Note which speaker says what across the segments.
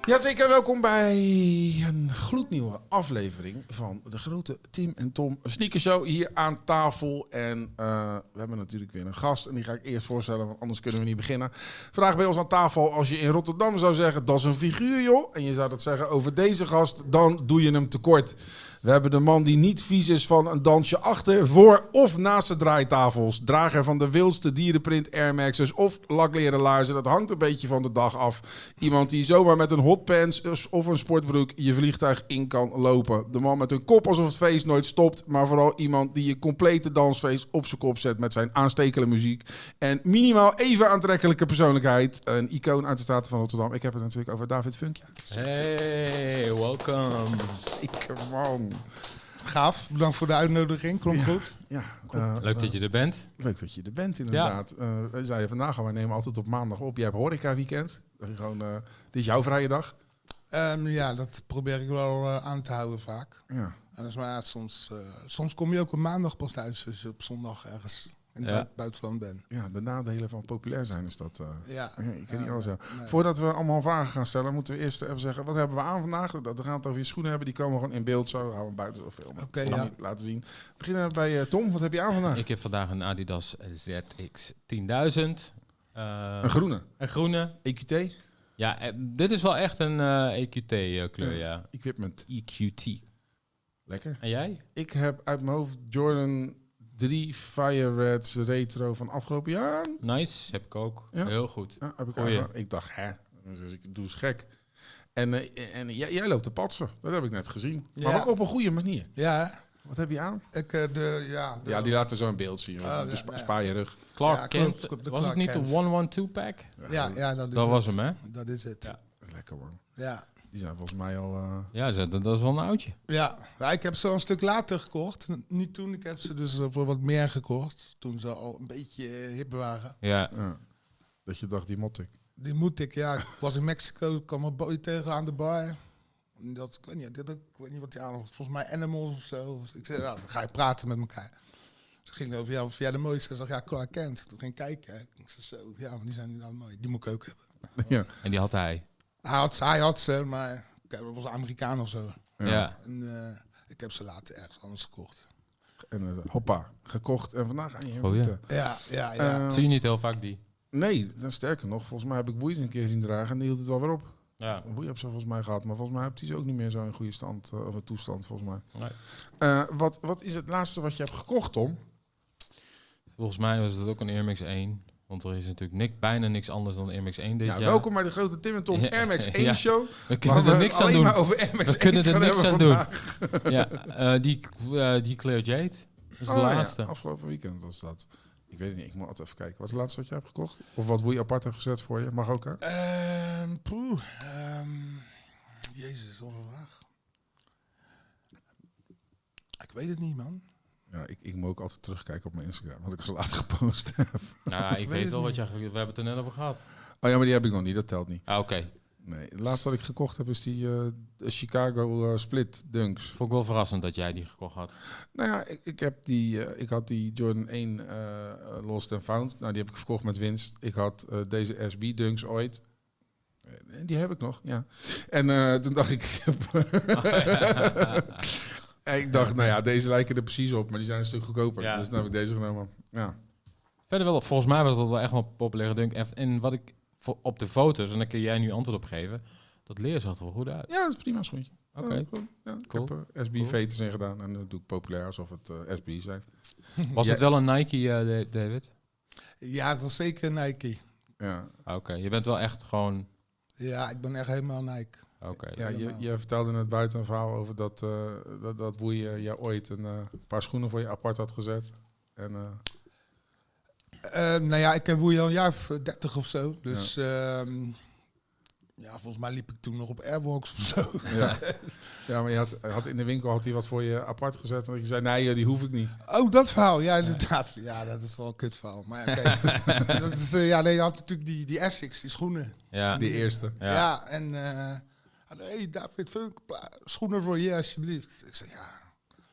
Speaker 1: Jazeker, welkom bij een gloednieuwe aflevering van de grote Tim en Tom Sneaker Show hier aan tafel. En eh, we hebben natuurlijk weer een gast en die ga ik eerst voorstellen, want anders kunnen we niet beginnen. Vandaag bij ons aan tafel, als je in Rotterdam zou zeggen, dat is een figuur joh, en je zou dat zeggen over deze gast, dan doe je hem tekort. We hebben de man die niet vies is van een dansje achter, voor of naast de draaitafels. Drager van de wildste dierenprint Air Max's of lakleren laarzen. Dat hangt een beetje van de dag af. Iemand die zomaar met een hotpants of een sportbroek je vliegtuig in kan lopen. De man met een kop alsof het feest nooit stopt. Maar vooral iemand die je complete dansfeest op zijn kop zet met zijn aanstekelijke muziek. En minimaal even aantrekkelijke persoonlijkheid. Een icoon uit de Staten van Rotterdam. Ik heb het natuurlijk over David Funkje.
Speaker 2: Hey, welkom.
Speaker 1: Zeker man.
Speaker 3: Gaaf, bedankt voor de uitnodiging. Klonk goed.
Speaker 1: Ja, eh,
Speaker 2: Leuk dat je er bent.
Speaker 1: Leuk dat je er bent, inderdaad. Eh wij zeiden vandaag al, wij nemen altijd op maandag op. Jij hebt horeca weekend. Dat is gewoon, eh, dit is jouw vrije dag.
Speaker 3: Ehm, ja, dat probeer ik wel eh, aan te houden vaak.
Speaker 1: Ja.
Speaker 3: En dat is maar, ja, soms, eh, soms kom je ook op maandag pas thuis als je op zondag ergens in het
Speaker 2: Ja.
Speaker 3: bui- buitenland bent.
Speaker 1: ja, de nadelen van populair zijn is dat. eh,
Speaker 3: Ja,
Speaker 1: ja, ik kan niet
Speaker 3: Ja,
Speaker 1: anders zeggen.
Speaker 3: nee.
Speaker 1: Voordat we allemaal vragen gaan stellen, moeten we eerst even zeggen: wat hebben we aan vandaag? Dat- Dat we gaan het over je schoenen hebben, die komen gewoon in beeld zo. Houden we buiten zo filmen.
Speaker 3: Oké,
Speaker 1: Kan
Speaker 3: ja.
Speaker 1: niet laten zien. We beginnen bij eh, Tom, wat heb je aan vandaag?
Speaker 2: Ik heb vandaag een Adidas ZX 10.000. eh,
Speaker 1: Een groene.
Speaker 2: een groene.
Speaker 1: EQT,
Speaker 2: Ja, eh, dit is wel echt een eh, E EQT-kleur, ja.
Speaker 1: equipment.
Speaker 2: EQT.
Speaker 1: Lekker.
Speaker 2: En jij?
Speaker 1: Ik heb uit mijn hoofd Jordan 3 Fire Reds Retro van afgelopen jaar.
Speaker 2: Nice, heb ik ook.
Speaker 1: Ja.
Speaker 2: Heel goed.
Speaker 1: Ja, Ah, heb ik,
Speaker 2: Goeie.
Speaker 1: aangedaan. ik dacht, hè, dus ik doe eens gek. En, eh, en jij, jij loopt te patsen, dat heb ik net gezien. Maar
Speaker 3: Ja.
Speaker 1: wel op een goede manier.
Speaker 3: ja,
Speaker 1: Wat heb je aan?
Speaker 3: ik, eh, de, ja, de-
Speaker 1: Ja, die laten zo een beeld zien.
Speaker 3: Oh,
Speaker 1: dus
Speaker 3: ja,
Speaker 1: spa-
Speaker 3: nou ja.
Speaker 1: spaar je rug.
Speaker 2: Clark
Speaker 3: Ja, klopt,
Speaker 2: Kent.
Speaker 3: klopt, de
Speaker 2: was het
Speaker 3: Clark
Speaker 2: niet
Speaker 3: Kent.
Speaker 2: de 112-pack?
Speaker 3: ja, ja, dat is
Speaker 2: Dat
Speaker 3: het.
Speaker 2: was hem, hè?
Speaker 3: Dat is het.
Speaker 2: Ja.
Speaker 3: Ja.
Speaker 1: Lekker man.
Speaker 3: Ja.
Speaker 1: Die zijn volgens mij al... eh,
Speaker 2: Ja, dat, dat is wel een oudje.
Speaker 3: Ja, ik heb ze al een stuk later gekocht. N- Niet toen, ik heb ze dus eh, voor wat meer gekocht. Toen ze al een beetje eh, hip waren.
Speaker 2: Ja.
Speaker 1: ja. dat je dacht, die mot ik.
Speaker 3: Die moet ik, ja. Ik was in Mexico, kwam een boy tegen aan de bar. En Dat, ik, weet niet, dit, ik weet niet wat hij aan had. Volgens mij Animals of zo. Ik zei, nou, dan ga je praten met elkaar. Ze ging over, ja, of jij de mooiste is. Ik zei, ja, Clark Kent. Toen ging ik kijken. Ik zei, zo, ja, maar die zijn nou mooi. Die moet ik ook hebben.
Speaker 1: ja.
Speaker 2: En die had hij.
Speaker 3: Hij had, ze- hij had ze, maar kijk, dat was een Amerikaan of zo.
Speaker 2: Ja.
Speaker 3: En eh, ik heb ze later ergens anders gekocht.
Speaker 1: En eh, hoppa, gekocht. En vandaag aan je
Speaker 2: Goeie.
Speaker 1: voeten.
Speaker 3: Ja, ja, ja.
Speaker 1: Eh,
Speaker 2: Oh, Zie je niet heel vaak die?
Speaker 1: nee, dan sterker nog, volgens mij heb ik boeien een keer zien dragen en die hield het wel weer op.
Speaker 2: Ja.
Speaker 1: Boeien heb ze volgens mij gehad, maar volgens mij heeft hij ze ook niet meer zo in goede stand, eh, of een toestand volgens mij.
Speaker 2: Nee.
Speaker 1: Eh, wat, wat is het laatste wat je hebt gekocht, Tom?
Speaker 2: Volgens mij was dat ook een Air Max 1. Want er is natuurlijk nik, bijna niks anders dan Air Max 1 dit
Speaker 1: Ja,
Speaker 2: jaar.
Speaker 1: Nou, welkom bij de grote Tim en Tom
Speaker 2: Ja.
Speaker 1: Air Max 1
Speaker 2: Ja.
Speaker 1: show.
Speaker 2: We kunnen
Speaker 1: waar
Speaker 2: er
Speaker 1: we
Speaker 2: niks
Speaker 1: alleen
Speaker 2: aan doen.
Speaker 1: maar over Air Max
Speaker 2: We kunnen er niks aan doen.
Speaker 1: vandaag.
Speaker 2: Ja, eh, die, eh die Clear Jade. Dat is de
Speaker 1: Oh, ja,
Speaker 2: laatste.
Speaker 1: afgelopen weekend was dat. Ik weet het niet, ik moet altijd even kijken. Wat is het laatste wat je hebt gekocht? Of wat je apart hebt gezet voor je? Mag ook, hè?
Speaker 3: Ehm poeh. ehm, Jezus, wat een vraag. Ik weet het niet, man.
Speaker 1: Ja, ik, ik moet ook altijd terugkijken op mijn Instagram, want ik was laatst gepost. heb.
Speaker 2: Nou, ik,
Speaker 3: weet
Speaker 2: weet
Speaker 3: het
Speaker 2: wel wat
Speaker 3: niet.
Speaker 2: je... We hebben het er net over gehad.
Speaker 1: Oh ja, maar die heb ik nog niet, dat telt niet.
Speaker 2: Ah, oké.
Speaker 1: Nee, het laatste wat ik gekocht heb is die eh, Chicago eh, Split Dunks.
Speaker 2: Vond ik wel verrassend dat jij die gekocht had.
Speaker 1: Nou ja, ik, ik, heb die, eh, ik had die Jordan 1 eh, eh, Lost and Found. Nou, die heb ik verkocht met winst. Ik had eh, deze SB Dunks ooit. Eh, Die heb ik nog, ja. En eh, toen dacht ik... ik heb- En ik dacht, nou ja, deze lijken er precies op, maar die zijn een stuk goedkoper.
Speaker 2: Ja.
Speaker 1: Dus toen heb ik deze genomen. Ja,
Speaker 2: Verder wel, volgens mij was dat wel echt wel een populaire dunk. En, en wat ik vo- op de foto's, en daar kun jij nu antwoord op geven, dat leer zag er wel goed uit.
Speaker 1: ja dat is prima schoentje.
Speaker 2: Oké,
Speaker 1: Ja, cool. Ja, ik
Speaker 2: Cool.
Speaker 1: heb eh, SB
Speaker 2: Cool.
Speaker 1: veters in gedaan en dat doe ik populair alsof het eh, SB zijn.
Speaker 2: was
Speaker 1: Ja.
Speaker 2: het wel een Nike, eh, Da- David?
Speaker 3: Ja, het was zeker Nike.
Speaker 1: Ja,
Speaker 2: Ah, Oké, je bent wel echt gewoon...
Speaker 3: Ja, ik ben echt helemaal Nike.
Speaker 2: Oké,
Speaker 1: ja je,
Speaker 3: Helemaal.
Speaker 1: je vertelde net buiten een verhaal over dat, eh dat, dat hoe je, je ooit een eh, paar schoenen voor je apart had gezet. En eh,
Speaker 3: Eh, nou ja, ik heb woei al een jaar of eh, 30 of zo. Dus ehm, ja, volgens mij liep ik toen nog op Airbox of zo.
Speaker 1: Ja, ja maar je had, had in de winkel had hij wat voor je apart gezet. En dat je zei, nee, eh, die hoef ik niet.
Speaker 3: Oh, dat verhaal. Ja, inderdaad. Ja, dat is wel een kut verhaal. Maar ja, oké. dat is, eh, ja, nee, je had natuurlijk die, die Essex, die schoenen.
Speaker 2: ja.
Speaker 1: Die eerste.
Speaker 2: Ja.
Speaker 3: Ja, en eh hey David Funk, pla- schoenen voor je alsjeblieft. Ik zei, ja,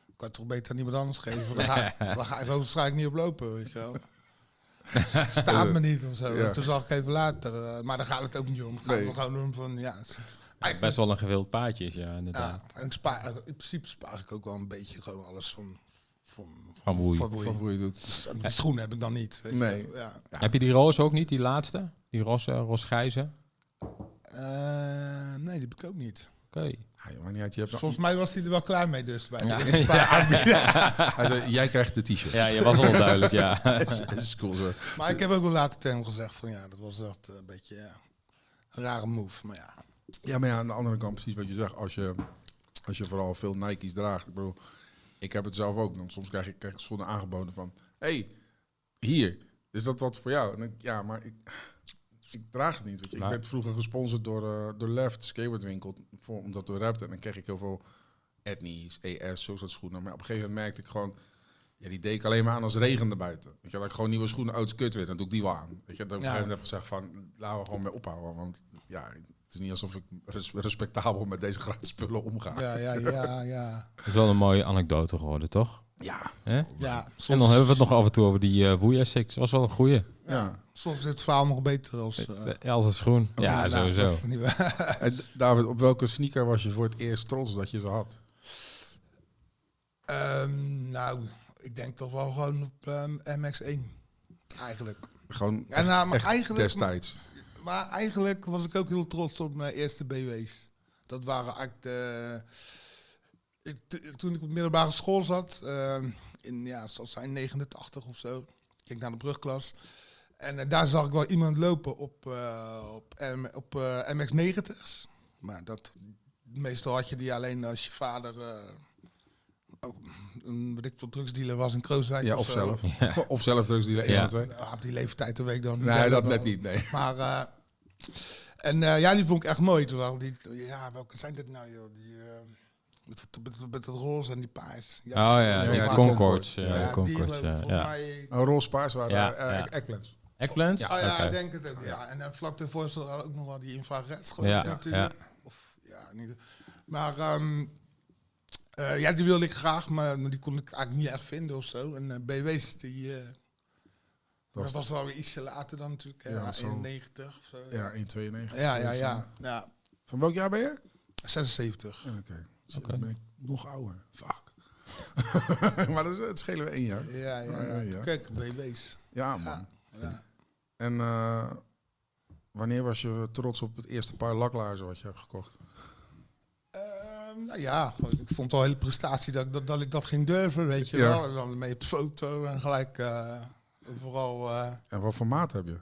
Speaker 3: ik kan het toch beter aan iemand anders geven. Dan ga, dan ga ik ook waarschijnlijk niet op lopen, weet je wel. Het staat me niet of zo.
Speaker 1: Ja.
Speaker 3: Toen zag ik even later. eh, maar daar gaat het ook niet om. Het gaat
Speaker 1: Nee.
Speaker 3: me gewoon om van, ja, het is Eigenlijk-
Speaker 2: Best wel een gewild paadje is, ja, inderdaad.
Speaker 3: Ja, en ik spaar, in principe spaar ik ook wel een beetje gewoon alles van... Van,
Speaker 2: Van woei.
Speaker 3: woei.
Speaker 1: Van hoe je doet.
Speaker 3: Dus, en die schoenen heb ik dan niet. Weet je
Speaker 1: Nee.
Speaker 3: wel. Ja.
Speaker 2: Heb je die roos ook niet, die laatste? Die rosse, rosgrijze?
Speaker 3: Eh, nee, die heb ik ook niet.
Speaker 2: Oké.
Speaker 1: Ja, Ah, joh, maar niet uit. Je hebt nog-
Speaker 3: Dus volgens mij was hij er wel klaar mee dus. Bij
Speaker 2: Ja.
Speaker 3: de eerste paar aanbiedingen.
Speaker 1: Hij zei, jij krijgt de t-shirt.
Speaker 2: Ja, je was al duidelijk, ja.
Speaker 1: Dat is cool zo.
Speaker 3: Maar ik heb ook wel later tegen hem gezegd van ja, dat was echt eh, een beetje ja, een rare move. Maar ja,
Speaker 1: Ja, maar ja, aan de andere kant, precies wat je zegt. Als je, als je vooral veel Nike's draagt. Ik bedoel, ik heb het zelf ook. Want soms krijg ik, krijg ik schoenen aangeboden van... hey, hier, is dat wat voor jou? En ik, ja, maar ik, ik draag het niet. Weet je. Ik
Speaker 2: Maar-
Speaker 1: werd vroeger gesponsord door, eh, door Left, de skateboardwinkel. Voor, omdat we rapten. En dan kreeg ik heel veel etnies, ES, zo soort schoenen. Maar op een gegeven moment merkte ik gewoon... Ja, die deed ik alleen maar aan als het regende buiten. Weet je, dat ik gewoon nieuwe schoenen, oud kut weer. Dan doe ik die wel aan. Weet je, dat ik op een
Speaker 3: Ja.
Speaker 1: gegeven moment heb gezegd van... Laten we gewoon mee ophouden. Want ja, het is niet alsof ik res- respectabel met deze gratis spullen omga.
Speaker 3: ja, ja, ja. ja.
Speaker 2: Dat is wel een mooie anekdote geworden, toch?
Speaker 1: Ja.
Speaker 2: Hè?
Speaker 3: ja
Speaker 2: En dan hebben we het nog af en toe over die eh Woeja Six. was wel een goeie.
Speaker 1: ja.
Speaker 3: Soms is het verhaal nog beter als... eh,
Speaker 2: Ja, als een schoen. Ja,
Speaker 3: nou, dat is
Speaker 2: sowieso.
Speaker 3: het niet waar.
Speaker 1: En David, op welke sneaker was je voor het eerst trots dat je ze had?
Speaker 3: Ehm, nou, ik denk toch wel gewoon op ehm, MX1. Eigenlijk.
Speaker 1: Gewoon
Speaker 3: En, nou, maar,
Speaker 1: echt
Speaker 3: eigenlijk
Speaker 1: destijds.
Speaker 3: maar eigenlijk was ik ook heel trots op mijn eerste BW's. Dat waren eigenlijk de... Ik, to- toen ik op middelbare school zat, ehm, in, ja, zoals zijn 89 of zo, ging ik naar de brugklas. En eh, daar zag ik wel iemand lopen op, eh, op, M- op eh, MX90's. Maar dat, meestal had je die alleen als je vader eh, ook een weet ik veel, drugsdealer was in Krooswijk
Speaker 1: Ja, eh,
Speaker 3: of,
Speaker 1: of
Speaker 3: zo.
Speaker 1: zelf. Of zelf drugs die
Speaker 2: Ja.
Speaker 1: ja. twee.
Speaker 3: Nou, op die leeftijd dat weet ik dan niet.
Speaker 1: Nee, dat
Speaker 3: helemaal.
Speaker 1: net niet, nee.
Speaker 3: Maar, eh, en eh, ja, die vond ik echt mooi. Terwijl die, ja, welke zijn dit nou, joh? Die, eh, met, met, met, dat roze en die paars.
Speaker 2: Oh ja,
Speaker 1: Ja,
Speaker 2: die
Speaker 1: ja,
Speaker 2: Concords.
Speaker 1: Concord.
Speaker 2: Ja, de
Speaker 3: die
Speaker 2: Concords,
Speaker 3: geloof ik,
Speaker 2: ja.
Speaker 3: volgens
Speaker 2: ja.
Speaker 3: mij...
Speaker 1: Een roze paars waren
Speaker 2: Ja,
Speaker 1: eh,
Speaker 2: ja.
Speaker 1: eggplants.
Speaker 2: Eggplant?
Speaker 3: Oh ja,
Speaker 2: Oké.
Speaker 3: ik denk het ook. Ja. En dan vlak daarvoor zat er ook nog wel die infrared geloof
Speaker 2: Ja,
Speaker 3: ik, natuurlijk. Of, ja, niet, maar ehm, eh, ja, die wilde ik graag, maar die kon ik eigenlijk niet echt vinden of zo. En eh, BW's, die... eh,
Speaker 1: Was-
Speaker 3: dat was wel weer ietsje later dan natuurlijk, ja,
Speaker 1: Ja, zo.
Speaker 3: 91 of zo.
Speaker 1: Ja, 1,92.
Speaker 3: Ja, ja, ja. ja.
Speaker 1: Van welk jaar ben je?
Speaker 3: 76.
Speaker 1: Ja, Oké. Dus
Speaker 2: Oké.
Speaker 1: Dan ben ik nog ouder. Fuck. maar dat, is- het schelen we één jaar.
Speaker 3: Ja, ja,
Speaker 1: Ah, ja,
Speaker 3: ja.
Speaker 1: ja.
Speaker 3: Kijk, BB's.
Speaker 1: Ja, man.
Speaker 3: Ja, ja.
Speaker 1: En eh, wanneer was je trots op het eerste paar laklaarzen wat je hebt gekocht?
Speaker 3: Ehm, nou ja, gewoon, ik vond het al een hele prestatie dat, ik dat, dat ik dat ging durven, weet je
Speaker 1: Ja.
Speaker 3: wel. En dan mee op de foto en gelijk eh, vooral... eh,
Speaker 1: En wat voor maat heb je?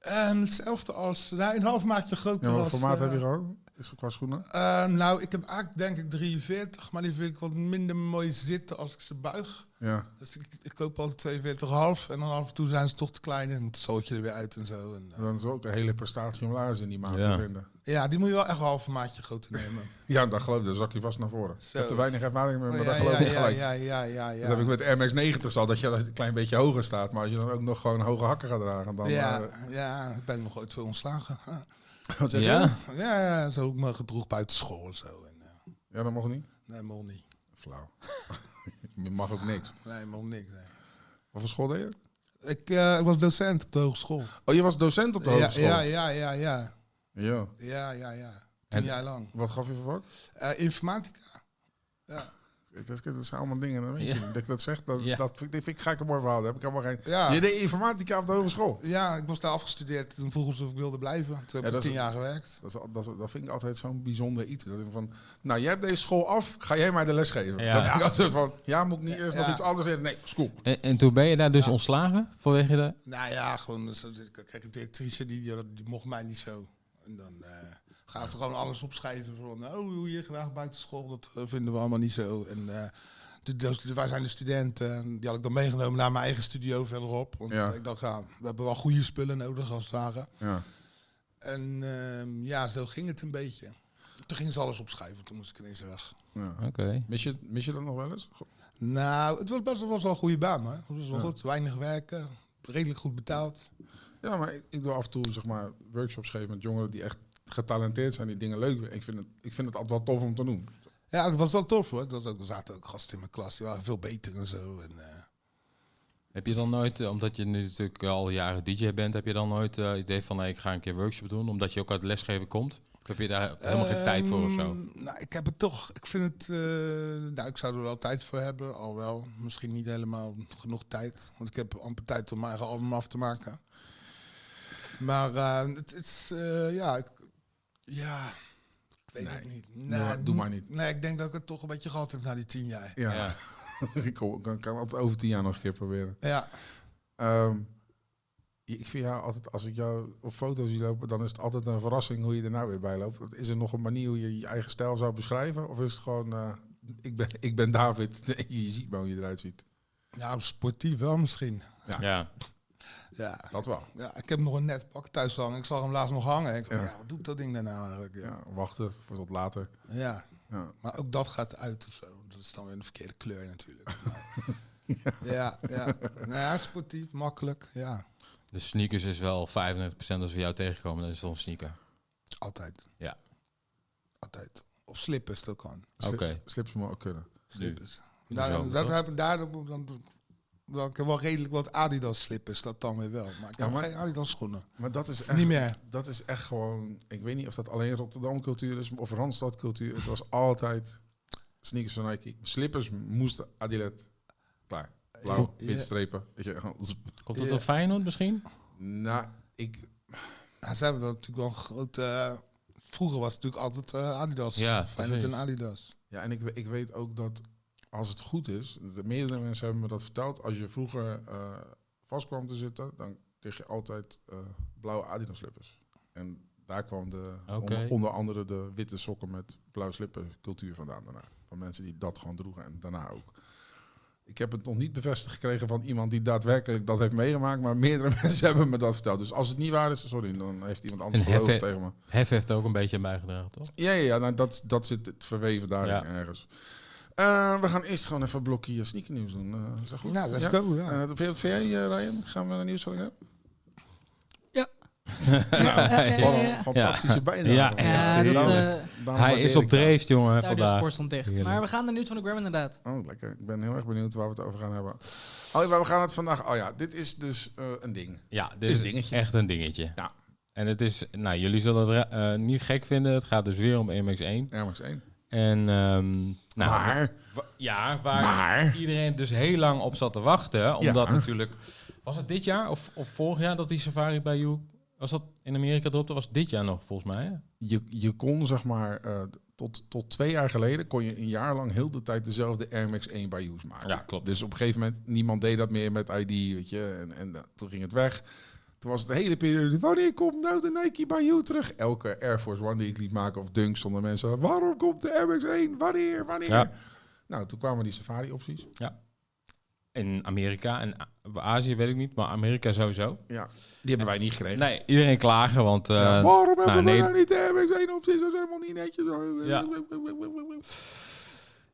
Speaker 3: ehm, hetzelfde als... Nou, een half maatje groter
Speaker 1: Ja, wat
Speaker 3: als,
Speaker 1: voor maat
Speaker 3: eh,
Speaker 1: heb je gewoon? Is het qua schoenen?
Speaker 3: ehm, nou, ik heb eigenlijk denk ik 43, maar die vind ik wat minder mooi zitten als ik ze buig.
Speaker 1: Ja.
Speaker 3: Dus ik, ik koop al 42,5 en dan af en toe zijn ze toch te klein en moet het zootje er weer uit en zo. En, eh,
Speaker 1: Dan is het ook een hele prestatie om laarzen in die maat
Speaker 2: Ja.
Speaker 1: te vinden.
Speaker 3: ja, die moet je wel echt een half maatje groter nemen.
Speaker 1: Ja, dan geloof ik, dan zak je vast naar voren. Ik
Speaker 3: Zo. Oh,
Speaker 1: heb te weinig ervaring mee, maar
Speaker 3: ja,
Speaker 1: dat geloof
Speaker 3: ja,
Speaker 1: ik gelijk.
Speaker 3: Ja, ja, ja, ja. ja.
Speaker 1: Dat heb ik met MX-90 al, dat je een klein beetje hoger staat. Maar als je dan ook nog gewoon hoge hakken gaat dragen, dan...
Speaker 3: ja,
Speaker 1: eh,
Speaker 3: ja, ik ben nog ooit veel ontslagen. Huh.
Speaker 1: wat zeg je?
Speaker 2: Ja?
Speaker 3: Ja, ja, zo ook me gedroeg buiten school en zo. En, eh,
Speaker 1: Ja, dat mag niet.
Speaker 3: nee, helemaal niet.
Speaker 1: Flauw. je mag ook niks.
Speaker 3: Nee, helemaal niks. nee.
Speaker 1: Wat voor school deed je?
Speaker 3: Ik, eh, ik was docent op de hogeschool.
Speaker 1: Oh, je was docent op de
Speaker 3: ja,
Speaker 1: hogeschool?
Speaker 3: ja, ja, ja, ja.
Speaker 1: Ja.
Speaker 3: Ja, ja, ja. Tien
Speaker 2: En-
Speaker 3: jaar lang.
Speaker 1: Wat gaf je voor vak?
Speaker 3: Eh, informatica.
Speaker 1: Ik- Dat, dat zijn allemaal dingen, dat weet je
Speaker 2: Ja.
Speaker 1: niet. Dat ik dat zeg, dat,
Speaker 2: Ja.
Speaker 1: dat vind, ik- vind ik, ga ik een mooi verhaal. Daar heb ik helemaal geen...
Speaker 3: Ja.
Speaker 1: Je deed informatica op de hogeschool.
Speaker 3: Ja, ik was daar afgestudeerd. Toen vroegen ze of ik wilde blijven. Toen
Speaker 1: Ja,
Speaker 3: heb ik
Speaker 1: dat is-
Speaker 3: tien jaar gewerkt.
Speaker 1: Dat, is, al- dat, is- dat vind ik altijd zo'n bijzonder iets. Dat ik van, nou, jij hebt deze school af, ga jij mij de les geven?
Speaker 2: Ja.
Speaker 1: Dat vind ik altijd van, ja, moet ik niet eerst nog
Speaker 3: Ja.
Speaker 1: iets anders in? Nee, school.
Speaker 2: En, en toen ben je daar dus ontslagen vanwege de...
Speaker 3: Nou ja, gewoon, zo- kijk, de directrice die, die, die mocht mij niet zo. En dan eh gaan ze gewoon alles opschrijven van, oh, hoe je graag buiten school, dat eh, vinden we allemaal niet zo. En eh, de, de- de- wij zijn de studenten, en die had ik dan meegenomen naar mijn eigen studio verderop. Want
Speaker 1: Ja.
Speaker 3: ik dacht, ja, we hebben wel goede spullen nodig als het ware.
Speaker 1: Ja.
Speaker 3: En ehm, ja, zo ging het een beetje. Toen gingen ze alles opschrijven, toen moest ik ineens weg.
Speaker 1: Ja.
Speaker 2: Oké.
Speaker 1: Mis, je, mis je dat nog wel eens?
Speaker 3: Nou, het was best wel, was wel een goede baan, hoor. Het was wel
Speaker 1: Ja.
Speaker 3: goed, weinig werken, redelijk goed betaald.
Speaker 1: Ja, maar ik, ik doe af en toe zeg maar, workshops geven met jongeren die echt getalenteerd zijn, die dingen leuk vinden. Ik vind het, ik vind het altijd wel tof om te doen.
Speaker 3: Ja, dat was wel tof hoor. Dat was ook, er zaten ook gasten in mijn klas, die waren veel beter en zo. En, eh,
Speaker 2: Heb je dan nooit, eh, omdat je nu natuurlijk al jaren DJ bent, heb je dan nooit eh idee van hey, ik ga een keer workshop doen, omdat je ook uit lesgeven komt? Of heb je daar helemaal geen tijd voor of zo?
Speaker 3: Ehm, Nou, ik heb het toch. Ik vind het. eh, nou, ik zou er wel tijd voor hebben. Al wel. Misschien niet helemaal genoeg tijd. Want ik heb amper tijd om mijn eigen album af te maken. Maar eh, het het is. eh, ja, ik, ja. Ik weet
Speaker 1: Nee.
Speaker 3: het niet. Nou,
Speaker 1: Doe maar- doe maar niet.
Speaker 3: Nee, ik denk dat ik het toch een beetje gehad heb na die tien jaar.
Speaker 1: Ja,
Speaker 2: Ja.
Speaker 1: ik kan, kan, kan altijd over tien jaar nog een keer proberen.
Speaker 3: Ja.
Speaker 1: Ehm, ik vind jou altijd, als ik jou op foto's zie lopen, dan is het altijd een verrassing hoe je er nou weer bij loopt. Is er nog een manier hoe je je eigen stijl zou beschrijven? Of is het gewoon, eh, ik, ben, ik ben David, je ziet maar hoe je eruit ziet.
Speaker 3: Nou, sportief wel misschien.
Speaker 2: Ja.
Speaker 3: Ja.
Speaker 1: Dat wel.
Speaker 3: ja. Ik heb nog een net pak thuis hangen. Ik zag hem laatst nog hangen. Ik dacht,
Speaker 1: Ja.
Speaker 3: ja. wat doet dat ding daar nou eigenlijk? Ja.
Speaker 1: Ja, wachten voor tot later.
Speaker 3: ja.
Speaker 1: Ja.
Speaker 3: Maar ook dat gaat uit of zo. Dat is dan weer een verkeerde kleur natuurlijk. Maar- ja, ja. Nou ja, sportief, makkelijk. Ja,
Speaker 2: De sneakers is wel 95% als we jou tegenkomen, dan is het een sneaker.
Speaker 3: altijd.
Speaker 2: Ja.
Speaker 3: Altijd. Of slippers, dat kan.
Speaker 2: Oké.
Speaker 1: Slips moet ook kunnen.
Speaker 3: Slippers.
Speaker 2: de
Speaker 3: Daarom,
Speaker 2: zomer,
Speaker 3: dat
Speaker 2: toch?
Speaker 3: heb, daarom dan, dan, ik heb wel redelijk wat Adidas slippers, dat dan weer wel. Maar ik
Speaker 1: Ja,
Speaker 3: heb
Speaker 1: maar-
Speaker 3: geen Adidas schoenen.
Speaker 1: Maar dat is echt,
Speaker 3: Niet meer.
Speaker 1: Dat is echt gewoon, ik weet niet of dat alleen Rotterdam cultuur is of Randstad cultuur. Het was altijd sneakers van Nike. Slippers moesten Adilet. Klaar. Blauw,
Speaker 3: Ja.
Speaker 1: witstrepen. Weet je, gewoon zp.
Speaker 2: Komt dat
Speaker 3: Ja.
Speaker 2: door Feyenoord misschien?
Speaker 1: Nou, ik,
Speaker 3: Ja, ze hebben dat natuurlijk wel een grote... eh, vroeger was het natuurlijk altijd eh, Adidas.
Speaker 2: Ja,
Speaker 3: Feyenoord en
Speaker 2: precies.
Speaker 3: Adidas.
Speaker 1: ja, en ik, we- ik weet ook dat als het goed is, de meerdere mensen hebben me dat verteld. Als je vroeger eh, vast kwam te zitten, dan kreeg je altijd eh, blauwe Adidas slippers. En daar kwam de,
Speaker 2: Oké.
Speaker 1: onder, onder andere de witte sokken met blauw slipper cultuur vandaan daarna. Van mensen die dat gewoon droegen en daarna ook. Ik heb het nog niet bevestigd gekregen van iemand die daadwerkelijk dat heeft meegemaakt, maar meerdere mensen hebben me dat verteld. Dus als het niet waar is, sorry, dan heeft iemand anders
Speaker 2: En
Speaker 1: gelogen
Speaker 2: heffe-
Speaker 1: tegen me.
Speaker 2: Hef heeft er ook een beetje aan bijgedragen, toch?
Speaker 1: Ja, ja, ja nou, dat, dat zit het verweven daarin
Speaker 2: Ja.
Speaker 1: ergens. Eh, we gaan eerst gewoon even een blokje sneakernieuws doen. Eh, is dat goed?
Speaker 3: Nou, let's
Speaker 1: Ja?
Speaker 3: go. Ja.
Speaker 1: Eh, vind, je- vind jij, eh, Ryan? Gaan we naar nieuws hebben?
Speaker 4: Ja.
Speaker 1: Nou,
Speaker 4: Ja, ja,
Speaker 1: wat
Speaker 4: ja,
Speaker 1: een
Speaker 4: ja.
Speaker 1: fantastische bijnaam.
Speaker 2: Ja,
Speaker 1: Van-
Speaker 4: Ja,
Speaker 2: echt.
Speaker 1: Daarom-
Speaker 4: dat,
Speaker 2: Heerlijk.
Speaker 4: eh
Speaker 1: daarom
Speaker 2: Hij
Speaker 1: waardeer
Speaker 2: is
Speaker 1: ik
Speaker 2: op
Speaker 1: dat.
Speaker 2: dreef, jongen,
Speaker 4: daar de
Speaker 2: vandaag.
Speaker 4: sport stond dicht.
Speaker 2: Heerlijk.
Speaker 4: Maar we gaan naar nieuws van de Gram inderdaad.
Speaker 1: Oh, lekker. Ik ben heel erg benieuwd waar we het over gaan hebben. Oh, ja, we gaan het vandaag... Oh ja, dit is dus eh, een ding.
Speaker 2: Ja, dit is
Speaker 1: Is een dingetje.
Speaker 2: echt een dingetje.
Speaker 1: Ja.
Speaker 2: En het is, nou, jullie zullen het ra- eh, niet gek vinden. Het gaat dus weer om MX1.
Speaker 1: Ergens één.
Speaker 2: En, ehm, nou,
Speaker 1: maar,
Speaker 2: wa- ja, waar
Speaker 1: maar...
Speaker 2: iedereen dus heel lang op zat te wachten. Omdat
Speaker 1: Ja.
Speaker 2: natuurlijk, was het dit jaar of, of vorig jaar dat die safari bij jou, was dat in Amerika dropte? Was dit jaar nog volgens mij? hè?
Speaker 1: Je, je kon, zeg maar... eh, tot, tot twee jaar geleden kon je een jaar lang heel de tijd dezelfde Air Max 1 bij Hughes maken.
Speaker 2: Ja, klopt.
Speaker 1: Dus op een gegeven moment, niemand deed dat meer met ID, weet je. En, en eh, toen ging het weg. Toen was het de hele periode, wanneer komt nou de Nike Bayou terug? Elke Air Force One die ik liet maken of Dunk stonden mensen, waarom komt de Air Max 1? Wanneer, wanneer?
Speaker 2: Ja.
Speaker 1: Nou, toen kwamen die safari-opties.
Speaker 2: In Amerika en A- Azië weet ik niet, maar Amerika sowieso.
Speaker 1: Die hebben wij niet gekregen.
Speaker 2: Nee, iedereen klagen, want eh,
Speaker 1: Ja, waarom hebben we
Speaker 2: nee.
Speaker 1: nou niet de Air Max 1 opties? Dat is helemaal niet netjes.
Speaker 2: Ja.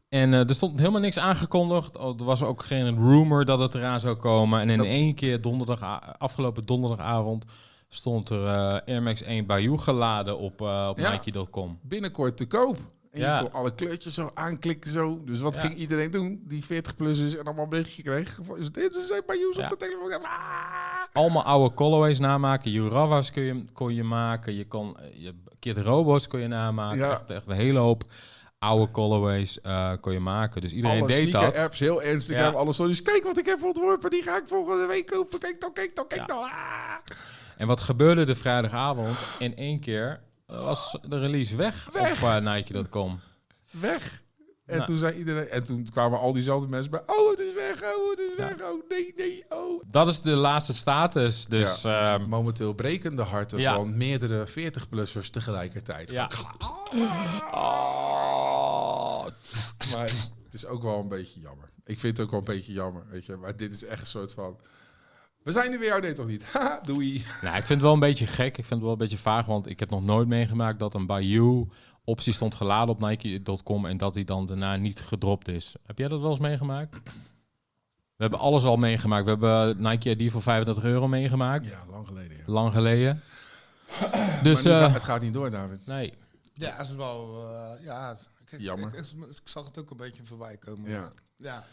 Speaker 2: En eh, er stond helemaal niks aangekondigd. Oh, Er was ook geen rumor dat het eraan zou komen. En in
Speaker 1: Dat-
Speaker 2: één keer, donderdag, afgelopen donderdagavond, stond er eh Air Max 1 Bayou geladen op, eh, op
Speaker 1: Ja.
Speaker 2: Nike.com.
Speaker 1: Binnenkort te koop. En
Speaker 2: Ja.
Speaker 1: je kon alle kleurtjes zo aanklikken zo. Dus wat
Speaker 2: Ja.
Speaker 1: ging iedereen doen? Die 40 plus is en allemaal een berichtje kreeg. van, Is dit is bij Joes
Speaker 2: Ja.
Speaker 1: op de telefoon. Ah.
Speaker 2: Allemaal oude colorways namaken. Jurawas kun je, kon je maken. Je kon, eh, je, Kid Robots kon je namaken.
Speaker 1: Ja.
Speaker 2: Echt, echt een hele hoop oude colorways eh kon je maken. Dus iedereen
Speaker 1: alle
Speaker 2: deed dat.
Speaker 1: apps heel ernstig.
Speaker 2: Ja.
Speaker 1: hebben Alles zo. Dus kijk wat ik heb ontworpen. Die ga ik volgende week kopen. Kijk dan, kijk dan, kijk
Speaker 2: Ja.
Speaker 1: dan. Ah.
Speaker 2: En wat gebeurde de vrijdagavond? In één keer was de release weg,
Speaker 1: Weg.
Speaker 2: op eh, Nike.com.
Speaker 1: Weg. En
Speaker 2: Nou.
Speaker 1: toen zei iedereen... En toen kwamen al diezelfde mensen bij. Oh, het is weg. Oh, het is
Speaker 2: Ja.
Speaker 1: weg. Oh, nee, nee. Oh,
Speaker 2: Dat is de laatste status. Dus ja,
Speaker 1: Momenteel breken de harten
Speaker 2: Ja.
Speaker 1: van meerdere 40-plussers tegelijkertijd.
Speaker 2: ja.
Speaker 1: Maar het is ook wel een beetje jammer. Ik vind het ook wel een beetje jammer. Weet je? Maar dit is echt een soort van... We zijn er weer, oh nee toch niet? Haha, doei.
Speaker 2: Nou, ik vind het wel een beetje gek. Ik vind het wel een beetje vaag, want ik heb nog nooit meegemaakt dat een Bayou optie stond geladen op Nike.com en dat die dan daarna niet gedropt is. Heb jij dat wel eens meegemaakt? We hebben alles al meegemaakt. We hebben eh, Nike ID voor 35 euro meegemaakt,
Speaker 1: Ja, lang geleden. Ja.
Speaker 2: lang geleden.
Speaker 1: Dus,
Speaker 2: Dus eh,
Speaker 1: het gaat niet door, David.
Speaker 2: nee,
Speaker 3: Ja, het is wel. eh, ja, ik, ik-
Speaker 1: Jammer.
Speaker 3: Ik, ik- ik zag het ook een beetje voorbij komen.
Speaker 1: Ja.
Speaker 3: ja.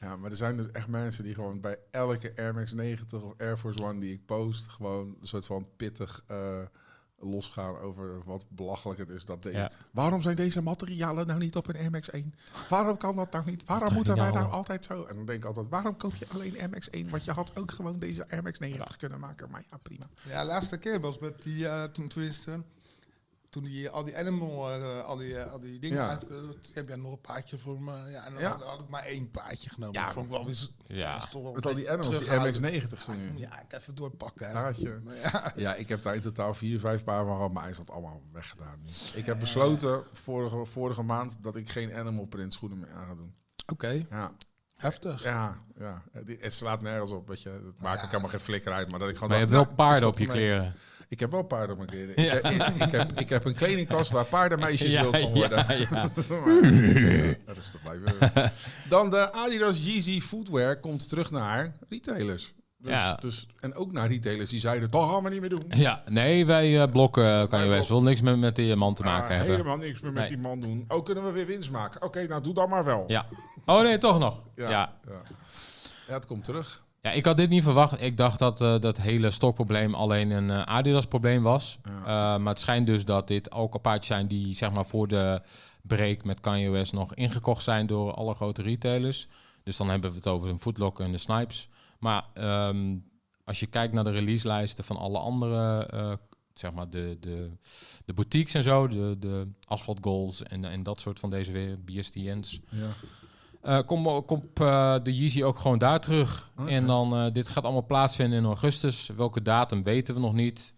Speaker 1: Ja, maar er zijn dus echt mensen die gewoon bij elke Air Max 90 of Air Force One die ik post, gewoon een soort van pittig eh, losgaan over wat belachelijk het is dat deze.
Speaker 2: Ja.
Speaker 1: Waarom zijn deze materialen nou niet op een Air Max 1? Waarom kan dat nou niet? Waarom moeten wij nou altijd zo? En dan denk ik altijd, waarom koop je alleen Air Max 1? Want je had ook gewoon deze Air Max 90 kunnen maken. Maar ja, prima.
Speaker 3: Ja, laatste keer was met die, eh, toen tenminste, toen die eh, al die animal, eh, al, die, eh, al die dingen,
Speaker 1: Ja.
Speaker 3: uit, eh, dat- heb jij nog een paardje voor me? Ja, en dan
Speaker 1: Ja.
Speaker 3: Had, had ik maar één paardje genomen.
Speaker 1: Ja.
Speaker 3: dat vond ik wel weer zo-
Speaker 2: Ja.
Speaker 3: dat is toch wel
Speaker 1: Met al die
Speaker 3: een beetje
Speaker 1: animals, die Air Max
Speaker 3: terughoudend.
Speaker 1: 90 nu.
Speaker 3: Ja, ik even doorpakken. hè.
Speaker 1: Daar had je-
Speaker 3: Maar ja,
Speaker 1: Ja, ik heb daar in totaal vier, vijf paar van gehad, maar hij is dat allemaal weggedaan. Ik heb besloten vorige, vorige maand dat ik geen animal print schoenen meer aan ga doen.
Speaker 3: oké,
Speaker 1: Ja,
Speaker 3: heftig.
Speaker 1: ja, ja. Die- Het slaat nergens op, weet je. Het maakt
Speaker 3: Ja.
Speaker 1: ook helemaal geen flikker uit. Maar dat ik gewoon
Speaker 2: Maar je hebt
Speaker 1: dacht,
Speaker 2: wel
Speaker 1: nou,
Speaker 2: paarden
Speaker 1: stop
Speaker 2: op je
Speaker 1: ermee.
Speaker 2: kleren.
Speaker 1: Ik heb wel paarden op mijn kleren.
Speaker 2: Ja.
Speaker 1: Ik, heb, ik, heb, ik heb een kledingkast waar paardenmeisjes
Speaker 2: Ja,
Speaker 1: wild van worden.
Speaker 2: ja, ja.
Speaker 1: Dat is te blijven. Dan de Adidas Yeezy Footwear komt terug naar retailers. Dus,
Speaker 2: Ja.
Speaker 1: dus, en ook naar retailers die zeiden, dat gaan we niet meer doen.
Speaker 2: Ja, nee, wij eh, blokken kan je best
Speaker 1: blokken.
Speaker 2: wel niks met, met die man te maken
Speaker 1: Ah,
Speaker 2: hebben.
Speaker 1: helemaal niks meer met
Speaker 2: Nee.
Speaker 1: die man doen. Oh, kunnen we weer winst maken? Oké, nou doe dat maar wel.
Speaker 2: Ja. Oh nee, toch nog.
Speaker 1: ja.
Speaker 2: Ja. ja.
Speaker 1: ja. Ja, het komt terug.
Speaker 2: ik had dit niet verwacht. Ik dacht dat eh, dat hele stokprobleem alleen een eh, Adidas-probleem was.
Speaker 1: Ja.
Speaker 2: Eh, maar het schijnt dus dat dit ook al paardjes zijn die zeg maar voor de break met Kanye West nog ingekocht zijn door alle grote retailers. Dus dan hebben we het over een Footlocker en de Snipes. Maar ehm, als je kijkt naar de releaselijsten van alle andere, eh, zeg maar de, de, de boutiques en zo, de, de Asphalt Goals en, en dat soort van deze weer, BSTN's.
Speaker 1: Ja.
Speaker 2: Eh, kom komt eh, de Yeezy ook gewoon daar terug.
Speaker 1: Oké.
Speaker 2: En dan, eh, dit gaat allemaal plaatsvinden in augustus. Welke datum weten we nog niet.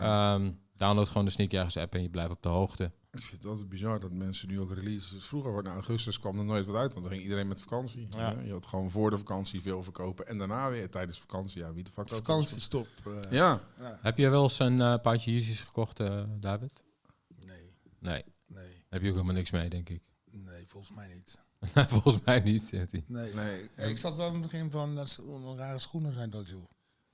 Speaker 2: Ehm, download gewoon de Sneakjagers app en je blijft op de hoogte.
Speaker 1: Ik vind het altijd bizar dat mensen nu ook releases. Dus vroeger, wordt- na augustus, kwam er nooit wat uit, want dan ging iedereen met vakantie.
Speaker 2: Ja.
Speaker 1: Je had gewoon voor de vakantie veel verkopen en daarna weer tijdens vakantie. Ja, wie de fuck koopt dat?
Speaker 3: Vakantiestop. eh,
Speaker 1: Ja,
Speaker 2: Heb je wel eens een eh, paardje Yeezys gekocht, eh, David?
Speaker 3: Nee,
Speaker 2: Nee, daar
Speaker 3: nee,
Speaker 2: heb je ook helemaal niks mee, denk ik.
Speaker 3: nee, volgens mij niet.
Speaker 2: Volgens mij niet, zegt hij.
Speaker 3: Nee.
Speaker 1: nee.
Speaker 3: Ja, ik zat wel in het begin van, dat ze een rare schoenen zijn dat, joh.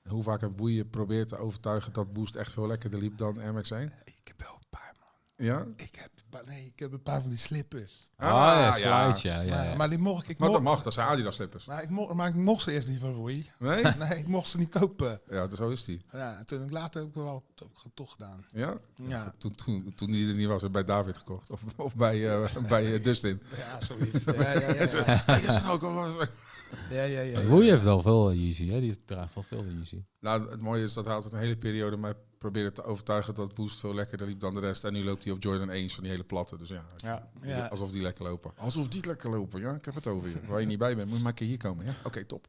Speaker 1: En Hoe vaak heb je probeert te overtuigen dat Boost echt veel lekkerder liep dan MX1?
Speaker 3: Ik heb wel een paar, man.
Speaker 1: Ja?
Speaker 3: Ik heb, een paar- nee, ik heb een paar van die slippers.
Speaker 2: Ah,
Speaker 1: Ah,
Speaker 2: ja,
Speaker 1: ja.
Speaker 2: slide, ja. ja,
Speaker 3: maar,
Speaker 2: ja.
Speaker 3: maar die mocht ik, ik
Speaker 1: Maar dat
Speaker 3: mocht,
Speaker 1: mag, dat zijn Adidas slippers.
Speaker 3: maar, ik mocht, maar ik mocht ze eerst niet van Roei.
Speaker 1: Nee?
Speaker 3: Nee, ik mocht ze niet kopen.
Speaker 1: Ja, zo is die.
Speaker 3: Ja, toen ik later heb ik wel to- toch gedaan.
Speaker 1: Ja?
Speaker 3: Ja,
Speaker 1: Toen, toen, toen die er niet was, werd bij David gekocht. Of, of bij, eh, bij eh, Dustin.
Speaker 3: ja zoiets. Ja, ja, ja. ja. ja, ja, ja, ja.
Speaker 2: Roei heeft wel veel eh, Yeezy, hè? Die draagt wel veel Yeezy.
Speaker 1: Nou, het mooie is dat hij altijd een hele periode mij probeerde te overtuigen dat Boost veel lekkerder liep dan de rest. En nu loopt hij op Jordan 1 van die hele platte. Dus ja,
Speaker 2: Ja.
Speaker 3: Ja.
Speaker 1: alsof die lekker lopen. Alsof die lekker lopen, ja. Ik heb het over je. Waar je niet bij bent, moet je maar een keer hier komen, ja. Oké, top.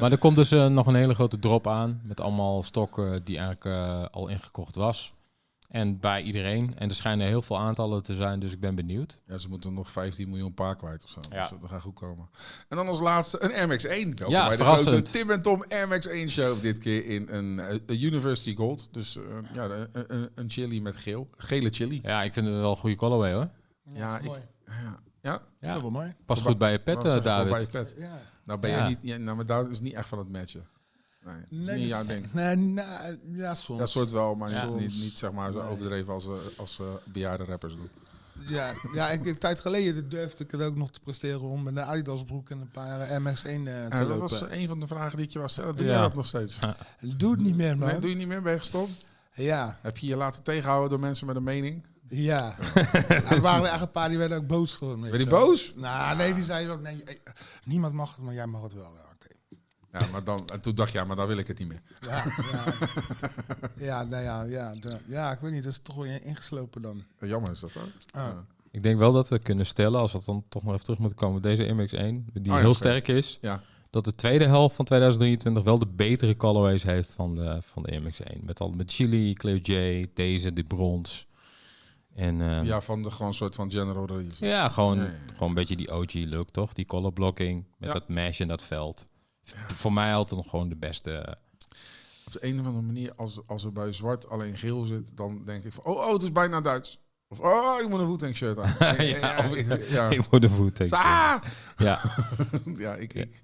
Speaker 2: Maar er komt dus eh, nog een hele grote drop aan. Met allemaal stokken die eigenlijk eh, al ingekocht was. En bij iedereen. En er schijnen heel veel aantallen te zijn, dus ik ben benieuwd.
Speaker 1: Ja, ze moeten nog 15 miljoen paar kwijt of zo.
Speaker 2: Ja.
Speaker 1: Dus dat gaat goed komen. En dan als laatste een Air Max 1. Welkom
Speaker 2: Ja,
Speaker 1: bij de
Speaker 2: verrassend.
Speaker 1: grote Tim en Tom Air Max 1 show. Dit keer in een eh, een University Gold. Dus eh, ja, een, een, een chili met geel. Gele chili.
Speaker 2: Ja, ik vind het wel een goede colorway hoor.
Speaker 1: Ja, ik-
Speaker 3: mooi.
Speaker 1: Ja. ja.
Speaker 3: Dat is
Speaker 2: Ja,
Speaker 3: wel mooi.
Speaker 2: past goed bij je pet, eh,
Speaker 1: Wat zeg je,
Speaker 2: David.
Speaker 1: Bij je pet.
Speaker 3: Ja.
Speaker 1: Nou ben
Speaker 2: Ja.
Speaker 1: je niet, ja, nou, maar daar is niet echt van het matchen. Nee, dat is
Speaker 3: Nee, dus-
Speaker 1: niet
Speaker 3: dat-
Speaker 1: jouw ding.
Speaker 3: Nee, nou, ja, soms.
Speaker 1: Dat soort wel, maar
Speaker 2: Ja.
Speaker 1: niet, niet, niet, zeg maar zo
Speaker 3: Nee.
Speaker 1: overdreven als, eh, als eh, bejaarde rappers doen.
Speaker 3: Ja, ja ik, een tijd geleden durfde ik het ook nog te presteren om met een Adidas broek en een paar eh, MS1 eh, te
Speaker 1: Ja, dat
Speaker 3: lopen.
Speaker 1: was een van de vragen die ik je was stellen. Doe
Speaker 2: Ja.
Speaker 1: jij dat nog steeds?
Speaker 3: Doe het niet meer, man.
Speaker 1: Nee, doe je niet meer? Ben je gestopt?
Speaker 3: Ja,
Speaker 1: Heb je je laten tegenhouden door mensen met een mening?
Speaker 3: ja. Ja, er waren echt een paar die werden ook boos geworden.
Speaker 1: Ben je boos?
Speaker 3: Nou, nee, die zeiden ook, nee, eh, niemand mag het, maar jij mag het wel. Ja, oké.
Speaker 1: Ja, maar dan, en toen dacht je, ja, maar dan wil ik het niet meer.
Speaker 3: Ja, ja. ja, nou ja, ja, de- ja, ik weet niet, dat is toch wel ingeslopen dan.
Speaker 1: Eh, Jammer is dat ook.
Speaker 3: Ah,
Speaker 2: Ik denk wel dat we kunnen stellen, als we dan toch nog even terug moeten komen, deze MX1, die
Speaker 1: Oh ja,
Speaker 2: heel
Speaker 1: oké.
Speaker 2: sterk is,
Speaker 1: Ja.
Speaker 2: dat de tweede helft van 2023 wel de betere colorways heeft van de, van de MX1. Met, al, met Chili, Clear J, deze, de brons. En, eh,
Speaker 1: ja, van de gewoon soort van general release.
Speaker 2: Ja, gewoon,
Speaker 1: Ja, ja, ja.
Speaker 2: gewoon een beetje die OG-look, toch? Die color blocking met
Speaker 1: Ja.
Speaker 2: dat mesh en dat veld. V- Voor mij altijd nog gewoon de beste.
Speaker 1: Op de een of andere manier, als, als er bij zwart alleen geel zit, dan denk ik van, oh, oh het is bijna Duits. Of, oh, ik moet een Wu-Tang shirt aan.
Speaker 2: ja, of
Speaker 1: ik- ja.
Speaker 2: ik word een voet.
Speaker 1: Ah!
Speaker 2: Ja,
Speaker 1: ja, ik, ik, ik,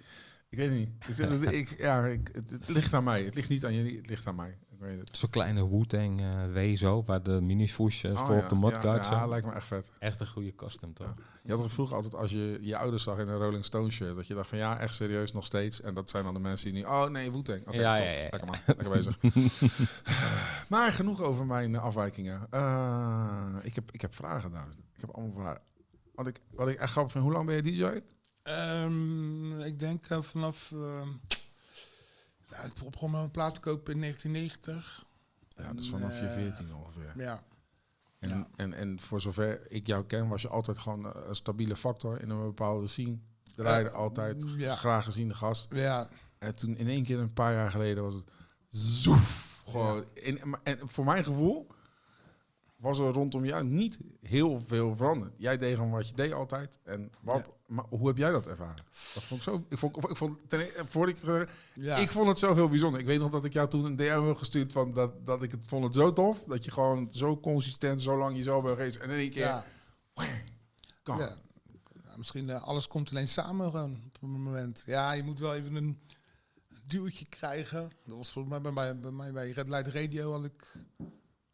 Speaker 1: Ik weet het niet. Ik, ik, ja, ik, het, het ligt aan mij. Het ligt niet aan jullie, het ligt aan mij. Ik weet het.
Speaker 2: Zo'n kleine Wu-Tang eh, Wezo, waar de mini-swoosh eh,
Speaker 1: Oh,
Speaker 2: voor
Speaker 1: ja,
Speaker 2: op de mudguard
Speaker 1: ja,
Speaker 2: zijn.
Speaker 1: ja, lijkt me echt vet.
Speaker 2: Echt een goede custom, toch?
Speaker 1: Je had er vroeger altijd, als je je ouders zag in een Rolling Stone shirt, dat je dacht van ja, echt serieus nog steeds. En dat zijn dan de mensen die nu, oh nee, Wu-Tang. Oké,
Speaker 2: Ja,
Speaker 1: top.
Speaker 2: ja, ja, ja.
Speaker 1: Lekker man, lekker bezig. maar genoeg over mijn eh, afwijkingen. Eh, ik, heb, ik heb vragen, dames. Ik heb allemaal vragen. Wat ik, wat ik echt grappig vind, hoe lang ben je DJ?
Speaker 3: Ehm, ik denk eh, vanaf... ehm, ja, ik begon met mijn plaat te kopen in 1990.
Speaker 1: Ja, dus vanaf je
Speaker 3: Eh,
Speaker 1: 14 ongeveer.
Speaker 3: Ja.
Speaker 1: En,
Speaker 3: Ja.
Speaker 1: en, en voor zover ik jou ken, was je altijd gewoon eh, een stabiele factor in een bepaalde scene. Draaide
Speaker 3: Eh,
Speaker 1: altijd,
Speaker 3: Ja.
Speaker 1: graag geziene gast.
Speaker 3: Ja,
Speaker 1: En toen in één keer, een paar jaar geleden, was het zoef. Gewoon. En, maar- en voor mijn gevoel was er rondom jou niet heel veel veranderd. Jij deed gewoon wat je deed altijd. En wat, maar hoe heb jij dat ervaren? Dat vond ik zo. Ik vond, ik vond, ten, eh, voor ik, eh,
Speaker 3: ja.
Speaker 1: ik vond het zo heel bijzonder. Ik weet nog dat ik jou toen een DM heb gestuurd van dat, dat ik het vond het zo tof. Dat je gewoon zo consistent, zo lang jezelf bent geweest. En in één keer.
Speaker 3: ja.
Speaker 1: eh, kan.
Speaker 3: Ja. Ja, misschien eh, alles komt alleen samen gewoon op een moment. Ja, je moet wel even een duwtje krijgen. Dat was volgens mij bij, mij bij mij bij Red Light Radio had ik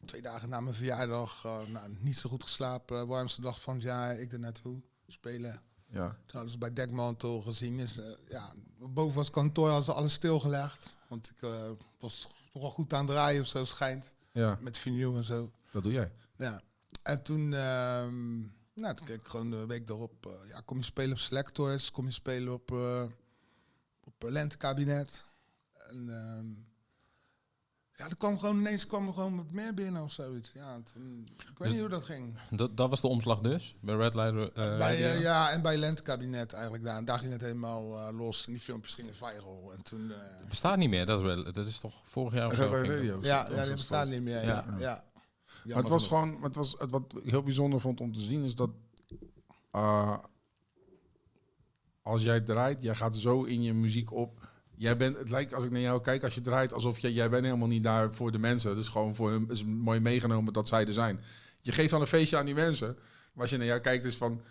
Speaker 3: twee dagen na mijn verjaardag eh, nou, niet zo goed geslapen. Warmste dag van het jaar, ik er naartoe spelen.
Speaker 1: Ja.
Speaker 3: Toen hadden ze bij Dekmantel gezien. Dus, eh, ja, boven was kantoor hadden ze alles stilgelegd. Want ik eh, was nogal goed aan het draaien of zo schijnt.
Speaker 1: ja,
Speaker 3: Met vinyl en zo.
Speaker 1: dat doe jij.
Speaker 3: Ja. En toen, ehm, nou, toen keek ik gewoon de week daarop. eh, ja, kom je spelen op Selectors, kom je spelen op, eh op Lentekabinet. En ehm, ja, er kwam gewoon ineens kwam er gewoon wat meer binnen of zoiets. Ja, toen, ik weet
Speaker 2: Dus-
Speaker 3: niet hoe dat ging.
Speaker 2: Dat, dat was de omslag dus, bij Red Light eh,
Speaker 3: Bij,
Speaker 2: Radio.
Speaker 3: eh, ja, en bij Lentekabinet eigenlijk daar. Daar ging het helemaal eh, los. En die filmpjes gingen viral. En toen, eh,
Speaker 2: Bestaat niet meer, dat, wel- dat is toch vorig jaar of
Speaker 1: Red
Speaker 2: zo?
Speaker 1: Light
Speaker 2: ging
Speaker 1: Radio.
Speaker 2: dat?
Speaker 3: ja,
Speaker 1: dat
Speaker 3: ja,
Speaker 1: is
Speaker 3: die bestaan niet meer. Ja,
Speaker 1: Ja.
Speaker 3: ja.
Speaker 1: Maar het was gewoon, maar het was, het, wat ik heel bijzonder vond om te zien is dat eh, als jij draait, jij gaat zo in je muziek op. Jij bent, het lijkt als ik naar jou kijk, als je draait alsof jij, jij bent helemaal niet daar voor de mensen. Dus gewoon voor hun is mooi meegenomen dat zij er zijn. Je geeft dan een feestje aan die mensen. Maar als je naar jou kijkt, is van.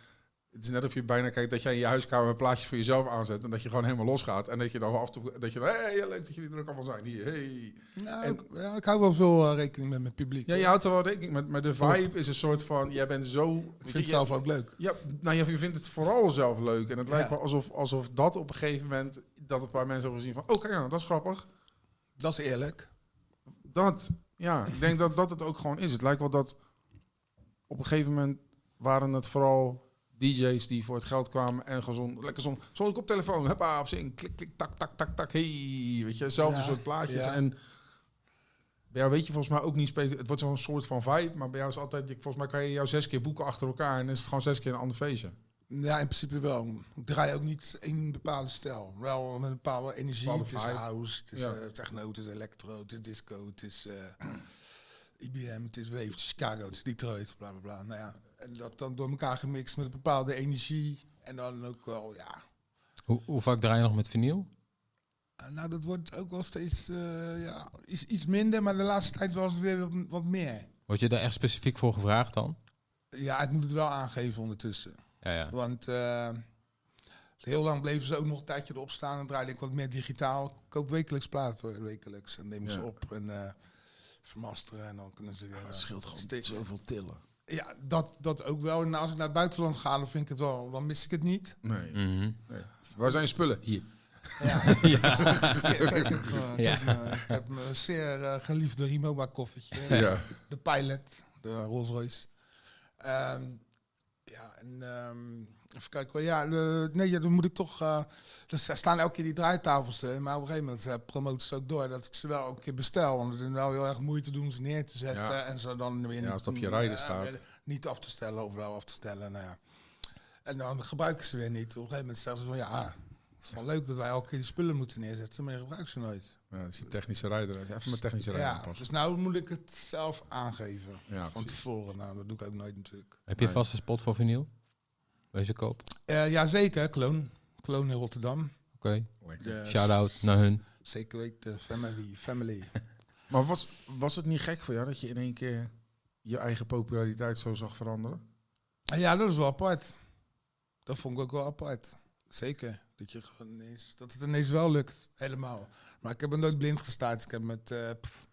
Speaker 1: Het is net of je bijna kijkt dat jij in je huiskamer een plaatje voor jezelf aanzet. En dat je gewoon helemaal losgaat. En dat je dan af en toe. Dat je. Hé, hey, leuk dat jullie er ook allemaal zijn. Hier, hey.
Speaker 3: Nou,
Speaker 1: en-
Speaker 3: ik, ja, ik hou wel veel eh, rekening met mijn publiek.
Speaker 1: Ja, je houdt er wel rekening mee. Maar de vibe is een soort van. Jij bent zo.
Speaker 3: ik vind
Speaker 1: je-
Speaker 3: het zelf ook leuk.
Speaker 1: Ja, nou ja, je vindt het vooral zelf leuk. En het lijkt
Speaker 3: Ja.
Speaker 1: me alsof, alsof dat op een gegeven moment. dat een paar mensen hebben gezien van. Oké, ja, dat is grappig.
Speaker 3: Dat is eerlijk.
Speaker 1: Dat. Ja, ik denk dat dat het ook gewoon is. Het lijkt wel dat. op een gegeven moment waren het vooral. DJ's die voor het geld kwamen en gewoon zo'n- lekker zo'n zo'n koptelefoon, huppa, op zin, klik, klik, tak, tak, tak, tak, hey, weet je, zelfde
Speaker 3: Ja,
Speaker 1: soort plaatjes.
Speaker 3: ja.
Speaker 1: En bij jou weet je volgens mij ook niet specifiek, het wordt zo'n soort van vibe, maar bij jou is altijd, je- volgens mij kan je jou zes keer boeken achter elkaar en is het gewoon zes keer een ander feestje.
Speaker 3: Ja, in principe wel. Ik draai ook niet in bepaalde stijl. Wel met een bepaalde energie.
Speaker 1: Bepaalde
Speaker 3: het is
Speaker 1: vibe.
Speaker 3: house, het is
Speaker 1: Ja.
Speaker 3: eh, techno, het is electro, het is disco, het is eh, IBM, het is Wave, het is Chicago, het is Detroit, bla bla bla. Nou ja, en dat dan door elkaar gemixt met een bepaalde energie. En dan ook wel, ja.
Speaker 2: Hoe, hoe vaak draai je nog met vinyl?
Speaker 3: Eh, Nou, dat wordt ook wel steeds eh, ja, iets, iets minder, maar de laatste tijd was het weer wat, wat meer.
Speaker 2: Word je daar echt specifiek voor gevraagd dan?
Speaker 3: Ja, ik moet het wel aangeven ondertussen.
Speaker 2: Ja, ja.
Speaker 3: Want eh, heel lang bleven ze ook nog een tijdje erop staan en draaide ik wat meer digitaal. Ik koop wekelijks platen hoor, wekelijks. En neem ik
Speaker 1: Ja. Ah,
Speaker 3: ze op en eh, vermasteren en dan kunnen ze weer... eh, steeds-
Speaker 1: zoveel tillen.
Speaker 3: Ja, dat, dat ook wel. En als ik naar het buitenland ga, dan vind ik het wel, dan mis ik het niet.
Speaker 1: Nee.
Speaker 2: Mhm.
Speaker 1: Waar zijn je spullen? Hier.
Speaker 3: Ja.
Speaker 2: Ja.
Speaker 3: Ik heb, eh, ik
Speaker 2: Ja.
Speaker 3: heb me- ik heb mijn zeer eh, geliefde Rimoba koffertje.
Speaker 1: Ja.
Speaker 3: De Pilot, de Rolls Royce. Ehm, ja, en ehm, even kijken. hoor. Ja, de- nee, ja, dan moet ik toch. eh, er sta- staan elke keer die draaitafels erin. Maar op een gegeven moment eh, promoten ze ook door dat ik ze wel een keer bestel. Want het is wel heel erg moeite doen om ze neer te zetten.
Speaker 1: Ja.
Speaker 3: En ze dan weer
Speaker 1: Ja,
Speaker 3: niet,
Speaker 1: als het op je rider
Speaker 3: eh,
Speaker 1: staat.
Speaker 3: Niet af te stellen, overal af te stellen. Nou ja. En dan gebruiken ze weer niet. Op een gegeven moment zeggen ze van ja. Het is wel leuk dat wij elke keer die spullen moeten neerzetten, maar je gebruikt ze nooit.
Speaker 1: Ja, dat is die technische rijder. Even mijn technische rijder
Speaker 3: Ja,
Speaker 1: aanpassen.
Speaker 3: dus nou moet ik het zelf aangeven.
Speaker 1: Ja,
Speaker 3: van
Speaker 1: precies.
Speaker 3: tevoren. Nou, dat doe ik ook nooit natuurlijk.
Speaker 2: Heb je
Speaker 1: Nee.
Speaker 2: vast een spot voor vinyl? Wees koop.
Speaker 3: Eh jazeker, Kloon. Kloon in Rotterdam.
Speaker 2: Oké.
Speaker 1: Lekker.
Speaker 3: De
Speaker 2: Shout-out naar hun.
Speaker 3: Zeker weten, family. family.
Speaker 1: Maar was, was het niet gek voor jou dat je in één keer je eigen populariteit zo zag veranderen?
Speaker 3: En ja, dat is wel apart. Dat vond ik ook wel apart. Zeker. Dat, je gewoon ineens, dat het ineens wel lukt, helemaal. Maar ik heb er nooit blind gestaan. Dus ik heb met, eh, pff,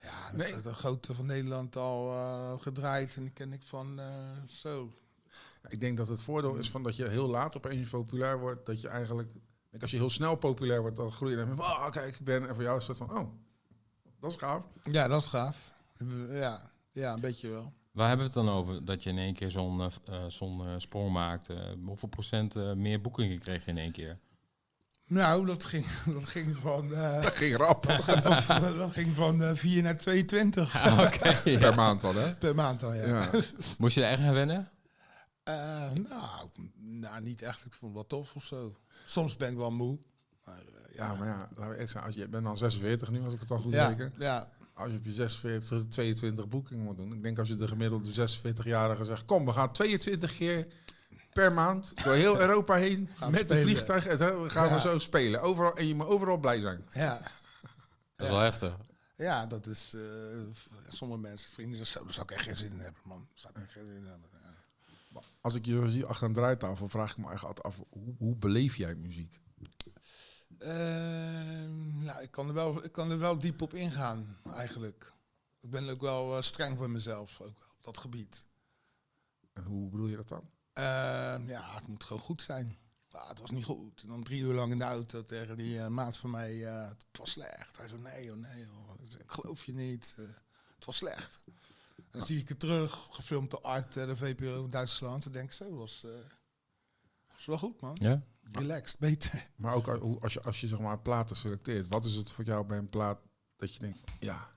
Speaker 3: ja, met
Speaker 1: Nee.
Speaker 3: de, de grote van Nederland al eh, gedraaid. En die ken ik van eh, zo.
Speaker 1: Ik denk dat het voordeel is van dat je heel laat opeens populair wordt. Dat je eigenlijk, ik denk als je heel snel populair wordt, dan groei je dan van, oh kijk, ik ben. En voor jou is het van, oh, dat is gaaf.
Speaker 3: Ja, dat is gaaf. Ja, ja een beetje wel.
Speaker 2: Waar hebben we het dan over? Dat je in één keer zo'n eh, v- eh, zo'n eh, sprong maakt. Eh, hoeveel procent eh, meer boekingen kreeg je in één keer?
Speaker 3: Nou, dat ging, dat ging van, eh,
Speaker 1: Dat ging rap
Speaker 3: dat ging van eh, 4 naar 22
Speaker 2: Ah, Oké. ja.
Speaker 1: per maand al, hè?
Speaker 3: per maand al, ja.
Speaker 1: Ja.
Speaker 2: Moest je er echt aan wennen?
Speaker 3: Eh, nou, nou, niet echt. Ik vond het wel tof of zo. Soms ben ik wel moe. Maar, eh,
Speaker 1: ja, maar ja, laten we eerlijk zijn, als je je bent dan 46 nu, als ik het al goed
Speaker 3: ja,
Speaker 1: reken.
Speaker 3: ja,
Speaker 1: Als je op je 46, 22 boekingen moet doen. Ik denk als je de gemiddelde 46-jarige zegt, kom, we gaan 22 keer per maand door heel Europa heen
Speaker 3: Gaan we
Speaker 1: met een
Speaker 3: spelen.
Speaker 1: vliegtuig. En dan gaan we
Speaker 3: Ja.
Speaker 1: zo spelen. Overal, en je moet overal blij zijn.
Speaker 3: ja.
Speaker 2: Dat is wel heftig.
Speaker 3: Ja, dat is. eh, v- sommige mensen, vrienden, daar zou daar zou ik echt geen zin in hebben, man. Daar Zou ik echt geen zin in hebben. Ja.
Speaker 1: Als ik je zo zie achter een draaitafel, vraag ik me eigenlijk altijd af, hoe, hoe beleef jij muziek?
Speaker 3: Ehm, nou, ik kan, er wel, ik kan er wel diep op ingaan, eigenlijk. Ik ben ook wel eh, streng voor mezelf, ook wel op dat gebied.
Speaker 1: En hoe bedoel je dat dan?
Speaker 3: Ehm, ja, het moet gewoon goed zijn. Ah, het was niet goed. En dan drie uur lang in de auto tegen die eh, maat van mij. eh, het was slecht. Hij zei, nee joh, nee joh. Ik, zei, "Ik geloof je niet. eh, het was slecht. En dan zie ik het terug, gefilmd door Art, eh, de VPRO in Duitsland. En denk ik, zo, dat was, eh, was wel goed man.
Speaker 2: Ja?
Speaker 3: Relaxed, beter.
Speaker 1: Maar ook al- hoe- als je, als je zeg maar platen selecteert, wat is het voor jou bij een plaat dat je denkt, ja,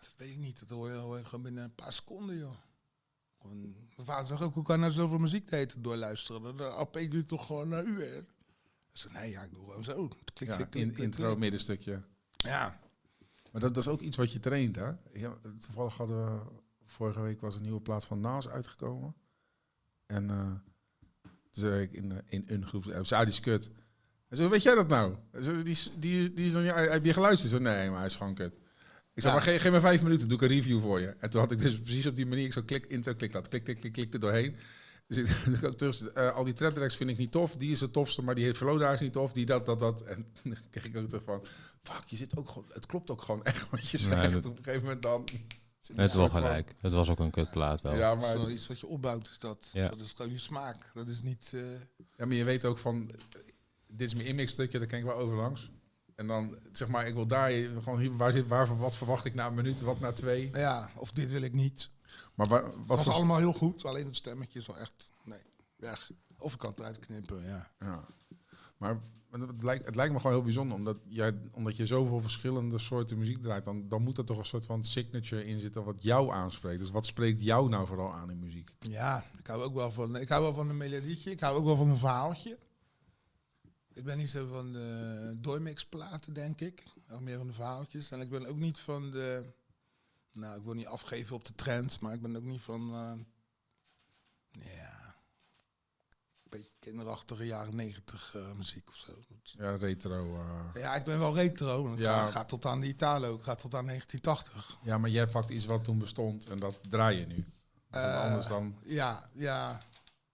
Speaker 3: Dat weet ik niet. Dat hoor je al gewoon binnen een paar seconden joh. Gewoon, mijn vader zegt ook, hoe kan je nou zoveel muziek de hele tijd doorluisteren? Dat- Dat AP duurt toch gewoon een uur? Ik zei, nee ja, ik doe gewoon zo. Klik,
Speaker 1: ja
Speaker 3: klik, klik,
Speaker 1: in,
Speaker 3: klik,
Speaker 1: intro,
Speaker 3: klik.
Speaker 1: middenstukje.
Speaker 3: Ja.
Speaker 1: Maar dat, dat is ook iets wat je traint, hè? Ja, toevallig hadden we, vorige week was een nieuwe plaat van Nas uitgekomen. En eh toen zei ik in, eh, in een groep, eh, zei, ah, die is kut. Hij zei, weet jij dat nou? Hij zei, Die, is- die, die is nog niet, heb je geluisterd? Ik zei, nee, maar hij is gewoon kut. Ik zei,
Speaker 3: Ja.
Speaker 1: maar ge- geef me vijf minuten, doe ik een review voor je. En toen had ik dus precies op die manier, ik zo klik, intro, klik, laat, klik, klik, klik, klik er doorheen. Dus ik, ik ook terug, eh, al die trap tracks vind ik niet tof, die is het tofste, maar die heeft Veloda is niet tof, die dat, dat, dat. En dan kreeg ik ook terug van, fuck, je zit ook gewoon, het klopt ook gewoon echt wat je
Speaker 2: Nee,
Speaker 1: zegt.
Speaker 2: dat-
Speaker 1: Op een gegeven moment dan... zit je
Speaker 2: Het is wel
Speaker 1: soort van-
Speaker 2: gelijk. Het was ook een kutplaat wel.
Speaker 1: Ja
Speaker 3: Dat
Speaker 1: maar,
Speaker 3: is wel iets wat je opbouwt. Is dat.
Speaker 2: Ja.
Speaker 3: dat is gewoon je smaak. Dat is niet. eh,
Speaker 1: ja, maar je weet ook van, eh, dit is mijn inmixstukje, daar ken ik wel over langs. En dan, zeg maar, ik wil daar, je- gewoon, hier, waar zit, waar, wat verwacht ik na een minuut, wat na twee.
Speaker 3: nou ja, of dit wil ik niet.
Speaker 1: Maar wa-
Speaker 3: Het
Speaker 1: wat
Speaker 3: was
Speaker 1: voor-
Speaker 3: allemaal heel goed. Alleen het stemmetje is wel echt. Nee, weg. Of ik kan het eruit knippen. Ja.
Speaker 1: Ja. Maar maar het lijkt, het lijkt me gewoon heel bijzonder, omdat, jij, omdat je zoveel verschillende soorten muziek draait, dan, dan moet er toch een soort van signature in zitten wat jou aanspreekt. Dus wat spreekt jou nou vooral aan in muziek?
Speaker 3: ja, ik hou ook wel van. Ik hou wel van een melodietje. Ik hou ook wel van een verhaaltje. Ik ben niet zo van de doormixplaten, denk ik. Echt meer van de verhaaltjes. En ik ben ook niet van de. Nou, ik wil niet afgeven op de trend, maar ik ben ook niet van. eh, ja. Een beetje kinderachtige jaren negentig eh, muziek of zo. Dat-
Speaker 1: Ja, retro. eh.
Speaker 3: Ja, ik ben wel retro. want Ik
Speaker 1: Ja.
Speaker 3: ga, ga tot aan de Italo. Ik ga tot aan 1980.
Speaker 1: Ja, maar jij pakt iets wat toen bestond en dat draai je nu. Want
Speaker 3: Eh,
Speaker 1: anders dan.
Speaker 3: Ja, ja,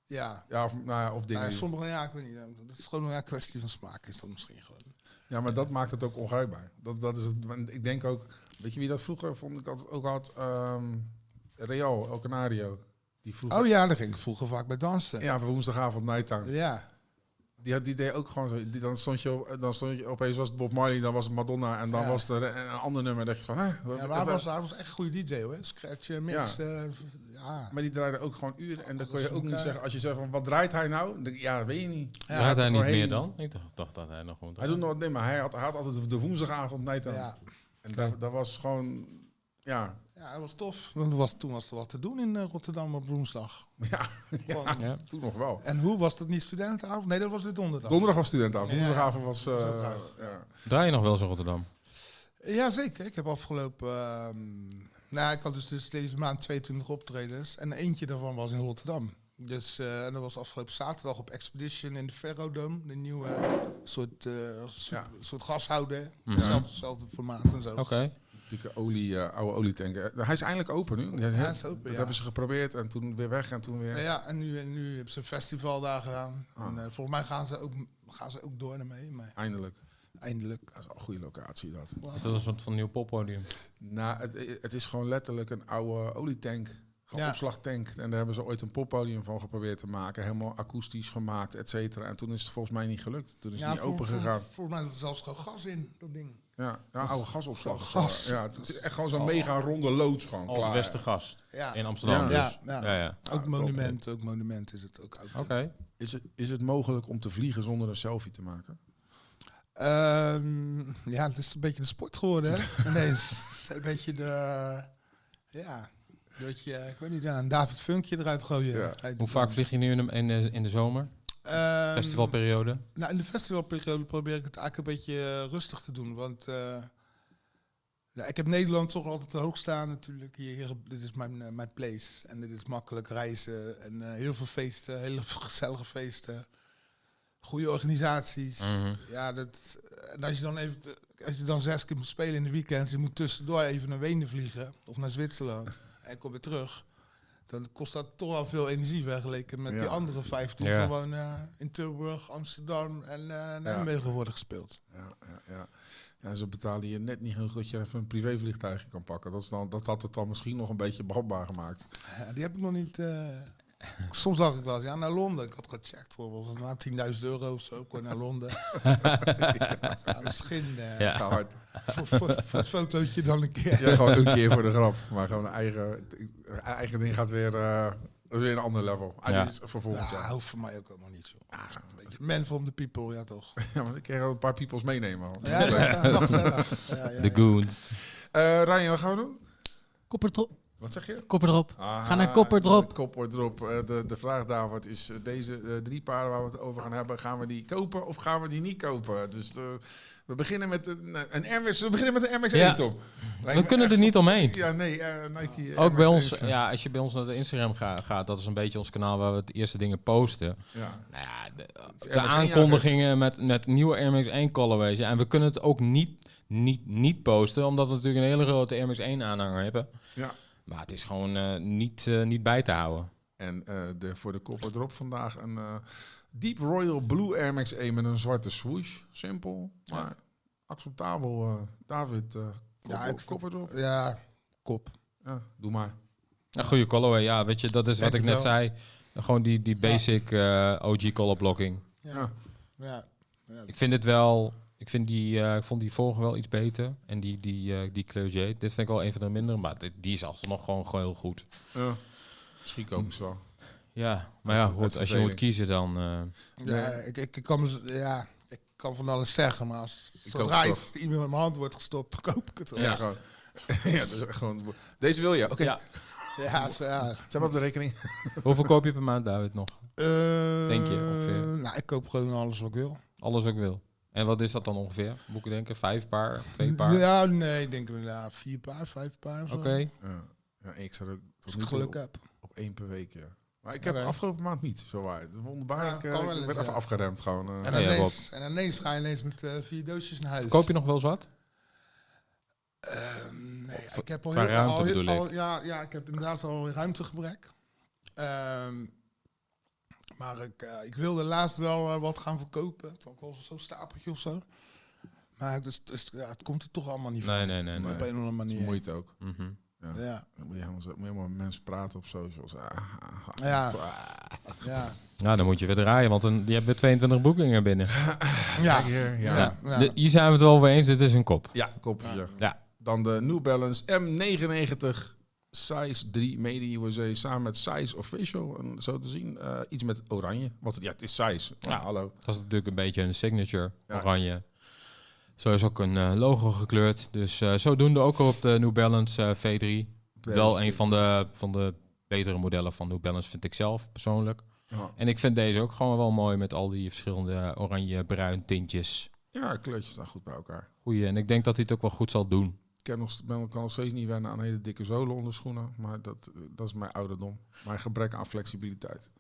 Speaker 3: ja.
Speaker 1: Ja, of, nou ja, of dingen.
Speaker 3: Maar
Speaker 1: die-
Speaker 3: sommige, ja, ik weet niet. Dat is gewoon een kwestie van smaak, is dat misschien gewoon.
Speaker 1: Ja, maar dat maakt het ook ongrijpbaar. Dat, dat is het, want ik denk ook, weet je wie dat vroeger vond ik altijd ook had? Ehm, Real, El Canario. Die vroeger,
Speaker 3: Oh ja, daar ging ik vroeger vaak bij dansen. Ja.
Speaker 1: ja, woensdagavond Nighttime.
Speaker 3: Ja,
Speaker 1: Die, had, die deed ook gewoon zo. Die, dan, stond je, op- eh, dan stond je opeens was het Bob Marley, dan was het Madonna en dan
Speaker 3: Ja.
Speaker 1: was er een, een ander nummer. En dacht je van, hè? eh, wat-
Speaker 3: maar
Speaker 1: wat-
Speaker 3: hij was, hij was echt een goede DJ hoor. Scratchen, mixen. eh, Ja.
Speaker 1: maar die draaide ook gewoon uren. En dan kon je
Speaker 3: Alles
Speaker 1: ook
Speaker 3: in
Speaker 1: niet
Speaker 3: elkaar.
Speaker 1: zeggen, als je zegt van wat draait hij nou? Dan denk ik, ja, dat weet je niet.
Speaker 3: Ja,
Speaker 2: Draait hij niet
Speaker 1: voorheen-
Speaker 2: meer dan? Ik dacht, dacht dat hij nog gewoon
Speaker 1: Hij doet nog wat, nee, maar hij had, hij had altijd de woensdagavond night
Speaker 3: Ja,
Speaker 1: aan.
Speaker 3: ja.
Speaker 1: En dat, dat was gewoon, ja.
Speaker 3: dat was tof. Want er was, toen was er wat te doen in eh, Rotterdam op woensdag.
Speaker 1: ja,
Speaker 3: Gewoon-
Speaker 2: Ja.
Speaker 1: toen nog wel.
Speaker 3: En hoe was dat niet studentenavond? Nee, dat was weer donderdag.
Speaker 1: Donderdag was studentenavond,
Speaker 3: Ja.
Speaker 1: woensdagavond was... eh,
Speaker 3: Dat is ook gaaf.
Speaker 1: ja.
Speaker 2: Draai je nog wel eens in Rotterdam?
Speaker 3: Ja, zeker. Ik heb afgelopen... ehm, nou, ik had dus, dus deze maand 22 optredens. En eentje daarvan was in Rotterdam. Dus eh, en dat was afgelopen zaterdag op Expedition in de Ferrodome. De nieuwe soort, eh, so-
Speaker 1: Ja.
Speaker 3: soort gashouder.
Speaker 2: Mhm.
Speaker 3: Hetzelfde, hetzelfde formaat en zo.
Speaker 2: Oké.
Speaker 1: Dikke olie, eh, oude olietanker. Eh, Hij is eindelijk open nu. Ja,
Speaker 3: hij is open,
Speaker 1: dat
Speaker 3: ja.
Speaker 1: hebben ze geprobeerd en toen weer weg en toen weer...
Speaker 3: Ja, ja, en nu, en nu hebben ze een festival daar gedaan.
Speaker 1: Ah.
Speaker 3: En, eh, volgens mij gaan ze, ook, gaan ze ook door ermee, maar
Speaker 1: Eindelijk.
Speaker 3: eindelijk.
Speaker 1: Dat is wel een goede locatie, dat.
Speaker 2: Is dat een soort van nieuw poppodium?
Speaker 1: Nou, het, het is gewoon letterlijk een oude olietank. Gewoon
Speaker 3: Ja.
Speaker 1: opslagtank. En daar hebben ze ooit een poppodium van geprobeerd te maken. Helemaal akoestisch gemaakt, et cetera. En toen is het volgens mij niet gelukt. Toen is het dus niet
Speaker 3: vol-
Speaker 1: open
Speaker 3: vol-
Speaker 1: gegaan.
Speaker 3: Volgens mij zat er zelfs gewoon gas in, dat ding.
Speaker 1: Ja, ja oude gasopslag. of zo.
Speaker 3: Gas.
Speaker 1: Ja, het is echt gewoon zo'n mega ronde loods gewoon.
Speaker 2: Als
Speaker 1: klaar.
Speaker 2: Westergast
Speaker 3: Ja,
Speaker 2: in Amsterdam.
Speaker 1: Ja.
Speaker 2: dus.
Speaker 3: Ja, ja.
Speaker 2: ja. ja.
Speaker 1: Ja,
Speaker 3: ook
Speaker 1: top.
Speaker 3: monument, ook monument is het. Ook oud.
Speaker 2: Oké.
Speaker 1: Is het, is het mogelijk om te vliegen zonder een selfie te maken?
Speaker 3: Ehm, ja, het is een beetje de sport geworden, hè? Nee, het is een beetje de... eh, ja, dat je, ik weet niet, ja, een David Funkje eruit gooien.
Speaker 1: Ja.
Speaker 3: Uit-
Speaker 2: Hoe vaak vlieg je nu in de, in de, in de zomer?
Speaker 3: Ehm,
Speaker 2: Festivalperiode?
Speaker 3: Nou, in de festivalperiode probeer ik het eigenlijk een beetje eh, rustig te doen, want... eh, ja, ik heb Nederland toch altijd te hoog staan natuurlijk. Hier, hier- dit is mijn, eh, mijn place. En dit is makkelijk reizen. En eh, heel veel feesten, hele gezellige feesten. Goede organisaties.
Speaker 2: Mhm.
Speaker 3: Ja, dat, en als je dan even, als je dan zes keer moet spelen in de weekend, je moet tussendoor even naar Wenen vliegen of naar Zwitserland en kom weer terug, dan kost dat toch al veel energie vergeleken met
Speaker 1: Ja.
Speaker 3: die andere vijf die
Speaker 2: Ja.
Speaker 3: gewoon eh, in Tilburg, Amsterdam en eh Nijmegen worden gespeeld.
Speaker 1: Ja, ja, ja. ja, ze betalen je net niet genoeg dat je even een privévliegtuigje kan pakken. Dat, is dan, dat had het dan misschien nog een beetje behapbaar gemaakt.
Speaker 3: Ja, die heb ik nog niet. eh, soms dacht ik wel, eens, ja, naar Londen. Ik had gecheckt, hoor, was het maar 10.000 euro of zo, kon naar Londen. ja, misschien eh,
Speaker 2: Ja.
Speaker 1: Ga hard.
Speaker 3: voor, voor, voor het fotootje dan een keer.
Speaker 1: Ja, gewoon een keer voor de grap. Maar gewoon een eigen, een eigen ding gaat weer, eh, dat is weer een ander level. Ah,
Speaker 2: Ja.
Speaker 1: dit is voor volgend
Speaker 3: Ja,
Speaker 1: jaar.
Speaker 3: hoeft voor mij ook allemaal niet, joh. Beetje Man from the people, ja toch?
Speaker 1: Ja, maar ik kan wel een paar peoples meenemen. man.
Speaker 3: Ja,
Speaker 1: Leuk.
Speaker 3: ja, wacht zelf. Ja, ja,
Speaker 2: De
Speaker 3: ja.
Speaker 2: Goons.
Speaker 1: Eh, Ryan, wat gaan we doen?
Speaker 4: Kopper, tro-
Speaker 1: Wat zeg je?
Speaker 4: kopper erop. Ga naar Kopperdrop.
Speaker 1: de Kopperdrop. Eh, de, de vraag, David, is eh, deze eh, drie paren waar we het over gaan hebben, gaan we die kopen of gaan we die niet kopen? Dus eh, we beginnen met een, een MX, we beginnen met een MX-1,
Speaker 2: Ja.
Speaker 1: Tom. Lijkt
Speaker 2: We
Speaker 1: me
Speaker 2: kunnen
Speaker 1: echt
Speaker 2: er niet omheen.
Speaker 1: Ja, nee, eh, Nike. eh,
Speaker 2: Ook bij ons,
Speaker 1: MX-1's, eh,
Speaker 2: ja, als je bij ons naar de Instagram ga- gaat, dat is een beetje ons kanaal waar we het eerste dingen posten.
Speaker 1: ja.
Speaker 2: Nou ja, de,
Speaker 1: is
Speaker 2: de
Speaker 1: RMX1
Speaker 2: aankondigingen met, met nieuwe Air Max 1 colorways. Ja, en we kunnen het ook niet, niet, niet posten, omdat we natuurlijk een hele grote Air Max 1 aanhanger hebben.
Speaker 1: Ja.
Speaker 2: Maar het is gewoon eh, niet, eh, niet bij te houden.
Speaker 1: En eh, de, voor de kop erop vandaag een eh, Deep Royal Blue Air Max 1 met een zwarte swoosh. Simpel, maar acceptabel. eh, David, eh kop,
Speaker 3: Ja, ik-
Speaker 1: kop erop.
Speaker 3: Ja, kop.
Speaker 1: Ja, doe maar.
Speaker 2: Een goede colorway, ja, weet je, dat is
Speaker 3: Denk
Speaker 2: wat ik
Speaker 3: het
Speaker 2: net
Speaker 3: wel.
Speaker 2: zei. Gewoon die, die basic eh, OG color blocking.
Speaker 1: Ja.
Speaker 3: Ja. Ja.
Speaker 2: Ik vind het wel. Ik, vind die, eh, ik vond die vorige wel iets beter. En die, die, eh, die Clear Jade. Dit vind ik wel een van de mindere. Maar dit- die is alsnog gewoon, gewoon heel goed.
Speaker 1: Ja. Misschien komen ze wel.
Speaker 2: Ja, maar
Speaker 1: is-
Speaker 2: ja,
Speaker 1: dat is
Speaker 2: goed. Als je
Speaker 1: vervelend.
Speaker 2: moet kiezen, dan. eh,
Speaker 3: Ja, ik, ik, ik kan, me z- ja, ik kan van alles zeggen, maar als
Speaker 1: Ik
Speaker 3: zodra
Speaker 1: ook,
Speaker 3: iets iemand in mijn hand wordt gestopt, koop ik het wel.
Speaker 1: Ja, gewoon. ja, dat is echt gewoon. Deze wil je. Oké,
Speaker 2: Ja.
Speaker 3: Ja, zo, ja.
Speaker 1: zet maar op de rekening.
Speaker 2: Hoeveel koop je per maand, David? Nog?
Speaker 3: Eh,
Speaker 2: Denk je, ongeveer?
Speaker 3: Nou, ik koop gewoon alles wat ik wil.
Speaker 2: Alles wat ik wil. En wat is dat dan ongeveer? Moet ik denken, vijf paar, twee paar?
Speaker 3: Ja, nee, ik denk ja, vier paar, vijf paar of
Speaker 2: Oké.
Speaker 3: zo.
Speaker 1: Ja. Eh, Ja, ik zat ook tot
Speaker 3: Als
Speaker 1: nu
Speaker 3: ik
Speaker 1: toe
Speaker 3: geluk
Speaker 1: op,
Speaker 3: heb.
Speaker 1: op één per week. Ja. Maar ik heb
Speaker 2: Oké.
Speaker 1: afgelopen maand niet, zo waar. Het is Wonderbaarlijk.
Speaker 3: Ja,
Speaker 1: eh,
Speaker 3: kan wel
Speaker 1: ik
Speaker 3: eens,
Speaker 1: werd even
Speaker 3: ja.
Speaker 1: afgeremd gewoon. eh.
Speaker 3: En,
Speaker 2: Ja,
Speaker 3: ineens, en ineens ga je ineens met eh, vier doosjes naar huis.
Speaker 2: Koop je nog wel eens wat?
Speaker 3: Ehm, nee, ik heb al
Speaker 2: qua
Speaker 3: heel,
Speaker 2: ruimte
Speaker 3: al, heel-
Speaker 2: bedoel
Speaker 3: al- ja, ja, ik heb inderdaad al een ruimtegebrek. Ehm, maar ik, eh, ik wilde laatst wel eh, wat gaan verkopen. Toen was zo'n stapeltje of zo. Maar dus, dus, ja, het komt er toch allemaal niet
Speaker 2: Nee, nee, nee.
Speaker 3: van.
Speaker 2: nee.
Speaker 1: nee.
Speaker 3: Op een of andere
Speaker 1: Het
Speaker 3: manier.
Speaker 1: is moeite ook.
Speaker 2: Mhm.
Speaker 3: Ja,
Speaker 1: Dan moet je helemaal, zo- moet je helemaal met mensen praten op socials. Ah, ah, ah.
Speaker 3: Ja. ja.
Speaker 2: Nou, dan moet je weer draaien, want dan, je hebt weer 22 boekingen binnen.
Speaker 3: Ja.
Speaker 1: Kijk hier, ja.
Speaker 3: Ja. ja.
Speaker 2: De- hier zijn we het wel over eens, dit is een kop.
Speaker 1: Ja, koppertje. Ja.
Speaker 2: Ja.
Speaker 1: Dan de New Balance M99 Size 3 Made in USA samen met Size Official. En zo te zien, eh, iets met oranje. Want het- ja, het is Size. Maar
Speaker 2: Ja.
Speaker 1: hallo.
Speaker 2: Dat is natuurlijk een beetje een signature,
Speaker 1: Ja.
Speaker 2: oranje. Zo is ook een eh, logo gekleurd. Dus eh, zodoende ook op de New Balance eh, V3. Wel een van de, van de betere modellen van New Balance vind ik zelf persoonlijk.
Speaker 1: Ja.
Speaker 2: En ik vind deze ook gewoon wel mooi met al die verschillende oranje-bruin tintjes.
Speaker 1: Ja, kleurtjes staan goed bij elkaar.
Speaker 2: Goeie, en ik denk dat hij het ook wel goed zal doen.
Speaker 1: Ik ken nog, ben, kan nog steeds niet wennen aan hele dikke zolen onder schoenen. Maar dat, eh, dat is mijn ouderdom. Mijn gebrek aan flexibiliteit.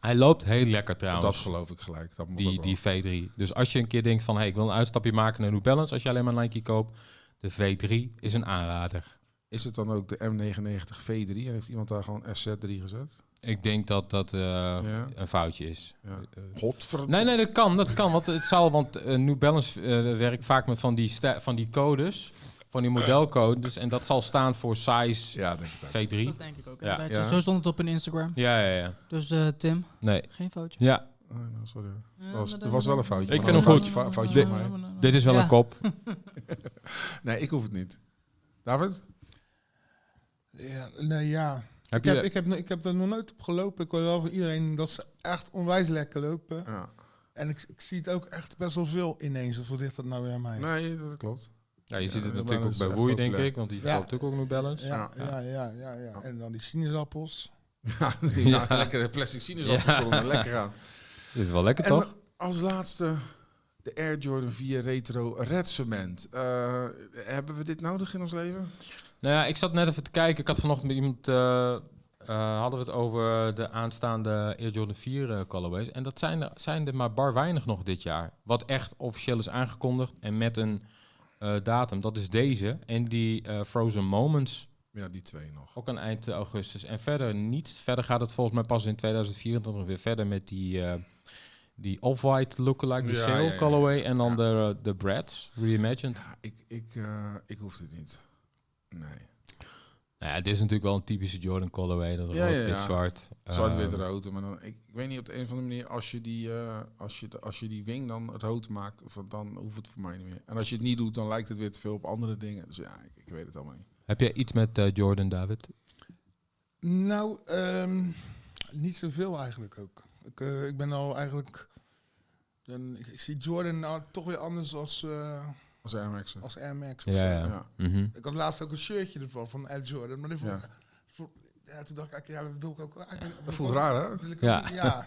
Speaker 2: Hij loopt heel lekker
Speaker 1: dat
Speaker 2: trouwens,
Speaker 1: geloof ik gelijk. Dat moet ook
Speaker 2: dus die,
Speaker 1: wel.
Speaker 2: die V3. Dus als je een keer denkt van, hey, ik wil een uitstapje maken naar New Balance, als je alleen maar Nike koopt, De V3 is een aanrader.
Speaker 1: Is het dan ook de M99 V3 en heeft iemand daar gewoon SZ3 gezet?
Speaker 2: Ik denk dat dat eh,
Speaker 1: Ja.
Speaker 2: een foutje is.
Speaker 1: Ja.
Speaker 2: Eh,
Speaker 1: Godverdomme.
Speaker 2: Nee, nee, dat kan. Dat kan. Want het zou, want eh, New Balance eh, werkt vaak met van die, sta- van die codes, van die modelcodes. dus, En dat zal staan voor size
Speaker 1: Ja, denk ik dat.
Speaker 2: V3.
Speaker 4: Dat denk ik ook.
Speaker 2: Ja.
Speaker 4: inderdaad.
Speaker 1: Ja.
Speaker 4: Zo stond het op hun Instagram.
Speaker 2: Ja, ja, ja.
Speaker 4: Dus eh, Tim,
Speaker 2: Nee.
Speaker 4: geen foutje.
Speaker 2: Ja,
Speaker 1: Ah, nou, sorry. Er was, er was wel een foutje.
Speaker 2: Ik
Speaker 1: maar
Speaker 2: vind
Speaker 1: dan
Speaker 2: hem
Speaker 1: een
Speaker 2: goed.
Speaker 1: Foutje, foutje van mij.
Speaker 2: dit is wel
Speaker 4: Ja.
Speaker 2: een kop.
Speaker 1: Nee, ik hoef het niet. David?
Speaker 3: Ja, nee, ja.
Speaker 2: Heb
Speaker 3: ik, heb,
Speaker 2: je...
Speaker 3: ik, heb, no- ik heb er nog nooit op gelopen. Ik hoor wel van iedereen dat ze echt onwijs lekker lopen.
Speaker 1: Ja.
Speaker 3: En ik, ik zie het ook echt best wel veel ineens. Of hoe ligt dat nou weer aan mij?
Speaker 1: Nee, dat klopt.
Speaker 2: ja, je ziet het
Speaker 1: Ja,
Speaker 2: natuurlijk
Speaker 1: dat
Speaker 2: ook
Speaker 1: is
Speaker 2: bij
Speaker 1: echt
Speaker 2: Woei, denk
Speaker 1: populair.
Speaker 2: ik. Want die
Speaker 3: Ja.
Speaker 2: verkoopt natuurlijk ook New Balance.
Speaker 3: Ja, ja, ja, ja, ja. En dan die sinaasappels.
Speaker 1: Ja, die
Speaker 2: Ja.
Speaker 1: ja. lekkere plastic sinaasappels zullen er lekker aan.
Speaker 2: Dit is wel lekker,
Speaker 1: En
Speaker 2: toch?
Speaker 1: als laatste de Air Jordan 4 Retro Red Cement. Eh, hebben we dit nodig in ons leven?
Speaker 2: Nou ja, ik zat net even te kijken. Ik had vanochtend met iemand... eh, eh, hadden we het over de aanstaande Air Jordan 4 eh, colorways. En dat zijn er, zijn er maar bar weinig nog dit jaar. Wat echt officieel is aangekondigd en met een eh, datum. Dat is deze. En die eh, Frozen Moments,
Speaker 1: Ja, die twee nog.
Speaker 2: ook aan eind eh, augustus. En verder niet. Verder gaat het volgens mij pas in 2024 weer verder met die, eh, die off-white lookalike, de
Speaker 1: Ja,
Speaker 2: sale
Speaker 1: ja, ja, ja.
Speaker 2: colorway. En dan
Speaker 1: Ja.
Speaker 2: de, eh, de Brads, reimagined.
Speaker 1: Ja, ik, ik, eh, ik hoef dit niet. Nee.
Speaker 2: Nou ja, dit is natuurlijk wel een typische Jordan colorway. Dat rood,
Speaker 1: Ja, ja, ja.
Speaker 2: wit, zwart.
Speaker 1: Zwart,
Speaker 2: Eh,
Speaker 1: wit, rood. Maar dan, ik, ik weet niet, op de een of andere manier, als je, die, eh, als, je, de- als je die wing dan rood maakt, van- dan hoeft het voor mij niet meer. En als je het niet doet, dan lijkt het weer te veel op andere dingen. Dus ja, ik, ik weet het allemaal niet.
Speaker 2: Heb jij iets met eh, Jordan, David?
Speaker 3: Nou, ehm, niet zoveel eigenlijk ook. Ik, eh, ik ben al eigenlijk... dan- ik, ik zie Jordan nou toch weer anders als, eh,
Speaker 1: Als Air Max.
Speaker 3: als Air Max.
Speaker 2: Ja,
Speaker 3: of zo.
Speaker 2: ja.
Speaker 1: Ja.
Speaker 2: Mhm.
Speaker 3: Ik had laatst ook een shirtje ervan, van Ed Jordan. Maar die vond,
Speaker 1: Ja.
Speaker 3: vond- ja, toen dacht ik, ja, dat wil ik ook... eigenlijk-
Speaker 1: Dat voelt raar, hè?
Speaker 3: wil ik ook-
Speaker 2: Ja.
Speaker 3: ja.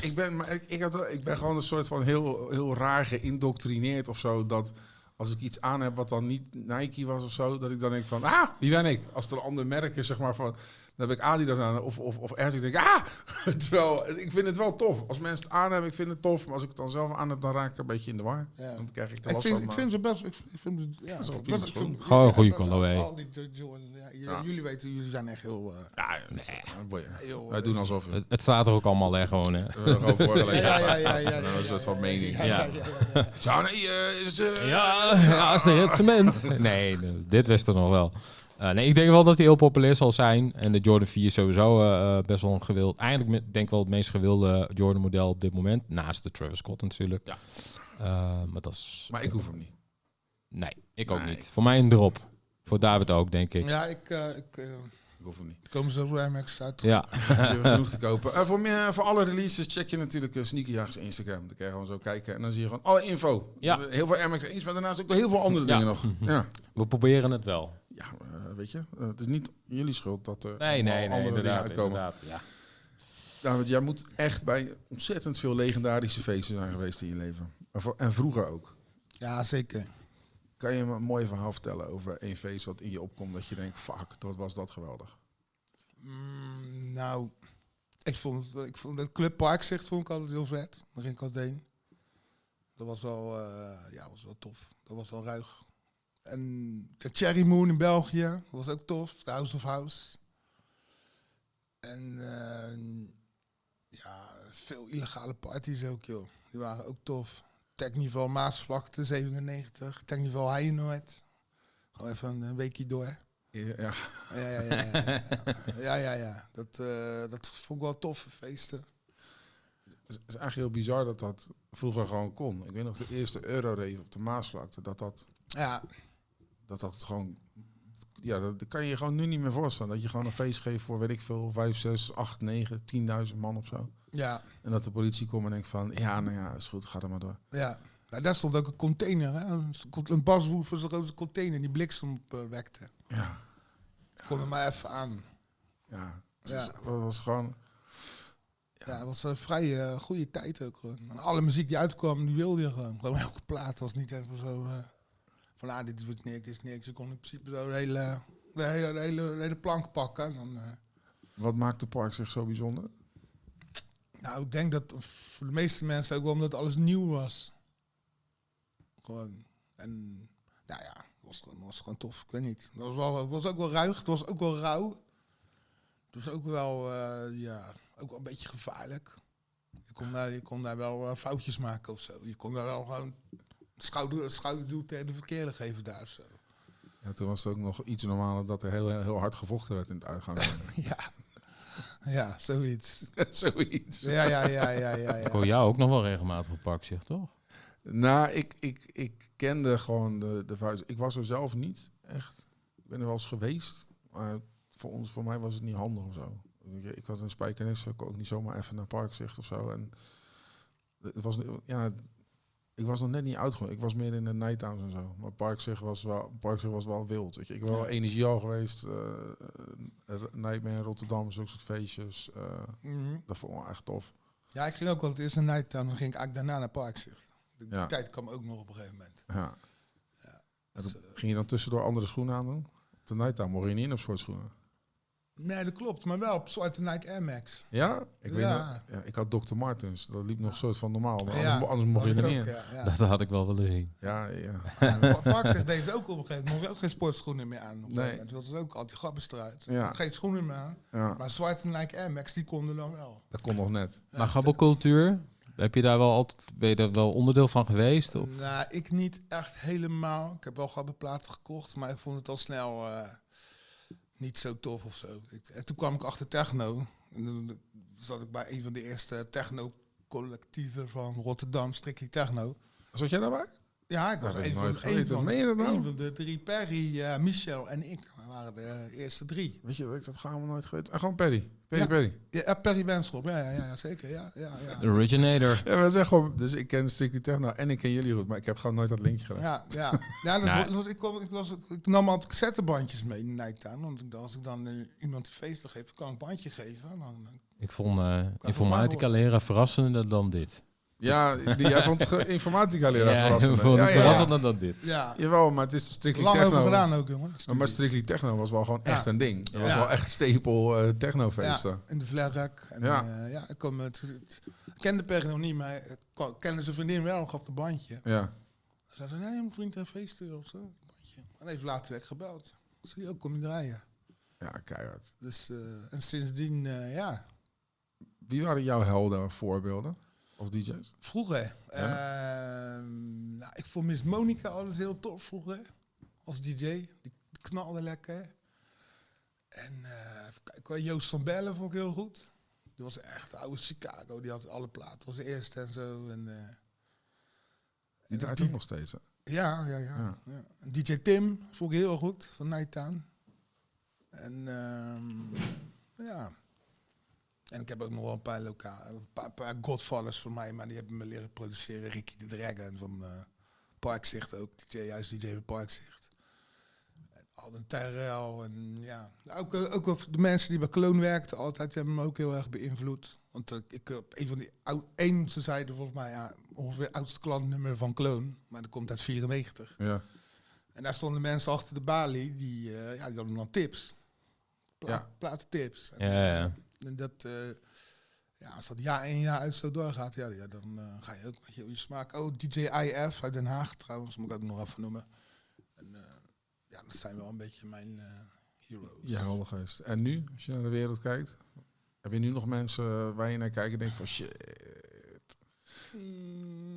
Speaker 1: ik, ben, maar ik, ik, had, wel- ik ben gewoon een soort van heel, heel raar geïndoctrineerd of zo. Dat als ik iets aan heb wat dan niet Nike was of zo, dat ik dan denk van, ah, wie ben ik? Als er een ander merk is, zeg maar, van, dan heb ik Adidas aan of, of, of Air. Ik denk, ah! Terwijl, ik vind het wel tof. Als mensen het aan hebben, ik vind het tof. Maar als ik het dan zelf aan heb, dan raak ik een beetje in de war.
Speaker 3: Ja.
Speaker 1: Dan krijg ik de
Speaker 3: Ik
Speaker 1: last
Speaker 3: vind,
Speaker 1: van.
Speaker 3: ik
Speaker 1: maar-
Speaker 3: vind ze best. Ik vind, ik vind ze- ja,
Speaker 1: is wel
Speaker 3: ik
Speaker 1: prima
Speaker 3: best- ik
Speaker 1: schoen.
Speaker 3: vind-
Speaker 2: Gewoon een goede
Speaker 3: ja,
Speaker 2: colorway.
Speaker 3: al die Jo- Jordan, ja, j-
Speaker 1: Ja.
Speaker 3: Jullie weten, jullie zijn echt heel. eh,
Speaker 1: Ja, ja, dat is- dat boeit je.
Speaker 3: heel,
Speaker 1: Wij
Speaker 3: eh,
Speaker 1: doen alsof we
Speaker 2: Het, het staat er ook allemaal hè, gewoon, hè?
Speaker 1: we hebben gewoon voorgelezen.
Speaker 3: Ja, ja, ja, ja, ja,
Speaker 1: En dan
Speaker 3: ja,
Speaker 1: Een soort
Speaker 3: ja,
Speaker 1: van
Speaker 3: ja,
Speaker 1: mening.
Speaker 3: ja,
Speaker 2: Ja.
Speaker 3: ja, ja, ja, ja.
Speaker 1: Ja, nee, eh, is, eh,
Speaker 2: Ja, als de het cement. Nee, de- dit wist er nog wel. Eh, nee, ik denk wel dat hij heel populair zal zijn. En de Jordan 4 is sowieso eh, eh, best wel een gewild. Eigenlijk me- denk ik wel het meest gewilde Jordan model op dit moment. Naast de Travis Scott natuurlijk.
Speaker 1: Ja.
Speaker 2: Eh, maar dat is...
Speaker 1: Maar ik hoef hem niet.
Speaker 2: Nee, ik ook
Speaker 1: Nee.
Speaker 2: niet. Voor mij een drop. Voor David ook, denk ik.
Speaker 3: Ja, ik, eh, ik eh,
Speaker 1: Ik hoef hem niet.
Speaker 3: ik kom zo bij Max uit.
Speaker 2: Ja.
Speaker 1: Je hebt genoeg te kopen. Eh, voor, meer, voor alle releases check je natuurlijk eh, Sneakerjagers Instagram. Dan kan je gewoon zo kijken. En dan zie je gewoon alle info.
Speaker 2: Ja.
Speaker 1: Heel veel MX eens, maar daarnaast ook wel heel veel andere
Speaker 2: Ja. Mhm.
Speaker 1: dingen nog. Ja,
Speaker 2: We proberen het wel.
Speaker 1: ja eh, weet je. eh, het is niet jullie schuld dat er
Speaker 2: Nee, nee,
Speaker 1: allemaal
Speaker 2: nee, inderdaad.
Speaker 1: dingen uitkomen.
Speaker 2: inderdaad ja.
Speaker 1: David, jij moet echt bij ontzettend veel legendarische feesten zijn geweest in je leven. En voor- En vroeger ook.
Speaker 3: Ja, zeker.
Speaker 1: Kan je me een mooi verhaal vertellen over één feest wat in je opkomt dat je denkt, fuck, dat was dat geweldig.
Speaker 3: Mm, nou, ik vond, het- ik vond het Club Parkzicht vond ik altijd heel vet. Daar ging ik altijd heen. Dat was wel, eh, ja, was wel tof. Dat was wel ruig. En de Cherry Moon in België, dat was ook tof. De House of House. En eh, ja, veel illegale parties ook, joh. Die waren ook tof. Technival Maasvlakte 97, Technival Heijenoord. Gewoon even een weekje door.
Speaker 1: Ja,
Speaker 3: Ja, ja, ja. ja, ja. ja, ja, ja. Dat, eh, dat vond ik wel tof, feesten.
Speaker 1: Het is eigenlijk heel bizar dat dat vroeger gewoon kon. Ik weet nog de eerste Eurorave op de Maasvlakte, dat dat
Speaker 3: Ja,
Speaker 1: dat dat gewoon. Ja, dat, dat kan je je gewoon nu niet meer voorstellen. Dat je gewoon een feest geeft voor, weet ik veel, 5, 6, 8, 9, 10.000 man of zo.
Speaker 3: ja,
Speaker 1: En dat de politie komt en denkt van, ja, nou ja, is goed, ga er maar door.
Speaker 3: ja. Nou, daar stond ook een container, hè? Een s- cont- een baswoef was een grote container die bliksem opwekte.
Speaker 1: Ja.
Speaker 3: Kon er maar even aan.
Speaker 1: Ja, het
Speaker 3: Ja.
Speaker 1: is- dat was gewoon.
Speaker 3: Ja, dat was een vrij eh, goede tijd ook. Gewoon. En alle muziek die uitkwam, die wilde je gewoon. Gewoon elke plaat was niet even zo eh, van, ah, dit wordt niks, dit is niks. Je kon in principe zo de hele, de hele, de hele, de hele plank pakken. En dan, eh,
Speaker 1: Wat maakt de park zich zo bijzonder?
Speaker 3: Nou, ik denk dat voor de meeste mensen ook wel omdat alles nieuw was. Gewoon. En, nou ja, was gewoon, was gewoon tof, ik weet niet. Het was, wel, het was ook wel ruig, het was ook wel rauw. Het was ook wel, eh, ja, ook wel een beetje gevaarlijk. Je kon daar, je kon daar wel eh, foutjes maken of zo. Je kon daar wel gewoon schouder, schouderduw tegen de verkeerde geven daar of zo.
Speaker 1: Ja, toen was het ook nog iets normaler dat er heel, heel, heel hard gevochten werd in het uitgang.
Speaker 3: Ja, ja zoiets.
Speaker 1: Zoiets.
Speaker 3: Ja, ja, ja, ja, ja.
Speaker 2: Ik hoor
Speaker 3: ja.
Speaker 2: jou ook nog wel regelmatig op pak, zeg toch?
Speaker 1: Nou, ik, ik, ik kende gewoon de, de vuist. Ik was er zelf niet, echt. Ik ben er wel eens geweest. Maar voor, ons, voor mij was het niet handig of zo. Ik, ik was een spijkenis, ik kon ook niet zomaar even naar Parkzicht of zo. En het was, ja, ik was nog net niet uitgekomen. Ik was meer in de nighttowns en zo. Maar Parkzicht was wel, Parkzicht was wel wild. Ik, ik ben wel
Speaker 3: Ja.
Speaker 1: energie al geweest. eh eh, Nightmare Rotterdam, zulke soort feestjes. eh,
Speaker 3: Mhm.
Speaker 1: dat vond ik wel echt tof.
Speaker 3: Ja, ik ging ook wel het eerste night dan ging ik eigenlijk daarna naar Parkzicht. Die die
Speaker 1: Ja.
Speaker 3: tijd kwam ook nog op een gegeven moment.
Speaker 1: Ja. En
Speaker 3: Dus,
Speaker 1: dan ging je dan tussendoor andere schoenen aan doen? Op de nighttime mocht je niet in op sportschoenen.
Speaker 3: eh, nee, dat klopt, maar wel op zwarte Nike Air Max.
Speaker 1: Ja? Ik, Weet
Speaker 3: Ja.
Speaker 1: nog- ja, ik had Dr. Martens. Dat liep nog soort van normaal. maar
Speaker 3: Ja,
Speaker 1: anders, anders mocht je
Speaker 3: had
Speaker 1: er
Speaker 3: ik
Speaker 1: niet
Speaker 3: ook,
Speaker 1: in.
Speaker 3: Ja, ja.
Speaker 2: Dat had ik wel willen zien.
Speaker 1: Ja, ja.
Speaker 3: Ja, Parkzicht deed ze ook op een gegeven moment. Mocht ook geen sportschoenen meer aan. Op een
Speaker 1: Nee.
Speaker 3: gegeven moment wilden ze ook al die grappes eruit.
Speaker 1: Ja.
Speaker 3: Geen schoenen meer aan.
Speaker 1: ja.
Speaker 3: Maar zwarte Nike Air Max, die konden dan wel.
Speaker 1: Dat kon nog net.
Speaker 2: Maar grabbelcultuur, heb je daar wel altijd, ben je daar wel onderdeel van geweest? Of?
Speaker 3: Nou, ik niet echt helemaal. Ik heb wel grabbelplaten gekocht, maar ik vond het al snel eh, niet zo tof of zo. Ik- en toen kwam ik achter techno. En toen zat ik bij een van de eerste techno-collectieven van Rotterdam, Strictly Techno.
Speaker 1: Zat jij daarbij?
Speaker 3: Ja, ik
Speaker 1: Dat heb
Speaker 3: was
Speaker 1: ik
Speaker 3: een van,
Speaker 1: nooit
Speaker 3: een
Speaker 1: geweten.
Speaker 3: van,
Speaker 1: Meen je dat nou?
Speaker 3: een van de drie. Perry, eh, Michel en ik waren de eerste drie.
Speaker 1: Weet je, dat ik dat gaan we nooit geweten. En gewoon Perry. Perry,
Speaker 3: Ja.
Speaker 1: Perry.
Speaker 3: Ja, eh, Perry Benschop, ja, ja, ja, zeker. Ja, ja,
Speaker 2: De
Speaker 3: ja.
Speaker 2: originator.
Speaker 1: Ja, we zeggen gewoon, dus ik ken Strictly Techno en ik ken jullie goed, maar ik heb gewoon nooit dat linkje gedaan.
Speaker 3: Ja, ja. ja dat
Speaker 2: Nou.
Speaker 3: was- was- ik, kwam, ik, was, ik nam altijd cassettebandjes mee in Nighttown. Want ik dacht, als ik dan eh, iemand een feest wil geven, kan ik een bandje geven. Dan, dan-
Speaker 2: Ik vond eh informatica leren verrassender dan dit.
Speaker 1: Ja, die, jij vond ge- informatica leraar
Speaker 2: Ja, ik
Speaker 1: verrassend. hè?
Speaker 2: vond
Speaker 1: Ja,
Speaker 2: het
Speaker 1: ja, ja.
Speaker 2: verrassender dan dit.
Speaker 3: ja,
Speaker 1: Jawel, maar het is Strictly nou.
Speaker 3: lang
Speaker 1: Techno.
Speaker 3: over gedaan ook, jongen.
Speaker 1: Maar, maar Strictly Techno was wel gewoon
Speaker 3: Ja.
Speaker 1: echt een ding. Dat was
Speaker 3: Ja.
Speaker 1: wel echt stapel eh, technofeesten.
Speaker 3: Ja, in de vlerk. En,
Speaker 1: Ja.
Speaker 3: ja. ja, ik kwam, het, het- ik kende Perry nog niet, maar ik kwam- kende zijn vriendin wel, gaf een bandje.
Speaker 1: ja.
Speaker 3: Ze zei, nee, mijn vriend heeft feesten of zo. een bandje. En even later werd ik gebeld. Zie je ook, kom je draaien.
Speaker 1: Ja, keihard.
Speaker 3: Dus, eh, en sindsdien, eh, ja,
Speaker 1: Wie waren jouw helden of voorbeelden als DJ's?
Speaker 3: Vroeger. Ehm, nou, ik vond Miss Monica alles heel tof vroeger. Als DJ. Die knalde lekker. En eh, even kijken, hoor, Joost van Bellen vond ik heel goed. Die was echt oude Chicago. Die had alle platen. Was de eerste en zo. En, eh,
Speaker 1: Die
Speaker 3: en
Speaker 1: draait
Speaker 3: die-
Speaker 1: ook nog steeds. hè?
Speaker 3: ja, ja, ja.
Speaker 1: Ja.
Speaker 3: ja. En DJ Tim vond ik heel goed. Van Nighttown. En ehm, ja. En ik heb ook nog wel een paar, loka- een paar, paar godfathers voor mij, maar die hebben me leren produceren. Ricky de Dragon van eh, Parkzicht ook, DJ, juist DJ van Parkzicht. En Alden Terrell en ja. Ook, eh, ook of de mensen die bij Kloon werkten altijd hebben me ook heel erg beïnvloed. Want eh, ik heb een van die oud, één, ze zeiden volgens mij ja, ongeveer het oudste klantnummer van Kloon, maar dat komt uit 94.
Speaker 1: Ja.
Speaker 3: En daar stonden mensen achter de balie, die, eh, ja, die hadden dan tips. Pla
Speaker 1: Ja.
Speaker 3: Platentips. En,
Speaker 2: Ja, ja.
Speaker 3: eh, En dat, eh, ja, als dat jaar in jaar uit zo doorgaat, ja, ja, dan eh, ga je ook met je, je smaak. Oh, DJ IF uit Den Haag trouwens, moet ik ook nog even noemen. En, eh, ja, dat zijn wel een beetje mijn eh, heroes.
Speaker 1: Je helden geweest. En nu, als je naar de wereld kijkt, heb je nu nog mensen waar je naar kijkt en denkt van shit.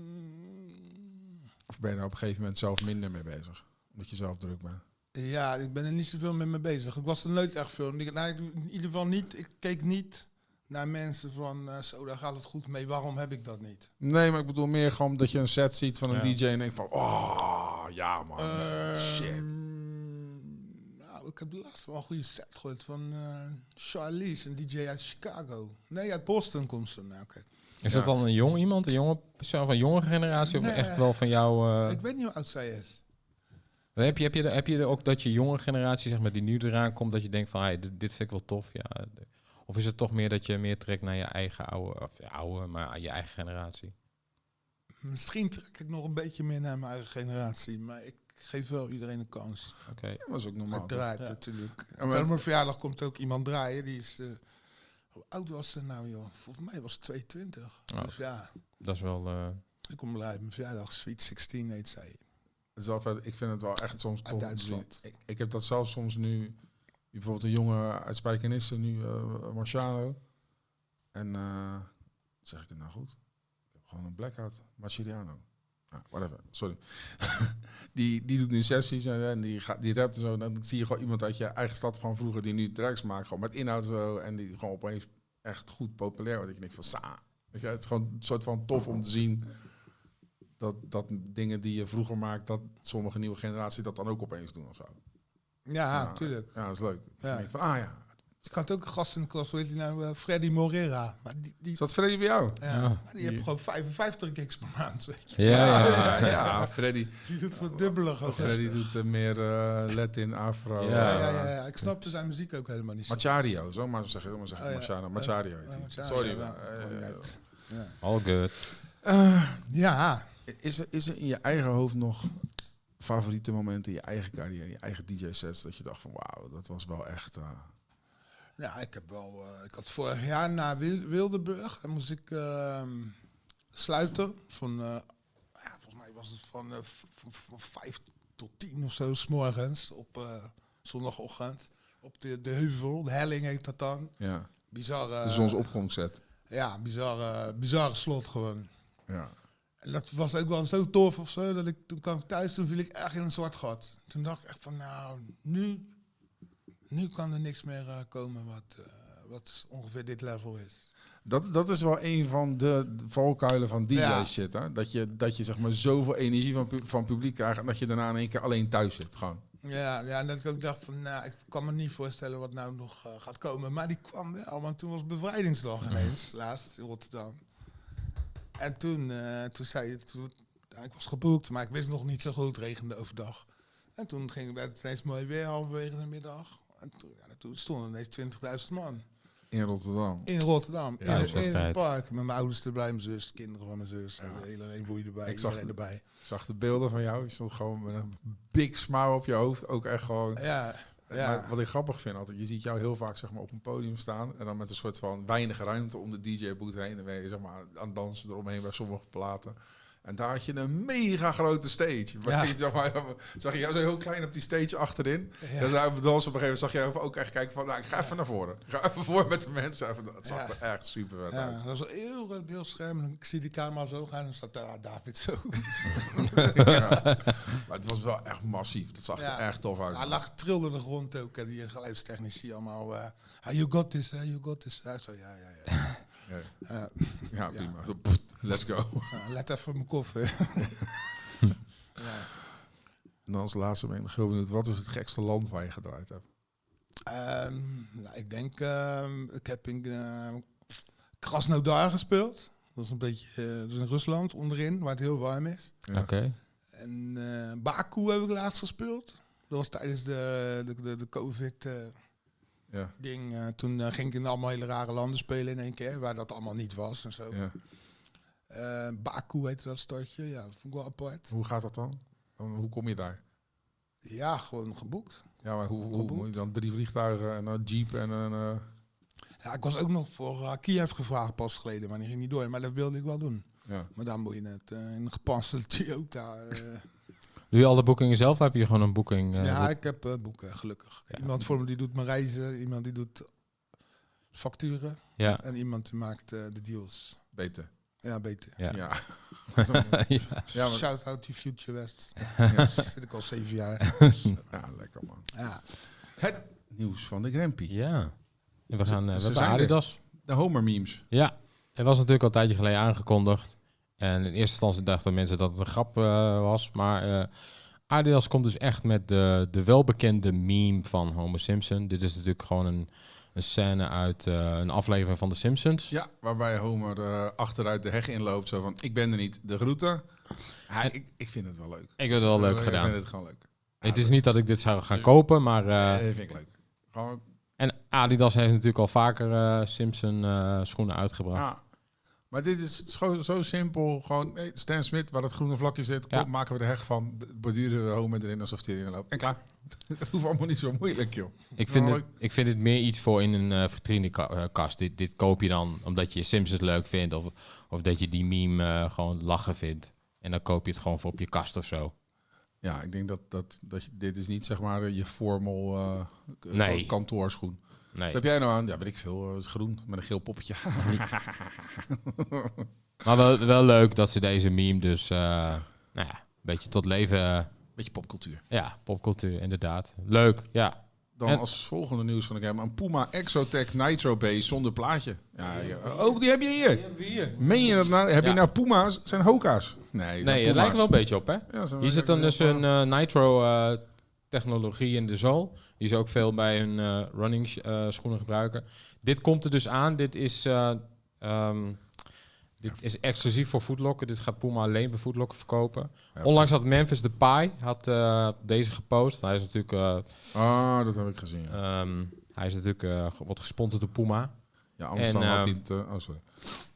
Speaker 3: Mm.
Speaker 1: Of ben je daar op een gegeven moment zelf minder mee bezig? Omdat je zelf druk bent.
Speaker 3: Ja, ik ben er niet zoveel mee mee bezig. Ik was er nooit echt veel. Ik, nou, ik doe in ieder geval niet, ik keek niet naar mensen van eh, zo, daar gaat het goed mee. Waarom heb ik dat niet?
Speaker 1: Nee, maar ik bedoel meer gewoon dat je een set ziet van een
Speaker 2: Ja.
Speaker 1: DJ en denkt van, oh ja man,
Speaker 3: Ehm,
Speaker 1: shit.
Speaker 3: Nou, ik heb laatst wel een goede set gehoord van eh, Charlize, een DJ uit Chicago. Nee, uit Boston komt ze. Nou, oké.
Speaker 2: Is
Speaker 1: Ja.
Speaker 2: dat dan een jong iemand, een jonge persoon van jonge generatie? Of
Speaker 3: Nee.
Speaker 2: echt wel van jou? eh,
Speaker 3: Ik weet niet hoe oud zij is.
Speaker 2: heb, je, heb, je, heb je er ook dat je jonge generatie, zeg maar, die nu eraan komt, dat je denkt van, hey, dit, dit vind ik wel tof? Ja. De- Of is het toch meer dat je meer trekt naar je eigen oude, of je oude, maar je eigen generatie?
Speaker 3: Misschien trek ik nog een beetje meer naar mijn eigen generatie, maar ik geef wel iedereen een kans.
Speaker 2: Oké.
Speaker 1: Dat was ook normaal.
Speaker 3: Maar draait
Speaker 2: ja.
Speaker 3: natuurlijk.
Speaker 1: Ja,
Speaker 3: En
Speaker 1: maar-
Speaker 3: op mijn verjaardag komt ook iemand draaien, die is... eh, hoe oud was ze nou, joh? Volgens mij was ze 22.
Speaker 2: Oh.
Speaker 3: Dus ja,
Speaker 2: Dat is wel. eh,
Speaker 3: ik kom draaien op mijn verjaardag. Sweet 16 heet zij.
Speaker 1: Het is wel vet. Ik vind het wel echt soms tof. om te
Speaker 3: Duitsland.
Speaker 1: zien. Ik, ik heb dat zelf soms nu. Bijvoorbeeld een jongen uit Spijkenisse, nu eh, Marciano. En eh, zeg ik het nou goed? Ik heb gewoon een blackout. Marciano. Ah, whatever, sorry. die, die doet nu sessies en, en die, gaat, die rapt en zo. Dan zie je gewoon iemand uit je eigen stad van vroeger die nu tracks maakt. Gewoon met inhoud zo. En die gewoon opeens echt goed populair wordt. Ik denk van, sa. Weet je, het is gewoon een soort van tof om te zien dat, dat dingen die je vroeger maakt, dat sommige nieuwe generatie dat dan ook opeens doen of zo.
Speaker 3: Ja,
Speaker 1: Ja,
Speaker 3: Ah, tuurlijk.
Speaker 1: Ja, dat is leuk.
Speaker 3: Ja.
Speaker 1: Ik denk van, ah ja.
Speaker 3: Ik had ook een gast in de klas, hoe heet die nou? eh, Freddy Morera. Maar die, die,
Speaker 1: Is dat Freddy bij jou?
Speaker 3: ja,
Speaker 2: Ja.
Speaker 3: maar die heeft gewoon 55 gigs per maand. weet je.
Speaker 2: Ja,
Speaker 1: ja, ja, Freddy.
Speaker 3: Die doet het dubbele gewoon.
Speaker 1: Freddy doet eh, meer eh, Latin, Afro.
Speaker 2: Ja.
Speaker 3: Ja,
Speaker 1: eh,
Speaker 3: ja, ja, ja. Ik snapte zijn muziek ook helemaal niet. zo.
Speaker 1: Machario, zo maar zeggen. Maar zeggen
Speaker 3: Oh, ja.
Speaker 1: Machado,
Speaker 3: Eh,
Speaker 1: Machario heet
Speaker 3: eh,
Speaker 1: hij.
Speaker 3: Machario,
Speaker 1: Sorry.
Speaker 3: ja.
Speaker 1: eh,
Speaker 3: Ja. Ja.
Speaker 2: all good.
Speaker 1: eh,
Speaker 3: Ja,
Speaker 1: is, er, is er in je eigen hoofd nog favoriete momenten in je eigen carrière, in je eigen DJ-sets, dat je dacht van wauw, dat was wel echt... eh,
Speaker 3: nou, ik heb wel. eh, ik had vorig jaar naar Wil- Wildeburg. Dan moest ik ehm, sluiten. Van, eh, ja, volgens mij was het van, eh, v- v- van vijf tot tien of zo, s'morgens op eh, zondagochtend. Op de, de heuvel, de helling heet dat dan.
Speaker 1: ja,
Speaker 3: Bizarre.
Speaker 1: de zonsopgangset.
Speaker 3: Ja, bizarre, bizarre slot gewoon.
Speaker 1: Ja.
Speaker 3: En dat was ook wel zo tof of zo, dat ik toen kwam ik thuis, toen viel ik echt in een zwart gat. Toen dacht ik echt van, nou, nu, nu kan er niks meer eh, komen wat, eh, wat ongeveer dit level is.
Speaker 1: Dat, dat is wel een van de valkuilen van
Speaker 3: Ja.
Speaker 1: DJ-shit. hè? Dat, je, dat je zeg maar zoveel energie van, pu- van publiek krijgt en dat je daarna in één keer alleen thuis zit. Gewoon.
Speaker 3: Ja, ja, en dat ik ook dacht van, nou, ik kan me niet voorstellen wat nou nog eh, gaat komen. Maar die kwam wel, want toen was
Speaker 1: Mhm.
Speaker 3: bevrijdingsdag ineens, laatst in Rotterdam. En toen, eh, toen zei je, toen, ja, ik was geboekt, maar ik wist nog niet zo goed, het regende overdag. En toen ging werd het ineens mooi weer, halverwege de middag. En toen, ja, toen stonden ineens 20.000 man
Speaker 1: In Rotterdam.
Speaker 3: in Rotterdam,
Speaker 1: Ja,
Speaker 3: in,
Speaker 1: dat
Speaker 2: was
Speaker 3: in het
Speaker 2: tijd.
Speaker 3: park. Met mijn ouders erbij, mijn zus, de kinderen van mijn zus, hele iedereen boeide erbij,
Speaker 1: Ik zag
Speaker 3: iedereen
Speaker 1: het.
Speaker 3: erbij.
Speaker 1: Ik zag de beelden van jou. Je stond gewoon met een big smile op je hoofd. Ook echt gewoon...
Speaker 3: Ja, ja.
Speaker 1: Maar wat ik grappig vind altijd, je ziet jou heel vaak zeg maar, op een podium staan en dan met een soort van weinig ruimte om de DJ-boot heen. Dan ben je zeg maar, aan het dansen eromheen bij sommige platen. En daar had je een mega grote stage. Waar
Speaker 3: Ja.
Speaker 1: je, zeg maar, zag je jou zo heel klein op die stage achterin.
Speaker 3: Ja.
Speaker 1: En daar op het dansen Dus op een gegeven moment zag je ook echt kijken van, nou, ik ga even naar voren. Ik ga even voor met de mensen. Even, dat zag
Speaker 3: Ja.
Speaker 1: er echt super vet
Speaker 3: Ja,
Speaker 1: uit.
Speaker 3: dat was een heel groot beeldscherm. En ik zie die camera zo gaan en dan staat daar ah, David zo.
Speaker 1: Ja. Maar het was wel echt massief. Dat zag
Speaker 3: Ja.
Speaker 1: er echt tof uit.
Speaker 3: Hij lag trilde de grond ook. En die geluidstechnici allemaal. eh "Ah, you got this, eh, you got this. Hij zo, ja, ja, ja.
Speaker 1: Ja,
Speaker 3: Eh,
Speaker 1: ja prima. Pff, Let's go.
Speaker 3: eh, let even op mijn koffer. ja.
Speaker 1: En dan als laatste ben ik nog heel benieuwd, wat is het gekste land waar je gedraaid hebt?
Speaker 3: Ehm, nou, ik denk, ehm, ik heb in ehm, Krasnodar gespeeld. Dat is een beetje eh, dat is in Rusland, onderin, waar het heel warm is.
Speaker 1: Ja.
Speaker 2: Oké.
Speaker 3: En eh, Baku heb ik laatst gespeeld. Dat was tijdens de, de, de, de COVID... eh,
Speaker 1: Ja.
Speaker 3: ding. eh, toen eh, ging ik in allemaal hele rare landen spelen in één keer, waar dat allemaal niet was en zo.
Speaker 1: Ja.
Speaker 3: Eh, Baku heette dat stadje, ja, dat vond ik wel apart.
Speaker 1: Hoe gaat dat dan? dan? Hoe kom je daar?
Speaker 3: Ja, gewoon geboekt.
Speaker 1: Ja, maar hoe, hoe,
Speaker 3: Geboekt.
Speaker 1: moet je dan drie vliegtuigen en een jeep en een... eh,
Speaker 3: Ja, ik was ook nog voor eh, Kiev gevraagd pas geleden, maar die ging niet door. Maar dat wilde ik wel doen.
Speaker 1: ja.
Speaker 3: Maar dan moet je net eh, in een gepantserde Toyota. eh.
Speaker 2: Doe je al de boekingen zelf of heb je gewoon een boeking? eh,
Speaker 3: ja,
Speaker 2: dat-
Speaker 3: ik heb eh, boeken, gelukkig. Iemand voor me die doet mijn reizen, iemand die doet facturen
Speaker 2: ja.
Speaker 3: en iemand die maakt eh, de deals.
Speaker 1: Beter.
Speaker 3: Ja, beter.
Speaker 2: Ja.
Speaker 1: Ja.
Speaker 2: Ja.
Speaker 1: Ja, maar-
Speaker 3: Shout out to Future West. Ja, zit ik al zeven jaar.
Speaker 1: ja, lekker man.
Speaker 3: Ja.
Speaker 1: Het nieuws van de Grampy.
Speaker 2: Ja. En we gaan
Speaker 1: ze
Speaker 2: eh, we hebben
Speaker 1: zijn er.
Speaker 2: Adidas.
Speaker 1: De Homer memes.
Speaker 2: Ja, het was natuurlijk al een tijdje geleden aangekondigd. En in eerste instantie dachten mensen dat het een grap eh, was. Maar eh, Adidas komt dus echt met de, de welbekende meme van Homer Simpson. Dit is natuurlijk gewoon een, een scène uit eh, een aflevering van The Simpsons.
Speaker 1: Ja, waarbij Homer eh, achteruit de heg inloopt. Zo van, ik ben er niet, de groeten. Hij, ik, ik vind het wel leuk.
Speaker 2: Ik vind het wel leuk
Speaker 1: Ik
Speaker 2: gedaan.
Speaker 1: vind het gewoon leuk.
Speaker 2: Het is niet dat ik dit zou gaan kopen, maar... eh,
Speaker 1: Eh, vind ik leuk. Gewoon,
Speaker 2: en Adidas heeft natuurlijk al vaker eh, Simpson eh, schoenen uitgebracht.
Speaker 1: ah. Maar dit is zo, zo simpel. Gewoon, nee, Stan Smit, waar dat groene vlakje zit,
Speaker 2: Ja.
Speaker 1: kom, maken we de heg van, borduren we Homer erin alsof hij erin loopt. En klaar. dat hoeft allemaal niet zo moeilijk, joh.
Speaker 2: Ik vind,
Speaker 1: Nou,
Speaker 2: het, ik vind het meer iets voor in een eh, vitrinekast. Dit, dit koop je dan omdat je Simpsons leuk vindt. Of, of dat je die meme eh, gewoon lachen vindt. En dan koop je het gewoon voor op je kast of zo.
Speaker 1: Ja, ik denk dat, dat, dat je, dit is niet zeg maar je formal eh, k-
Speaker 2: Nee.
Speaker 1: kantoorschoen.
Speaker 2: Nee.
Speaker 1: Wat heb jij nou aan? Ja, weet ik veel. eh, het is groen met een geel poppetje.
Speaker 2: Maar wel, wel leuk dat ze deze meme dus eh, nou ja, een beetje tot leven. eh,
Speaker 1: Beetje popcultuur.
Speaker 2: ja, popcultuur, inderdaad. Leuk, ja.
Speaker 1: Dan
Speaker 2: En-
Speaker 1: als volgende nieuws van de game. Een Puma Exotech Nitro Base zonder plaatje. Ja, ja. Oh, die heb je hier. Meen je dat nou? Heb je
Speaker 2: Ja.
Speaker 1: nou Puma's? Zijn Hoka's? Nee,
Speaker 2: Nee, het lijkt wel een beetje op, hè? Hier zit dan dus een eh, nitro eh, technologie in de zal. Die ze ook veel bij hun eh, running sh- eh, schoenen gebruiken. Dit komt er dus aan. Dit is, eh, ehm, dit is exclusief voor voetlokken. Dit gaat Puma alleen bij voetlokken verkopen. Onlangs had Memphis Depay had, eh, deze gepost. Hij is natuurlijk eh,
Speaker 1: Ah, dat heb ik gezien. Ja,
Speaker 2: Ehm, hij is natuurlijk eh, ge- wordt gesponsord door Puma.
Speaker 1: ja anders
Speaker 2: en,
Speaker 1: dan had
Speaker 2: eh,
Speaker 1: hij het... eh, oh, sorry.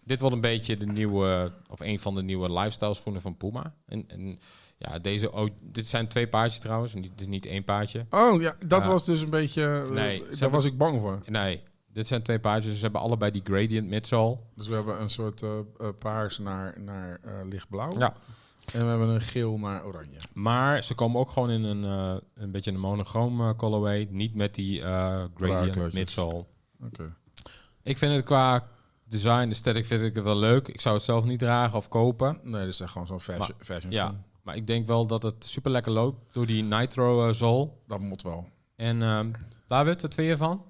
Speaker 2: Dit wordt een beetje de nieuwe, of een van de nieuwe lifestyle schoenen van Puma. En, en ja, deze, ook- dit zijn twee paardjes trouwens, en dit is niet één paardje.
Speaker 1: Oh, ja, dat
Speaker 2: Ja.
Speaker 1: was dus een beetje... eh,
Speaker 2: Nee, ze
Speaker 1: daar
Speaker 2: hebben-
Speaker 1: was ik bang voor.
Speaker 2: Nee, dit zijn twee paardjes, dus ze hebben allebei die gradient midsole.
Speaker 1: Dus we hebben een soort eh, eh, paars naar, naar eh, lichtblauw.
Speaker 2: Ja.
Speaker 1: En we hebben een geel naar oranje.
Speaker 2: Maar ze komen ook gewoon in een, eh, een beetje een monochroom eh, colorway, niet met die eh, gradient
Speaker 1: Klaarkleurtjes.
Speaker 2: midsole.
Speaker 1: Oké.
Speaker 2: Ik vind het qua design, aesthetic vind ik het wel leuk. Ik zou het zelf niet dragen of kopen.
Speaker 1: Nee, dat is echt gewoon zo'n fashion. fashion
Speaker 2: Ja,
Speaker 1: schoen.
Speaker 2: maar ik denk wel dat het super lekker loopt door die Nitro eh Zol.
Speaker 1: Dat moet wel.
Speaker 2: En ehm David, wat vind je ervan?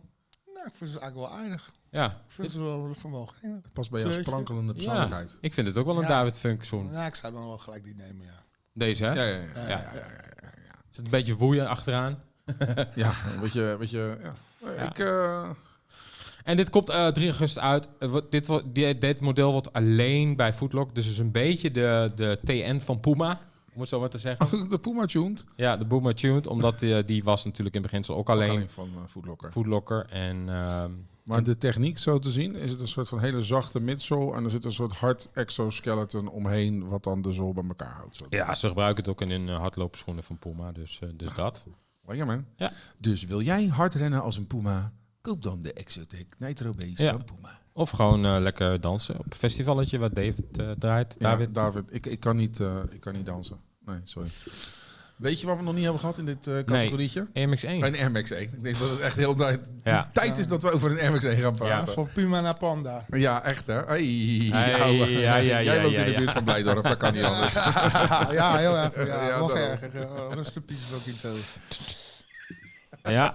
Speaker 3: Nou, ik vind ze eigenlijk wel aardig.
Speaker 2: Ja,
Speaker 3: Ik vind ze wel vermogen.
Speaker 1: Het past bij jouw
Speaker 3: Kleurtje.
Speaker 1: sprankelende persoonlijkheid.
Speaker 2: ik vind het ook wel een
Speaker 3: Ja.
Speaker 2: David Funk zoen.
Speaker 3: Ja, ik zou dan wel gelijk die nemen, ja.
Speaker 2: Deze, hè?
Speaker 1: Ja, ja, ja.
Speaker 2: Ja. Zit een beetje woeien achteraan.
Speaker 1: Ja, een beetje, een beetje, ja.
Speaker 2: Ja.
Speaker 1: Ik, eh,
Speaker 2: En dit komt eh 3 augustus uit. Eh, wat- dit, wordt- die- dit model wordt alleen bij Footlock. Dus is een beetje de, de TN van Puma. Om het zo maar te zeggen.
Speaker 1: de Puma tuned.
Speaker 2: Ja, de Puma Tuned. Omdat die, eh, die was natuurlijk in beginsel ook alleen
Speaker 1: Alleen van eh, Footlocker.
Speaker 2: Footlocker. En ehm,
Speaker 1: Maar de techniek zo te zien, is het een soort van hele zachte midsole. En er zit een soort hard exoskeleton omheen, wat dan de zool bij elkaar houdt. Zo.
Speaker 2: ja, ze gebruiken het ook in hun eh, hardloopschoenen van Puma. Dus, eh,
Speaker 1: Ah.
Speaker 2: dus dat.
Speaker 1: Lekker man.
Speaker 2: Ja.
Speaker 1: Dus wil jij hard rennen als een Puma? Koop dan de Exotech Nitro Base
Speaker 2: Ja.
Speaker 1: van Puma.
Speaker 2: Of gewoon eh, lekker dansen op een festivalletje wat David eh, draait.
Speaker 1: David,
Speaker 2: David.
Speaker 1: David ik, ik, kan niet, eh, ik kan niet dansen. Nee, sorry. Weet je wat we nog niet hebben gehad in dit eh categorietje?
Speaker 2: MX1.
Speaker 1: Een Air Max 1. Ik denk dat het echt heel tijd,
Speaker 2: Ja.
Speaker 1: tijd is dat we over een Air Max 1 gaan praten.
Speaker 3: Van Puma naar Panda.
Speaker 1: Ja, echt hè? Hey,
Speaker 2: Hey,
Speaker 1: ouwe.
Speaker 2: ja, ja,
Speaker 1: Jij
Speaker 2: ja,
Speaker 1: woont
Speaker 2: ja,
Speaker 1: in de
Speaker 2: ja.
Speaker 1: buurt van Blijdorp, dat kan niet anders.
Speaker 3: ja, heel erg. Ja,
Speaker 1: Ja,
Speaker 3: was
Speaker 1: daarom.
Speaker 3: erg. Ja, oh, Rustig Piet is ook niet zo.
Speaker 2: Ja.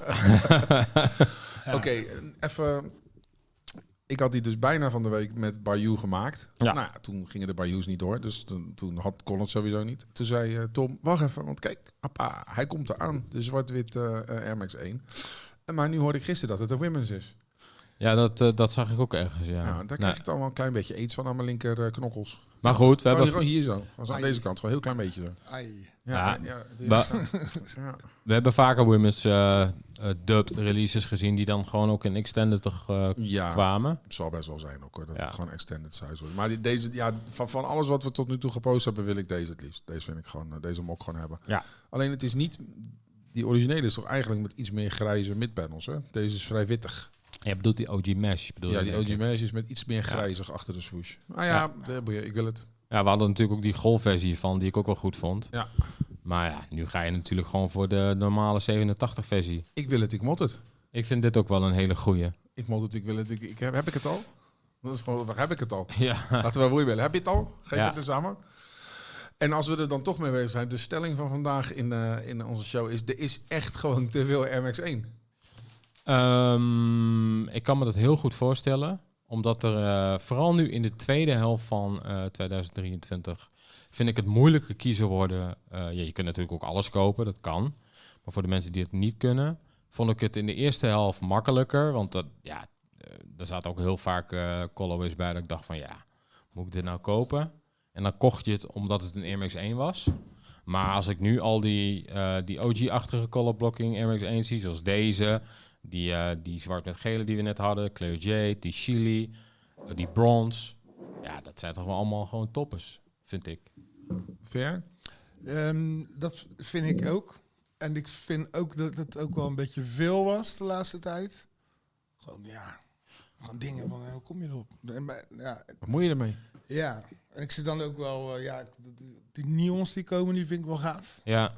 Speaker 1: Oké, even... Ik had die dus bijna van de week met Bayou gemaakt.
Speaker 2: Ja.
Speaker 1: Nou ja, toen gingen de Bayous niet door, dus toen, toen had, kon het sowieso niet. Toen zei eh, Tom, wacht even, want kijk, appa, hij komt eraan. De zwart-wit eh eh, Air Max 1. En Eh, Maar nu hoorde ik gisteren dat het een women's is.
Speaker 2: ja, dat, eh, dat zag ik ook ergens, ja.
Speaker 1: Nou, daar
Speaker 2: Nee.
Speaker 1: krijg ik dan wel een klein beetje aids van aan mijn linker eh, knokkels.
Speaker 2: Maar goed, we
Speaker 1: We hebben
Speaker 2: hebben,
Speaker 1: gewoon Oh, Ah, hier zo. Was aan
Speaker 3: Ai.
Speaker 1: deze kant, gewoon een heel klein beetje zo.
Speaker 3: Ai.
Speaker 2: Ja,
Speaker 1: ja,
Speaker 2: wa-
Speaker 1: ja.
Speaker 2: we hebben vaker women's eh, eh, dubbed releases gezien die dan gewoon ook in extended toch, eh,
Speaker 1: Ja,
Speaker 2: kwamen.
Speaker 1: het zal best wel zijn ook hoor. Dat
Speaker 2: Ja.
Speaker 1: het gewoon extended size wordt. Maar die- deze, ja, van, van alles wat we tot nu toe gepost hebben, wil ik deze het liefst. Deze vind ik gewoon, eh, deze mok gewoon hebben.
Speaker 2: Ja.
Speaker 1: Alleen het is niet, die originele is toch eigenlijk met iets meer grijze midpanels hè? Deze is vrij wittig.
Speaker 2: Je bedoelt die OG Mesh. Bedoel
Speaker 1: Ja,
Speaker 2: je,
Speaker 1: die
Speaker 2: denk
Speaker 1: OG
Speaker 2: ik.
Speaker 1: Mesh is met iets meer grijzig achter de swoosh. Nou ja, daar boeien, ik wil het.
Speaker 2: Ja, we hadden natuurlijk ook die golfversie van, die ik ook wel goed vond.
Speaker 1: Ja.
Speaker 2: Maar ja, nu ga je natuurlijk gewoon voor de normale 87 versie.
Speaker 1: Ik wil het, ik mot het.
Speaker 2: Ik vind dit ook wel een hele goeie.
Speaker 1: Ik mot het, ik wil het. Ik, ik heb, heb ik het al? Dat is wel- Waar heb ik het al?
Speaker 2: Ja.
Speaker 1: Laten we roeien bellen. Heb je het al? Geef
Speaker 2: Ja.
Speaker 1: het eens aan me. En als we er dan toch mee bezig zijn, de stelling van vandaag in, eh, in onze show is: er is echt gewoon te veel MX1.
Speaker 2: Ehm, ik kan me dat heel goed voorstellen. Omdat er eh, vooral nu in de tweede helft van eh, 2023 vind ik het moeilijker kiezen worden. Eh, ja, je kunt natuurlijk ook alles kopen, dat kan. Maar voor de mensen die het niet kunnen, vond ik het in de eerste helft makkelijker. Want dat, ja, eh, er zaten ook heel vaak eh colorways bij dat ik dacht van ja, moet ik dit nou kopen? En dan kocht je het omdat het een Air Max 1 was. Maar als ik nu al die, eh, die OG-achtige colorblocking Air Max 1 zie, zoals deze, die, eh, die zwart met gele die we net hadden, Cleo J, die Chili, eh, die Bronze. Ja, dat zijn toch wel allemaal gewoon toppers, vind ik.
Speaker 1: Ver?
Speaker 3: Ehm, dat vind ik ook. En ik vind ook dat het ook wel een beetje veel was de laatste tijd. Gewoon, ja. Gewoon dingen van, hoe kom eh, je erop? En bij- Ja,
Speaker 1: Wat moet je ermee?
Speaker 3: Ja, en ik zit dan ook wel, eh, ja, ik- die- die neons die komen, die vind ik wel gaaf.
Speaker 2: Ja,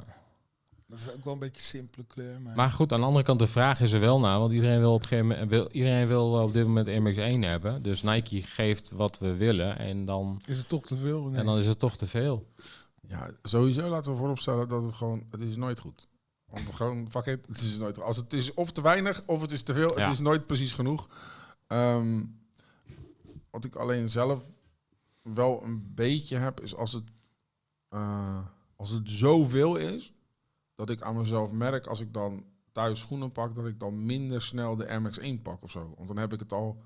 Speaker 3: Dat is ook wel een beetje simpele kleur, maar,
Speaker 2: maar goed, aan de andere kant, de vraag is er wel naar. Want iedereen wil op, een gegeven moment, wil, iedereen wil op dit moment MX1 hebben. Dus Nike geeft wat we willen en dan,
Speaker 3: is het toch te veel?
Speaker 2: en dan is het toch te veel.
Speaker 1: Ja, sowieso laten we vooropstellen dat het gewoon, het is nooit goed. Want gewoon, fuck it, het is nooit Als het is of te weinig of het is te veel,
Speaker 2: Ja.
Speaker 1: het is nooit precies genoeg. Ehm, wat ik alleen zelf wel een beetje heb, is als het, eh, als het zoveel is, dat ik aan mezelf merk als ik dan thuis schoenen pak, dat ik dan minder snel de MX1 pak of zo. Want dan heb ik het al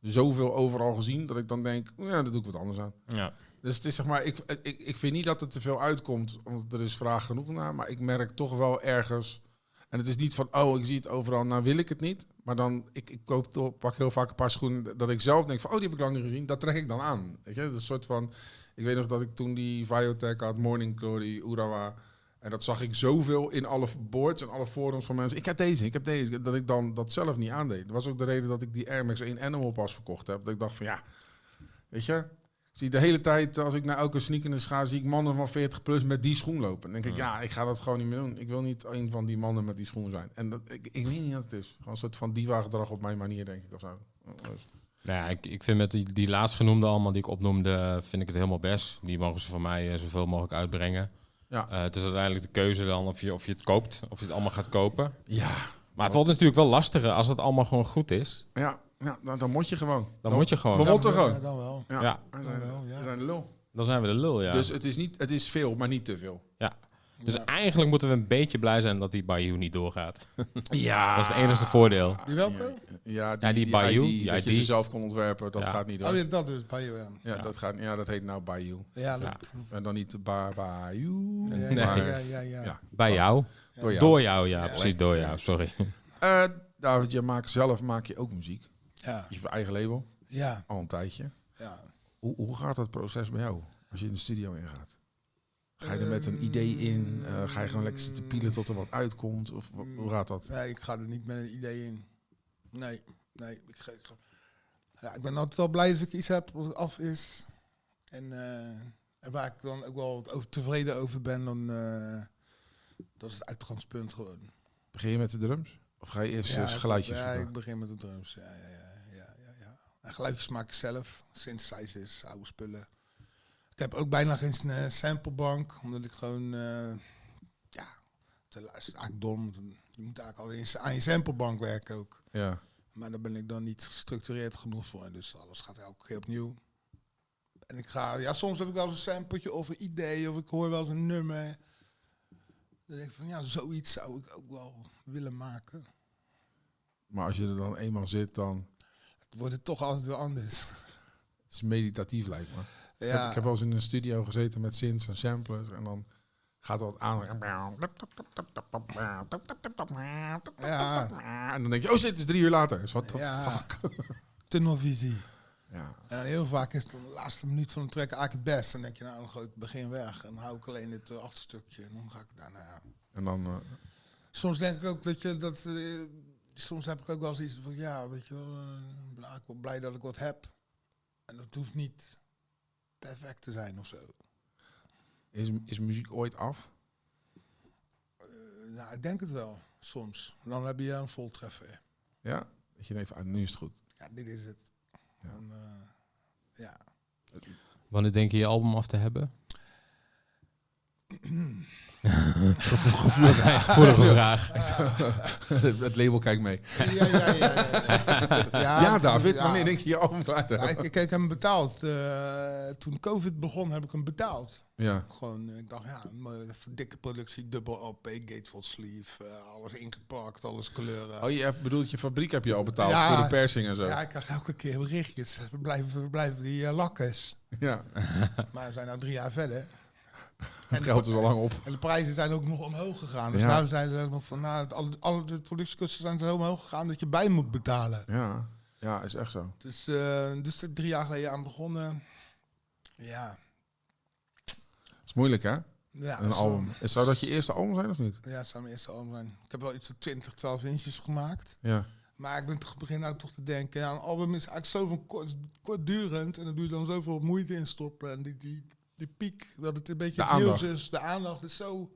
Speaker 1: zoveel overal gezien, dat ik dan denk, ja, daar doe ik wat anders aan.
Speaker 2: Ja.
Speaker 1: Dus het is zeg maar, ik, ik, ik vind niet dat het te veel uitkomt, want er is vraag genoeg naar. Maar ik merk toch wel ergens. En het is niet van, oh, ik zie het overal, nou wil ik het niet. Maar dan, ik, ik koop toch, pak heel vaak een paar schoenen dat ik zelf denk van, oh, die heb ik lang niet gezien. Dat trek ik dan aan. Weet je, dat is een soort van, ik weet nog dat ik toen die Viotech had, Morning Glory, Urawa. En dat zag ik zoveel in alle boards en alle forums van mensen. Ik heb deze, ik heb deze. Dat ik dan dat zelf niet aandeed. Dat was ook de reden dat ik die Air Max 1 Animal pas verkocht heb. Dat ik dacht van, ja, weet je, ik Zie de hele tijd, als ik naar elke sneakers ga, zie ik mannen van 40 plus met die schoen lopen. Dan denk ik, ja, ik ga dat gewoon niet meer doen. Ik wil niet een van die mannen met die schoen zijn. En dat, ik, ik weet niet wat het is. Gewoon een soort van diva-gedrag op mijn manier, denk ik, of zo. Dus-
Speaker 2: Nou ja, ik, ik vind met die, die laatstgenoemde allemaal die ik opnoemde, eh, vind ik het helemaal best. Die mogen ze van mij eh, zoveel mogelijk uitbrengen.
Speaker 1: Ja.
Speaker 2: Eh, het is uiteindelijk de keuze dan of je, of je het koopt, of je het allemaal gaat kopen.
Speaker 1: Ja,
Speaker 2: Maar het wordt natuurlijk wel lastiger als het allemaal gewoon goed is.
Speaker 1: ja, ja dan, dan moet je gewoon.
Speaker 2: Dan moet je
Speaker 1: dan
Speaker 2: gewoon.
Speaker 1: moet er gewoon.
Speaker 3: Ja, dan wel.
Speaker 1: Ja,
Speaker 2: Ja.
Speaker 1: we zijn,
Speaker 3: Dan wel, ja.
Speaker 1: we zijn de lul.
Speaker 2: Dan zijn we de lul, ja.
Speaker 1: Dus
Speaker 2: Dus,
Speaker 1: het is, niet, het is veel, maar niet te veel.
Speaker 3: Ja.
Speaker 2: eigenlijk moeten we een beetje blij zijn dat die Bayou niet doorgaat.
Speaker 1: Ja.
Speaker 2: Dat is het enige voordeel.
Speaker 3: Die welke?
Speaker 1: Ja, die,
Speaker 2: Ja, die
Speaker 1: die
Speaker 2: Bayou,
Speaker 1: ID,
Speaker 2: die
Speaker 1: dat je
Speaker 2: ID.
Speaker 1: ze zelf kon ontwerpen, dat
Speaker 2: Ja.
Speaker 1: gaat niet door.
Speaker 3: Oh
Speaker 1: ja.
Speaker 3: ja, dat dus, bij je aan.
Speaker 2: Ja.
Speaker 1: dat gaat, ja, dat heet nou Bayou.
Speaker 3: Ja,
Speaker 2: Ja.
Speaker 3: dat,
Speaker 1: En dan niet ba Bayou,
Speaker 3: ja, ja,
Speaker 2: Nee.
Speaker 1: maar
Speaker 3: ja, ja, ja.
Speaker 1: Ja. oh
Speaker 2: Bij jou?
Speaker 1: door jou.
Speaker 2: Door jou, ja.
Speaker 3: Ja.
Speaker 2: precies, door jou. Sorry.
Speaker 1: Eh, David, je maakt zelf maak je ook muziek.
Speaker 3: Ja,
Speaker 1: Je eigen label,
Speaker 3: ja,
Speaker 1: al een tijdje.
Speaker 3: ja.
Speaker 1: Hoe, hoe gaat dat proces bij jou als je in de studio ingaat? Ga je er met een
Speaker 3: Ehm,
Speaker 1: idee in? Eh, ga je gewoon lekker zitten pielen tot er wat uitkomt? Of wa-
Speaker 3: Mm.
Speaker 1: hoe gaat dat?
Speaker 3: Nee, ik ga er niet met een idee in. Nee, nee. Ik, ga, ik ga- ja, ik ben altijd wel blij als ik iets heb wat af is. En, eh, en waar ik dan ook wel over- tevreden over ben, dan eh, dat is het uitgangspunt gewoon.
Speaker 1: Begin je met de drums? Of ga je eerst
Speaker 3: Ja,
Speaker 1: eh,
Speaker 3: ik-
Speaker 1: geluidjes
Speaker 3: Ja,
Speaker 1: zoeken?
Speaker 3: ik begin met de drums. Ja, ja, ja, ja, ja, ja. En geluidjes maak ik zelf. Synthesizers, oude spullen. Ik heb ook bijna geen eh, samplebank, omdat ik gewoon... eh, ja, te luisteren is eigenlijk dom. want dan- Je moet eigenlijk al eens aan je samplebank werken ook.
Speaker 1: Ja.
Speaker 3: Maar daar ben ik dan niet gestructureerd genoeg voor. En dus alles gaat elke keer opnieuw. En ik ga... Ja, soms heb ik wel eens een sampletje of een idee. Of ik hoor wel eens een nummer. Dan denk ik van, ja, zoiets zou ik ook wel willen maken.
Speaker 1: Maar als je er dan eenmaal zit, dan
Speaker 3: wordt het toch altijd weer anders.
Speaker 1: het is meditatief lijkt me. Ik, heb,
Speaker 3: Ja,
Speaker 1: ik heb wel eens in een studio gezeten met synths en samplers. En dan gaat er wat aan.
Speaker 3: ja,
Speaker 1: En dan denk je, oh shit, het is drie uur later. Dus wat the
Speaker 3: Ja.
Speaker 1: fuck?
Speaker 3: tunnelvisie.
Speaker 1: Ja.
Speaker 3: En heel vaak is het dan de laatste minuut van een track eigenlijk het best. Dan denk je, nou, dan gooi ik het begin weg. En dan hou ik alleen het eh, achterstukje. En dan ga ik daarna...
Speaker 1: En dan... eh,
Speaker 3: Soms denk ik ook dat je dat... eh, soms heb ik ook wel eens iets van, ja, weet je wel... eh, ben ik wel blij dat ik wat heb. En dat hoeft niet perfect te zijn of zo.
Speaker 1: Is, is muziek ooit af?
Speaker 3: Eh, nou, ik denk het wel, soms. Dan heb je een voltreffer.
Speaker 1: Ja? Dat je denkt, van, ah, nu is het goed.
Speaker 3: Ja, dit is het.
Speaker 1: Ja.
Speaker 3: Dan, eh, ja.
Speaker 2: Wanneer denk je je album af te hebben? Gevoelige gevoelige vraag.
Speaker 1: het label kijkt mee.
Speaker 3: Ja, ja, ja, ja, ja.
Speaker 1: Ja, David,
Speaker 3: ja.
Speaker 1: wanneer denk je je album klaar te
Speaker 3: Ja,
Speaker 1: hebben?
Speaker 3: ik, ik, ik heb hem betaald. eh, toen COVID begon, heb ik hem betaald.
Speaker 1: Ja.
Speaker 3: Gewoon, eh, ik dacht, ja, een mooie, even dikke productie, dubbel AP, gatefold sleeve, eh, alles ingepakt, alles kleuren.
Speaker 1: Oh, je hebt, bedoelt, je fabriek heb je al betaald
Speaker 3: Ja.
Speaker 1: voor de persing en zo.
Speaker 3: ja,
Speaker 1: Ja.
Speaker 3: ik krijg elke keer berichtjes. We blijven, we blijven die eh, lakkers. Maar we zijn nou drie jaar verder.
Speaker 1: Het geld is al lang op.
Speaker 3: En de prijzen zijn ook nog omhoog gegaan. Dus
Speaker 1: Ja.
Speaker 3: nou zijn ze ook nog van, nou, het- alle, alle de productiekosten zijn zo omhoog gegaan dat je bij moet betalen.
Speaker 1: Ja. Ja, is echt zo.
Speaker 3: Dus, eh, dus er drie jaar geleden aan begonnen. Ja,
Speaker 1: is moeilijk, hè?
Speaker 3: ja dat
Speaker 1: Een
Speaker 3: is wel-
Speaker 1: album. Is- Zou dat je eerste album zijn of niet?
Speaker 3: Ja, het zou mijn eerste album zijn. Ik heb wel iets van 20, 12 inches gemaakt.
Speaker 1: Ja.
Speaker 3: Maar ik ben toch begin nou toch te denken, ja, een album is eigenlijk zo van kort, kortdurend en daar doe je dan zoveel moeite in stoppen. En die, die, die piek, dat het een beetje
Speaker 1: De
Speaker 3: het nieuws
Speaker 1: aandacht.
Speaker 3: is, de aandacht is zo...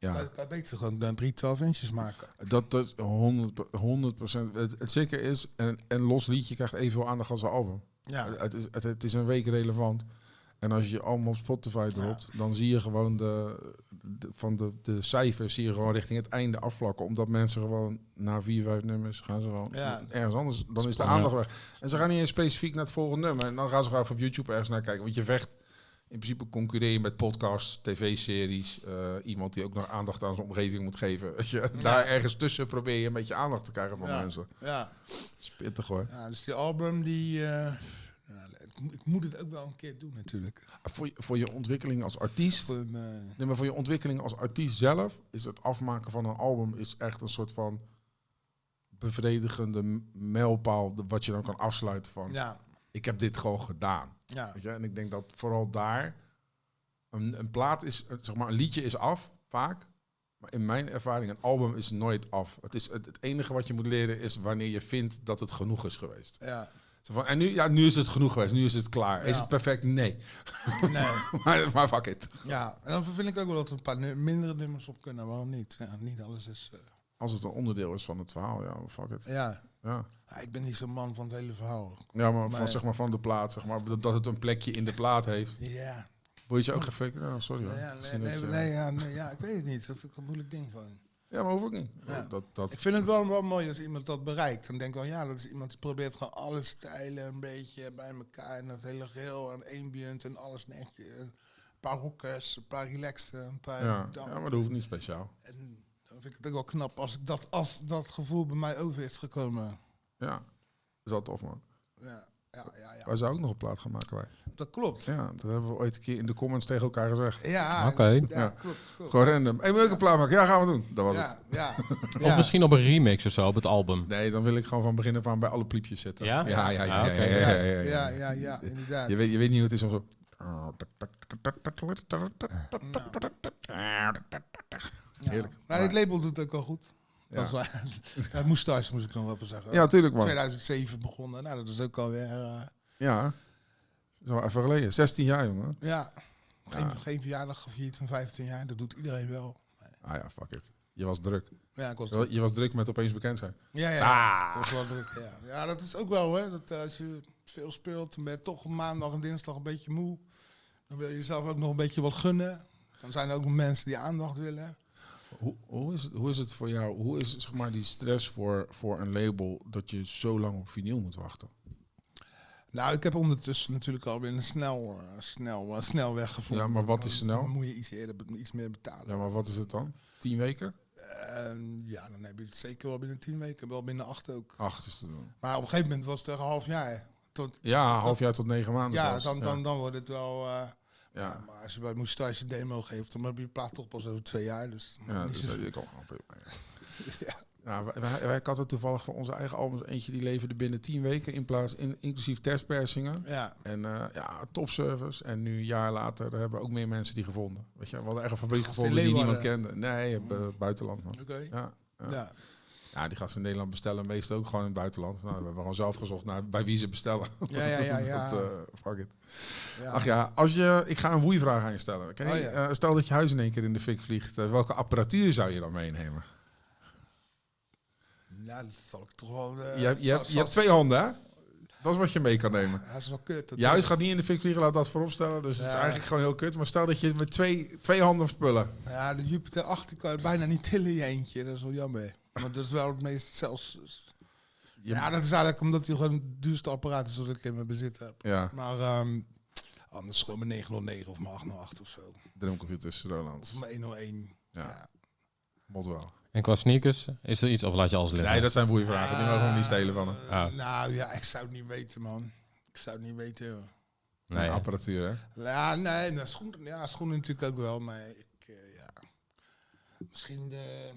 Speaker 1: Ja.
Speaker 3: Kan, kan beter gewoon dan drie 12 inches maken.
Speaker 1: Dat, dat is 100, pro- 100 procent. Het, het zeker is, een, een los liedje krijgt evenveel aandacht als een album.
Speaker 3: Ja,
Speaker 1: Het, Nou, het is, het, het is een week relevant. En als je je allemaal op Spotify dropt, dan zie je gewoon de, de- van de, de cijfers zie je gewoon richting het einde afvlakken. Omdat mensen gewoon na vier, vijf nummers gaan ze gewoon
Speaker 3: Ja.
Speaker 1: ergens anders. Dan is de
Speaker 2: Ja.
Speaker 1: aandacht weg. En ze gaan niet eens specifiek naar het volgende nummer. En dan gaan ze gewoon even op YouTube ergens naar kijken. Want je vecht in principe concurreer je met podcasts, tv-series. eh, iemand die ook nog aandacht aan zijn omgeving moet geven. Weet je, Daar ergens tussen probeer je een beetje aandacht te krijgen van
Speaker 3: Ja.
Speaker 1: mensen.
Speaker 3: ja.
Speaker 1: Dat is pittig hoor.
Speaker 3: ja, dus die album, die... eh, ja, ik, mo- ik moet het ook wel een keer doen natuurlijk.
Speaker 1: Voor je, voor je ontwikkeling als artiest
Speaker 3: Voor een, eh,
Speaker 1: Nee, maar voor je ontwikkeling als artiest zelf is het afmaken van een album is echt een soort van bevredigende m- mijlpaal de- wat je dan kan afsluiten van
Speaker 3: ja,
Speaker 1: ik heb dit gewoon gedaan.
Speaker 3: ja,
Speaker 1: Weet je? En ik denk dat vooral daar een, een plaat is, eh, zeg maar een liedje is af vaak. Maar in mijn ervaring, een album is nooit af. Het, is, het, het enige wat je moet leren is wanneer je vindt dat het genoeg is geweest.
Speaker 3: ja.
Speaker 1: Zo van, en nu, ja, nu is het genoeg geweest, nu is het klaar. Is
Speaker 3: Ja.
Speaker 1: het perfect? Nee.
Speaker 3: Nee.
Speaker 1: maar, maar fuck it.
Speaker 3: Ja, en dan vind ik ook wel dat er een paar nu- mindere nummers op kunnen. Waarom niet? Ja, niet alles is... eh,
Speaker 1: Als het een onderdeel is van het verhaal, ja, fuck it.
Speaker 3: ja.
Speaker 1: Ja.
Speaker 3: Ja, ik ben niet zo'n man van het hele verhaal.
Speaker 1: Ja, maar,
Speaker 3: Maar-
Speaker 1: van, zeg maar van de plaat, zeg maar, dat, dat het een plekje in de plaat heeft.
Speaker 3: Ja.
Speaker 1: Word je ook geen flikker? Ja, sorry. hoor.
Speaker 3: Nee, ja, nee,
Speaker 1: Misschien
Speaker 3: nee,
Speaker 1: dat je-
Speaker 3: nee, ja, nee, ja, ik weet het niet. Dat vind ik een moeilijk ding gewoon.
Speaker 1: Ja, maar hoef ik niet.
Speaker 3: Ja.
Speaker 1: Dat, dat,
Speaker 3: Ik vind het wel, wel mooi als iemand dat bereikt. Dan denk ik wel, ja, dat is iemand die probeert gewoon alle stijlen een beetje bij elkaar. En dat hele geel en ambient en alles netjes. En Een paar rockers, een paar relaxed, een paar...
Speaker 1: ja.
Speaker 3: dan-
Speaker 1: ja, maar dat hoeft niet speciaal.
Speaker 3: En dan vind ik het ook wel knap als, ik dat, als dat gevoel bij mij over is gekomen.
Speaker 1: Ja, is dat tof, man.
Speaker 3: Ja, ja, ja, ja.
Speaker 1: Wij zouden ook nog een plaat gaan maken, wij.
Speaker 3: dat klopt.
Speaker 1: Ja, dat hebben we ooit een keer in de comments tegen elkaar gezegd.
Speaker 3: Ja,
Speaker 2: Oké.
Speaker 3: ja,
Speaker 1: Ja.
Speaker 3: klopt. klopt.
Speaker 1: Gewoon random. Hé, hey, wil ik een plaat maken? Ja, gaan we doen. Dat was het.
Speaker 3: Ja, ja,
Speaker 2: Of
Speaker 3: ja.
Speaker 2: misschien op een remix of zo, op het album.
Speaker 1: Nee, dan wil ik gewoon van begin af aan bij alle pliepjes zitten.
Speaker 2: Ja?
Speaker 1: Ja, ja, ja.
Speaker 2: Ah,
Speaker 1: ja,
Speaker 2: oké.
Speaker 1: ja, ja,
Speaker 3: Ja,
Speaker 1: ja, ja,
Speaker 3: ja, ja, ja, inderdaad.
Speaker 1: Je weet, je weet niet hoe het is om zo...
Speaker 3: Ja.
Speaker 1: Heerlijk.
Speaker 3: Maar het label doet het ook wel goed.
Speaker 1: Ja.
Speaker 3: Dat is waar. Ja, Moustache moest ik nog wel even zeggen.
Speaker 1: Ja, tuurlijk, man.
Speaker 3: 2007 begonnen. Nou, dat is ook alweer... eh
Speaker 1: Ja. Zo even geleden. 16 jaar, jongen.
Speaker 3: ja, geen,
Speaker 1: Ja.
Speaker 3: geen verjaardag gevierd van 15 jaar. Dat doet iedereen wel.
Speaker 1: Ah ja, fuck it. Je was druk.
Speaker 3: Ja, ik was
Speaker 1: Je wa- Je was druk met opeens bekend zijn.
Speaker 3: Ja, ja.
Speaker 1: Ah.
Speaker 3: Dat was wel druk, ja. ja, dat is ook wel, hè. Dat, eh, als je veel speelt, dan ben je toch maandag en dinsdag een beetje moe. Dan wil je jezelf ook nog een beetje wat gunnen. Dan zijn er ook nog mensen die aandacht willen.
Speaker 1: Hoe, hoe, is het, hoe is het voor jou? Hoe is zeg maar, die stress voor, voor een label dat je zo lang op vinyl moet wachten?
Speaker 3: Nou, ik heb ondertussen natuurlijk alweer een snel, eh, snel, eh, snelweg gevonden.
Speaker 1: Ja, maar wat
Speaker 3: Dan-
Speaker 1: is nou? snel?
Speaker 3: Dan moet je iets, eerder, be- iets meer betalen.
Speaker 1: Ja, maar wat is het dan? 10 weken?
Speaker 3: Ehm, ja, dan heb je het zeker wel binnen tien weken, wel binnen acht ook.
Speaker 1: Acht is te doen.
Speaker 3: Maar op een gegeven moment was het er een half jaar. Tot,
Speaker 1: Ja, half jaar tot negen maanden.
Speaker 3: ja,
Speaker 1: zelfs.
Speaker 3: dan, dan, dan wordt het wel... eh, ja,
Speaker 1: Ja,
Speaker 3: maar als je bij Moustache een demo geeft, dan heb je je plaat toch pas over twee jaar. Dus
Speaker 1: ja, ja
Speaker 3: niet
Speaker 1: dus
Speaker 3: zo-
Speaker 1: dat ik ook gewoon prima, ja. Nou, wij- wij, wij hadden toevallig voor onze eigen albums eentje die leverde binnen 10 weken in plaats in, inclusief testpersingen.
Speaker 3: ja,
Speaker 1: En eh, ja, topservice. En nu een jaar later hebben ook meer mensen die gevonden. Weet je, we hadden echt een fabriek
Speaker 3: Gast in
Speaker 1: gevonden die niemand
Speaker 3: Leeuwarden.
Speaker 1: kende. Nee, eh, buitenland man.
Speaker 3: oké.
Speaker 1: Ja, ja.
Speaker 3: Ja. Ja.
Speaker 1: Ja, die gasten in Nederland bestellen meestal ook gewoon in het buitenland. Nou, we hebben gewoon zelf gezocht naar bij wie ze bestellen.
Speaker 3: Ja, ja, ja, ja.
Speaker 1: Dat, eh, fuck it. Ach ja, als je, ik ga een woeivraag aan je stellen. Oké?
Speaker 3: Oh ja.
Speaker 1: Eh, stel dat je huis in één keer in de fik vliegt. eh, welke apparatuur zou je dan meenemen?
Speaker 3: Nou, dat zal ik toch wel... eh,
Speaker 1: je, hebt- je,
Speaker 3: zal-
Speaker 1: hebt- je
Speaker 3: zal-
Speaker 1: hebt twee handen, hè? Dat is wat je mee kan nemen.
Speaker 3: Ja, dat is wel kut. dat-
Speaker 1: Je huis gaat niet in de fik vliegen, laat dat vooropstellen. Dus het is
Speaker 3: Ja.
Speaker 1: eigenlijk gewoon heel kut. Maar stel dat je met twee, twee handen spullen.
Speaker 3: Ja, de Jupiter 8 die kan je bijna niet tillen in je eentje. Dat is wel jammer. Maar dat is wel het meest zelfs...
Speaker 1: Je-
Speaker 3: Ja, dat is eigenlijk omdat hij gewoon het duurste apparaat is dat ik in mijn bezit heb.
Speaker 1: ja,
Speaker 3: Maar ehm, anders gewoon mijn 909 of mijn 808 of zo.
Speaker 1: drumcomputers,
Speaker 3: Of
Speaker 1: Roland.
Speaker 3: mijn 101.
Speaker 1: Ja.
Speaker 3: Ja.
Speaker 1: Mot wel.
Speaker 2: En qua sneakers, is er iets of laat je alles liggen?
Speaker 1: Nee, dat zijn woeivragen. Die mogen we niet stelen van hem.
Speaker 2: Ah.
Speaker 3: Nou ja, ik zou het niet weten, man. Ik zou het niet weten. joh.
Speaker 2: Nee, hè?
Speaker 1: Apparatuur, hè?
Speaker 3: Ja, nee, nou, schoenen, ja, schoenen natuurlijk ook wel, maar ik, eh, ja. Misschien de...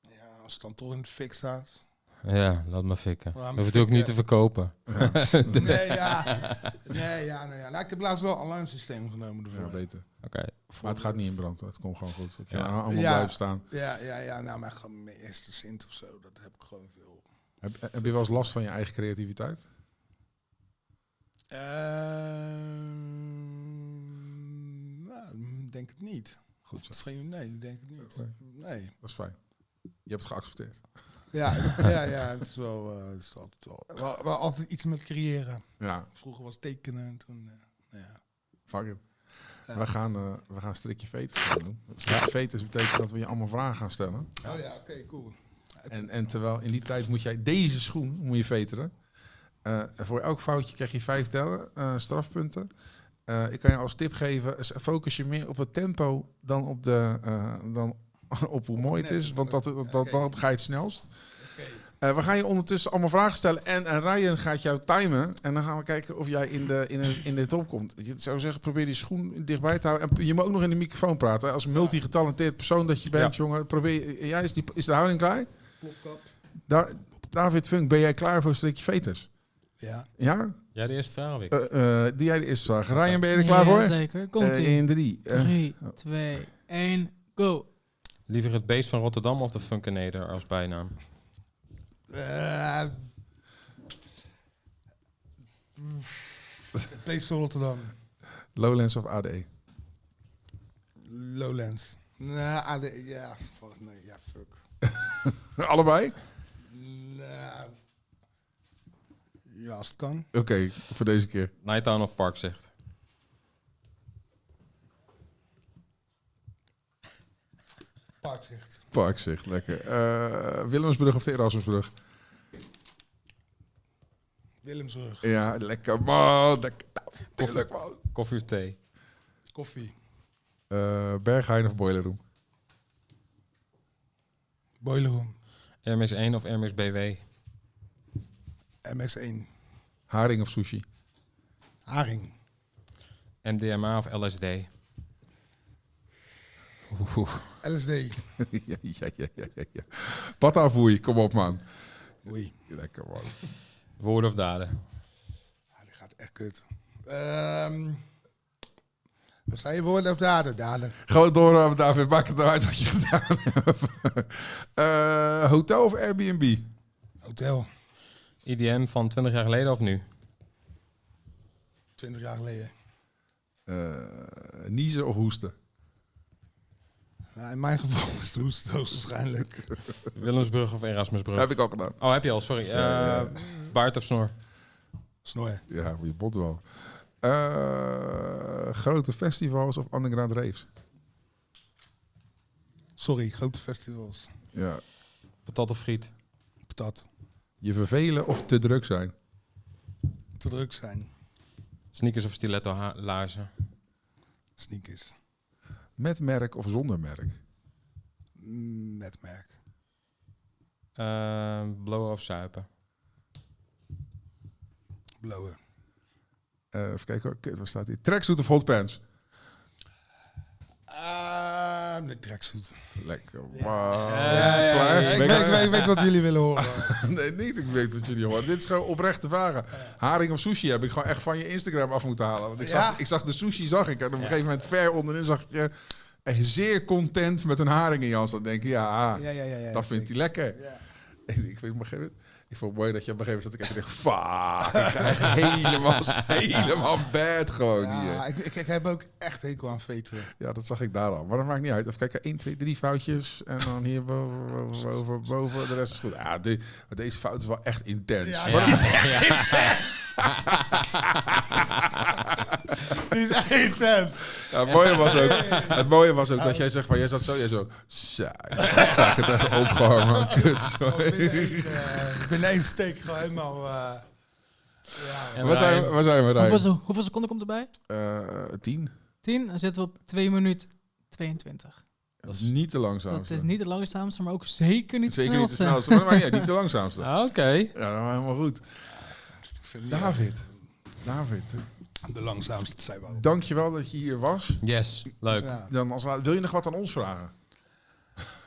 Speaker 3: Ja, als het dan toch in de fik staat.
Speaker 2: Ja, laat maar fikken.
Speaker 3: Laat maar
Speaker 2: Dat hoef je ook niet
Speaker 3: fikken.
Speaker 2: te verkopen.
Speaker 3: Nee, ja. Nee, ja, nee, ja. Nou, ik heb laatst wel een alarmsysteem genomen ervoor.
Speaker 1: Ja, beter.
Speaker 2: Oké.
Speaker 1: Maar het gaat niet in brand, hoor. het komt gewoon goed. Ik ga
Speaker 2: Ja.
Speaker 1: allemaal
Speaker 3: Ja.
Speaker 1: blijven staan.
Speaker 3: Ja, ja, ja. Nou, maar gewoon mijn eerste Sint of zo, dat heb ik gewoon veel.
Speaker 1: Heb, heb je wel eens last van je eigen creativiteit?
Speaker 3: Ehm, nou, denk het niet.
Speaker 1: Goed zo.
Speaker 3: Misschien, nee, denk het niet.
Speaker 1: Oké.
Speaker 3: Nee.
Speaker 1: Dat is fijn. Je hebt het geaccepteerd.
Speaker 3: Ja, ja, ja, het is wel, eh, het is altijd wel, wel, wel altijd iets met creëren.
Speaker 1: Ja,
Speaker 3: Vroeger was tekenen en toen, eh, nou ja.
Speaker 1: fuck it.
Speaker 3: Ja.
Speaker 1: We gaan, eh, we gaan strikje fetus gaan doen. Strikje fetus betekent dat we je allemaal vragen gaan stellen.
Speaker 3: Oh ja, oké, cool.
Speaker 1: En, en terwijl in die tijd moet jij deze schoen moet je veteren. Eh, voor elk foutje krijg je vijf tellen, eh, strafpunten. Eh, ik kan je als tip geven, s- focus je meer op het tempo dan op, de, eh, dan op hoe mooi het
Speaker 3: Net,
Speaker 1: is. Want dat, dat, dat,
Speaker 3: oké.
Speaker 1: dan ga je het snelst.
Speaker 3: Oké.
Speaker 1: Eh, we gaan je ondertussen allemaal vragen stellen. En, en Ryan gaat jou timen. En dan gaan we kijken of jij in de, in de, in de top komt. Je zou zeggen, probeer die schoen dichtbij te houden. En p- je moet ook nog in de microfoon praten. hè. Als multigetalenteerd persoon dat je bent, jongen. Probeer, jij is, die, is de houding klaar?
Speaker 3: Plopkap.
Speaker 1: Da- David Funk, ben jij klaar voor strikje veters?
Speaker 3: Ja.
Speaker 1: Ja?
Speaker 2: Ja, de eerste vraag weer.
Speaker 1: Eh, eh, doe jij de eerste vraag. Ryan, ben je er klaar voor?
Speaker 4: Zeker. Komt
Speaker 1: Eh,
Speaker 4: ie.
Speaker 1: in drie. eh,
Speaker 4: 3, 2, 1, go.
Speaker 2: Liever het beest van Rotterdam of de Funkeneder als bijnaam?
Speaker 3: Eh, het beest van Rotterdam.
Speaker 1: Lowlands of AD?
Speaker 3: Lowlands. Nou, AD, ja, fuck, nee, ja, fuck.
Speaker 1: Allebei?
Speaker 3: Nou, ja, als het kan.
Speaker 1: Oké, voor deze keer.
Speaker 2: Nighttown of Park zegt.
Speaker 3: Parkzicht.
Speaker 1: Parkzicht, lekker. Eh, Willemsbrug of de Erasmusbrug?
Speaker 3: Willemsrug.
Speaker 1: Ja, lekker man. Lekker. Nou, tuurlijk, man.
Speaker 2: Koffie of thee?
Speaker 3: Koffie.
Speaker 1: Eh, Berghain of Boiler Room?
Speaker 3: Boiler Room.
Speaker 2: Hermes 1 of Hermes BW?
Speaker 3: MX1.
Speaker 1: Haring of sushi?
Speaker 3: Haring.
Speaker 2: MDMA of LSD?
Speaker 3: LSD.
Speaker 1: ja, ja, ja, ja, ja, ja. Patta of woei? Kom op, man.
Speaker 3: Oei.
Speaker 1: Lekker, man.
Speaker 2: Woorden of daden?
Speaker 3: Ja, Ah, die gaat echt kut. Ehm wat zijn je woorden of daden? Daden.
Speaker 1: Gewoon door, eh, David. Maak het nou uit wat je gedaan hebt. Eh, hotel of Airbnb?
Speaker 3: Hotel.
Speaker 2: IDM van 20 jaar geleden of nu?
Speaker 3: 20 jaar geleden.
Speaker 1: Eh, niezen of hoesten?
Speaker 3: Nou, in mijn geval is het hoest waarschijnlijk.
Speaker 2: Willemsbrug of Erasmusbrug?
Speaker 1: Heb ik al gedaan.
Speaker 2: Oh, heb je al, sorry. Eh baard of snor?
Speaker 3: Snor.
Speaker 1: Ja, voor je bot wel. Eh, grote festivals of underground raves?
Speaker 3: Sorry, grote festivals.
Speaker 1: Ja.
Speaker 2: Patat of friet?
Speaker 3: Patat.
Speaker 1: Je vervelen of te druk zijn?
Speaker 3: Te druk zijn.
Speaker 2: Sneakers of stiletto ha- laarzen?
Speaker 3: Sneakers.
Speaker 1: Met merk of zonder merk?
Speaker 3: Mm, Met merk.
Speaker 2: Eh, blowen of zuipen?
Speaker 3: Blowen.
Speaker 1: Eh, even kijken, hoor. Kut, waar staat die? Tracksuit of hotpants?
Speaker 3: Ah, met tracksuit.
Speaker 1: Lekker. Wow.
Speaker 2: ja, ja,
Speaker 1: Klaar?
Speaker 2: ja,
Speaker 3: Ik
Speaker 1: Ben
Speaker 3: weet,
Speaker 1: ik-
Speaker 3: ik weet- ik weet wat jullie willen horen.
Speaker 1: Nee, niet. Ik weet wat jullie horen. Dit is gewoon oprechte vragen. Haring of sushi heb ik gewoon echt van je Instagram af moeten halen. Want ik zag,
Speaker 3: Ja?
Speaker 1: ik zag de sushi, zag ik. En op een gegeven moment ver onderin zag ik je eh, zeer content met een haring in je hand. Dan denk ik, ja,
Speaker 3: Ja, ja, ja. ja
Speaker 1: Ah, dat vindt hij lekker.
Speaker 3: Ja.
Speaker 1: En ik vind op een gegeven moment- Ik vond het mooi dat je op een gegeven moment zat te kijken en dacht, fuck, ik ga echt helemaal, helemaal bad gewoon
Speaker 3: Ja,
Speaker 1: hier.
Speaker 3: ik, ik, ik heb ook echt hekel aan veteren.
Speaker 1: Ja, dat zag ik daar al. Maar dat maakt niet uit. Even kijken, 1, 2, 3 foutjes. En dan hier boven, boven, boven, boven. De rest is goed. Ja, de- maar deze fout is wel echt intens.
Speaker 3: Ja,
Speaker 1: Wat-
Speaker 3: Die is intens.
Speaker 1: Ja, het, mooie was ook, het mooie was ook dat jij zegt van, jij zat zo, jij zo, saai. Ga ik het echt opgehangen, Oh, man. kut.
Speaker 3: Binnen
Speaker 1: sorry.
Speaker 3: één, eh, binnen één steek gewoon helemaal... eh, ja.
Speaker 2: En
Speaker 1: Waar zijn, we-
Speaker 2: Ryan,
Speaker 1: waar zijn we, Rijn?
Speaker 4: Hoeveel, se- hoeveel seconden komt erbij?
Speaker 1: Eh, tien?
Speaker 4: 10. Dan zitten we op 2 minuut 22.
Speaker 1: Dat is niet te langzaam.
Speaker 4: Dat is niet de langzaamste, maar ook zeker niet de
Speaker 1: Zeker niet de
Speaker 4: snelste.
Speaker 1: snelste, maar dat maakt niet uit, niet de langzaamste. Ja,
Speaker 2: Ah, Oké.
Speaker 1: dat was helemaal goed.
Speaker 3: Ik vind-
Speaker 1: David, David,
Speaker 3: De langzaamste zijn we ook.
Speaker 1: dankjewel dat je hier was.
Speaker 2: Yes, leuk.
Speaker 3: Ja.
Speaker 1: Dan als, la- wil je nog wat aan ons vragen?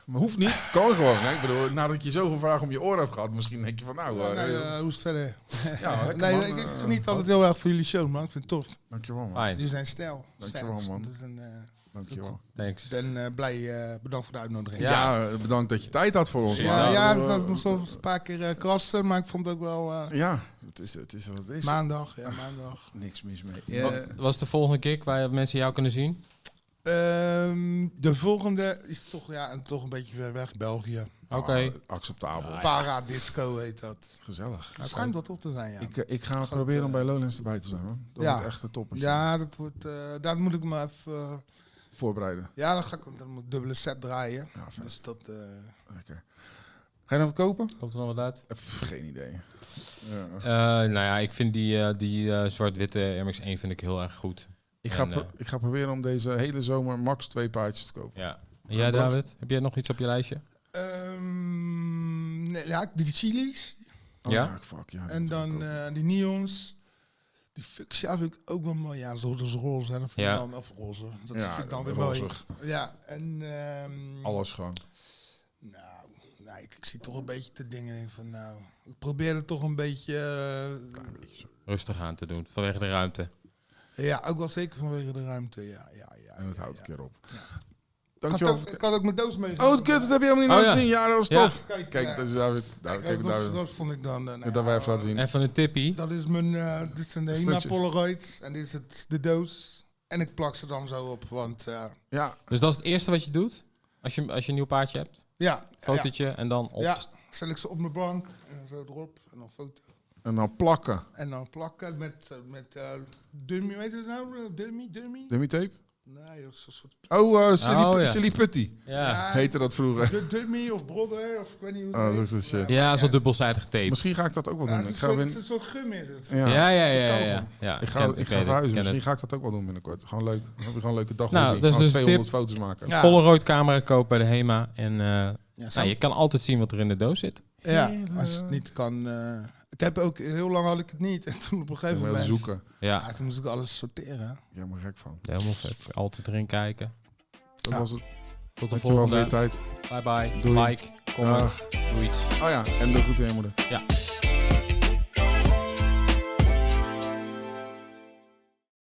Speaker 1: Maar hoeft niet, kan gewoon. Hè? Ik bedoel, nadat je zoveel vragen om je oren hebt gehad, misschien denk je van nou...
Speaker 3: Ja,
Speaker 1: eh,
Speaker 3: nee, eh, hoe is het verder?
Speaker 1: ja, lekker,
Speaker 3: nee,
Speaker 1: man.
Speaker 3: ik, ik
Speaker 1: Eh,
Speaker 3: geniet altijd heel erg van jullie show, man. Ik vind het tof.
Speaker 1: Dankjewel man.
Speaker 2: Fijn.
Speaker 3: Jullie zijn stijl.
Speaker 1: Dankjewel, man.
Speaker 3: Dus een, eh,
Speaker 1: Dankjewel.
Speaker 2: Thanks.
Speaker 3: ben eh, blij. eh, bedankt voor de uitnodiging.
Speaker 1: Ja, ja, bedankt dat je tijd had voor ons.
Speaker 3: ja,
Speaker 1: Maar-
Speaker 3: ja, dat was soms een paar keer eh, krassen, maar ik vond het ook wel... eh,
Speaker 1: Ja, het is, het is wat het is.
Speaker 3: maandag, ja, maandag.
Speaker 1: Niks mis mee.
Speaker 2: Wat was de volgende kick waar mensen jou kunnen zien?
Speaker 3: Ehm, de volgende is toch, ja, en toch een beetje ver weg, België.
Speaker 2: Oké.
Speaker 1: Ah, acceptabel.
Speaker 3: Paradisco heet dat.
Speaker 1: Gezellig.
Speaker 3: Het schijnt wel toch te zijn, ja.
Speaker 1: Ik, eh, ik ga
Speaker 3: Goed,
Speaker 1: proberen om
Speaker 3: eh,
Speaker 1: bij Lowlands erbij te zijn, man. Dat
Speaker 3: ja.
Speaker 1: is echt een toppertje.
Speaker 3: ja, dat wordt, eh, daar moet ik me even... eh,
Speaker 1: Voorbereiden.
Speaker 3: ja, dan ga ik dan moet ik dubbele set draaien.
Speaker 1: Ja, vet.
Speaker 3: Dus dat... eh,
Speaker 1: Lekker. Ga je nog wat kopen?
Speaker 2: Komt er nog wat uit?
Speaker 1: Eh, pff, geen idee. Ja.
Speaker 2: Eh, nou ja, ik vind die, eh, die eh, zwart-witte Air Max 1 vind ik heel erg goed.
Speaker 1: Ik, ga
Speaker 2: En,
Speaker 1: pro-
Speaker 2: eh,
Speaker 1: ik ga proberen om deze hele zomer max twee paardjes te kopen.
Speaker 2: Ja. En jij
Speaker 1: Bas?
Speaker 2: David, heb jij nog iets op je lijstje?
Speaker 3: ehm, nee, ja, die chilies.
Speaker 2: Ja?
Speaker 1: Ah, fuck, ja, die
Speaker 3: En
Speaker 1: moet ik
Speaker 3: dan
Speaker 1: kopen.
Speaker 3: eh, die neons. Die fuchsia vind ik ook wel mooi. Ja, zo dat is roze. Hè. Dat vind ik
Speaker 2: Ja.
Speaker 3: dan, of roze. Dat
Speaker 1: Ja,
Speaker 3: vind ik dan weer
Speaker 1: rozig.
Speaker 3: mooi. Ja, en... ehm,
Speaker 1: Alles gewoon.
Speaker 3: Nou, nou ik, ik zie toch een beetje te dingen. Ik denk van, nou, ik probeer het toch een beetje. eh,
Speaker 2: Rustig aan te doen, vanwege de ruimte.
Speaker 3: ja, ook wel zeker vanwege de ruimte. Ja, ja, ja.
Speaker 1: En het
Speaker 3: ja,
Speaker 1: houdt
Speaker 3: ja.
Speaker 1: een keer op.
Speaker 3: Ja. Ik
Speaker 1: Dankjewel.
Speaker 3: had, ook, ik had ook mijn doos mee.
Speaker 1: Oh, kut, dat heb je helemaal niet
Speaker 2: Oh,
Speaker 1: laten
Speaker 2: ja.
Speaker 1: zien. Ja, dat was
Speaker 2: Ja.
Speaker 1: tof.
Speaker 3: Kijk,
Speaker 1: Kijk,
Speaker 3: eh,
Speaker 1: dat is David. Daar, kijk,
Speaker 3: kijk, dat,
Speaker 1: David.
Speaker 3: dat vond ik dan. eh, nou,
Speaker 1: Dat wij even laten zien.
Speaker 2: En van de tippie.
Speaker 3: Dat is mijn. eh dit zijn de Hema
Speaker 1: Stukjes.
Speaker 3: Polaroids. En dit is het, de doos. En ik plak ze dan zo op. Want eh,
Speaker 1: Ja,
Speaker 2: Dus dat is het eerste wat je doet? Als je, als je een nieuw paardje hebt?
Speaker 3: ja, ja,
Speaker 2: Fotootje en dan op.
Speaker 3: ja, zet ik ze op mijn bank. En dan zo erop. En dan foto.
Speaker 1: en dan plakken.
Speaker 3: En dan plakken met, eh, met eh, dummy. Weet je het nou? Dummy, dummy.
Speaker 1: Dummy tape?
Speaker 3: Nee, dat is een soort.
Speaker 1: Oh, eh Silly,
Speaker 2: Oh, ja.
Speaker 1: Silly Putty.
Speaker 2: Ja,
Speaker 3: Ja,
Speaker 1: Heette dat vroeger.
Speaker 3: De dummy of brother, of ik weet niet hoe
Speaker 1: Oh,
Speaker 3: het
Speaker 1: dat
Speaker 3: heet.
Speaker 1: is dat shit.
Speaker 2: ja zo dubbelzijdig tape.
Speaker 1: Misschien ga ik dat ook wel
Speaker 3: Ja,
Speaker 1: doen.
Speaker 3: het
Speaker 1: Ik
Speaker 3: is
Speaker 1: ga,
Speaker 3: een-
Speaker 1: win-
Speaker 3: het is een soort gum is het.
Speaker 1: ja.
Speaker 2: Ja, ja, ja. ja,
Speaker 3: Zo'n
Speaker 2: ja.
Speaker 3: kalm.
Speaker 2: ja
Speaker 1: ik
Speaker 2: ken-
Speaker 1: ga, ik
Speaker 2: weet
Speaker 1: ga
Speaker 2: het,
Speaker 1: verhuizen.
Speaker 2: ken het.
Speaker 1: Misschien ga ik dat ook wel doen binnenkort. Gewoon leuk. Dan heb je gewoon een leuke dag.
Speaker 2: Nou,
Speaker 1: Nou,
Speaker 2: dat is
Speaker 1: gewoon
Speaker 2: dus
Speaker 1: 200
Speaker 2: tip.
Speaker 1: foto's maken.
Speaker 3: Ja.
Speaker 2: Polaroid camera kopen bij de HEMA. En eh,
Speaker 3: Ja,
Speaker 2: nou, je kan altijd zien wat er in de doos zit.
Speaker 3: ja, als je het niet kan. eh, ik heb ook heel lang had ik het niet. En toen op een
Speaker 1: Even
Speaker 3: gegeven moment.
Speaker 1: zoeken.
Speaker 2: Ja,
Speaker 3: Ja, toen moest ik alles sorteren.
Speaker 1: Ja, helemaal gek van.
Speaker 2: helemaal vet. Altijd erin kijken.
Speaker 1: Dat
Speaker 3: Ja.
Speaker 1: was het.
Speaker 2: Tot de
Speaker 1: Dankjewel voor je
Speaker 2: volgende.
Speaker 1: tijd.
Speaker 2: Bye bye.
Speaker 1: Doei.
Speaker 2: Like, comment, doe iets.
Speaker 1: Oh ja, en de groeten aan je moeder.
Speaker 2: Ja.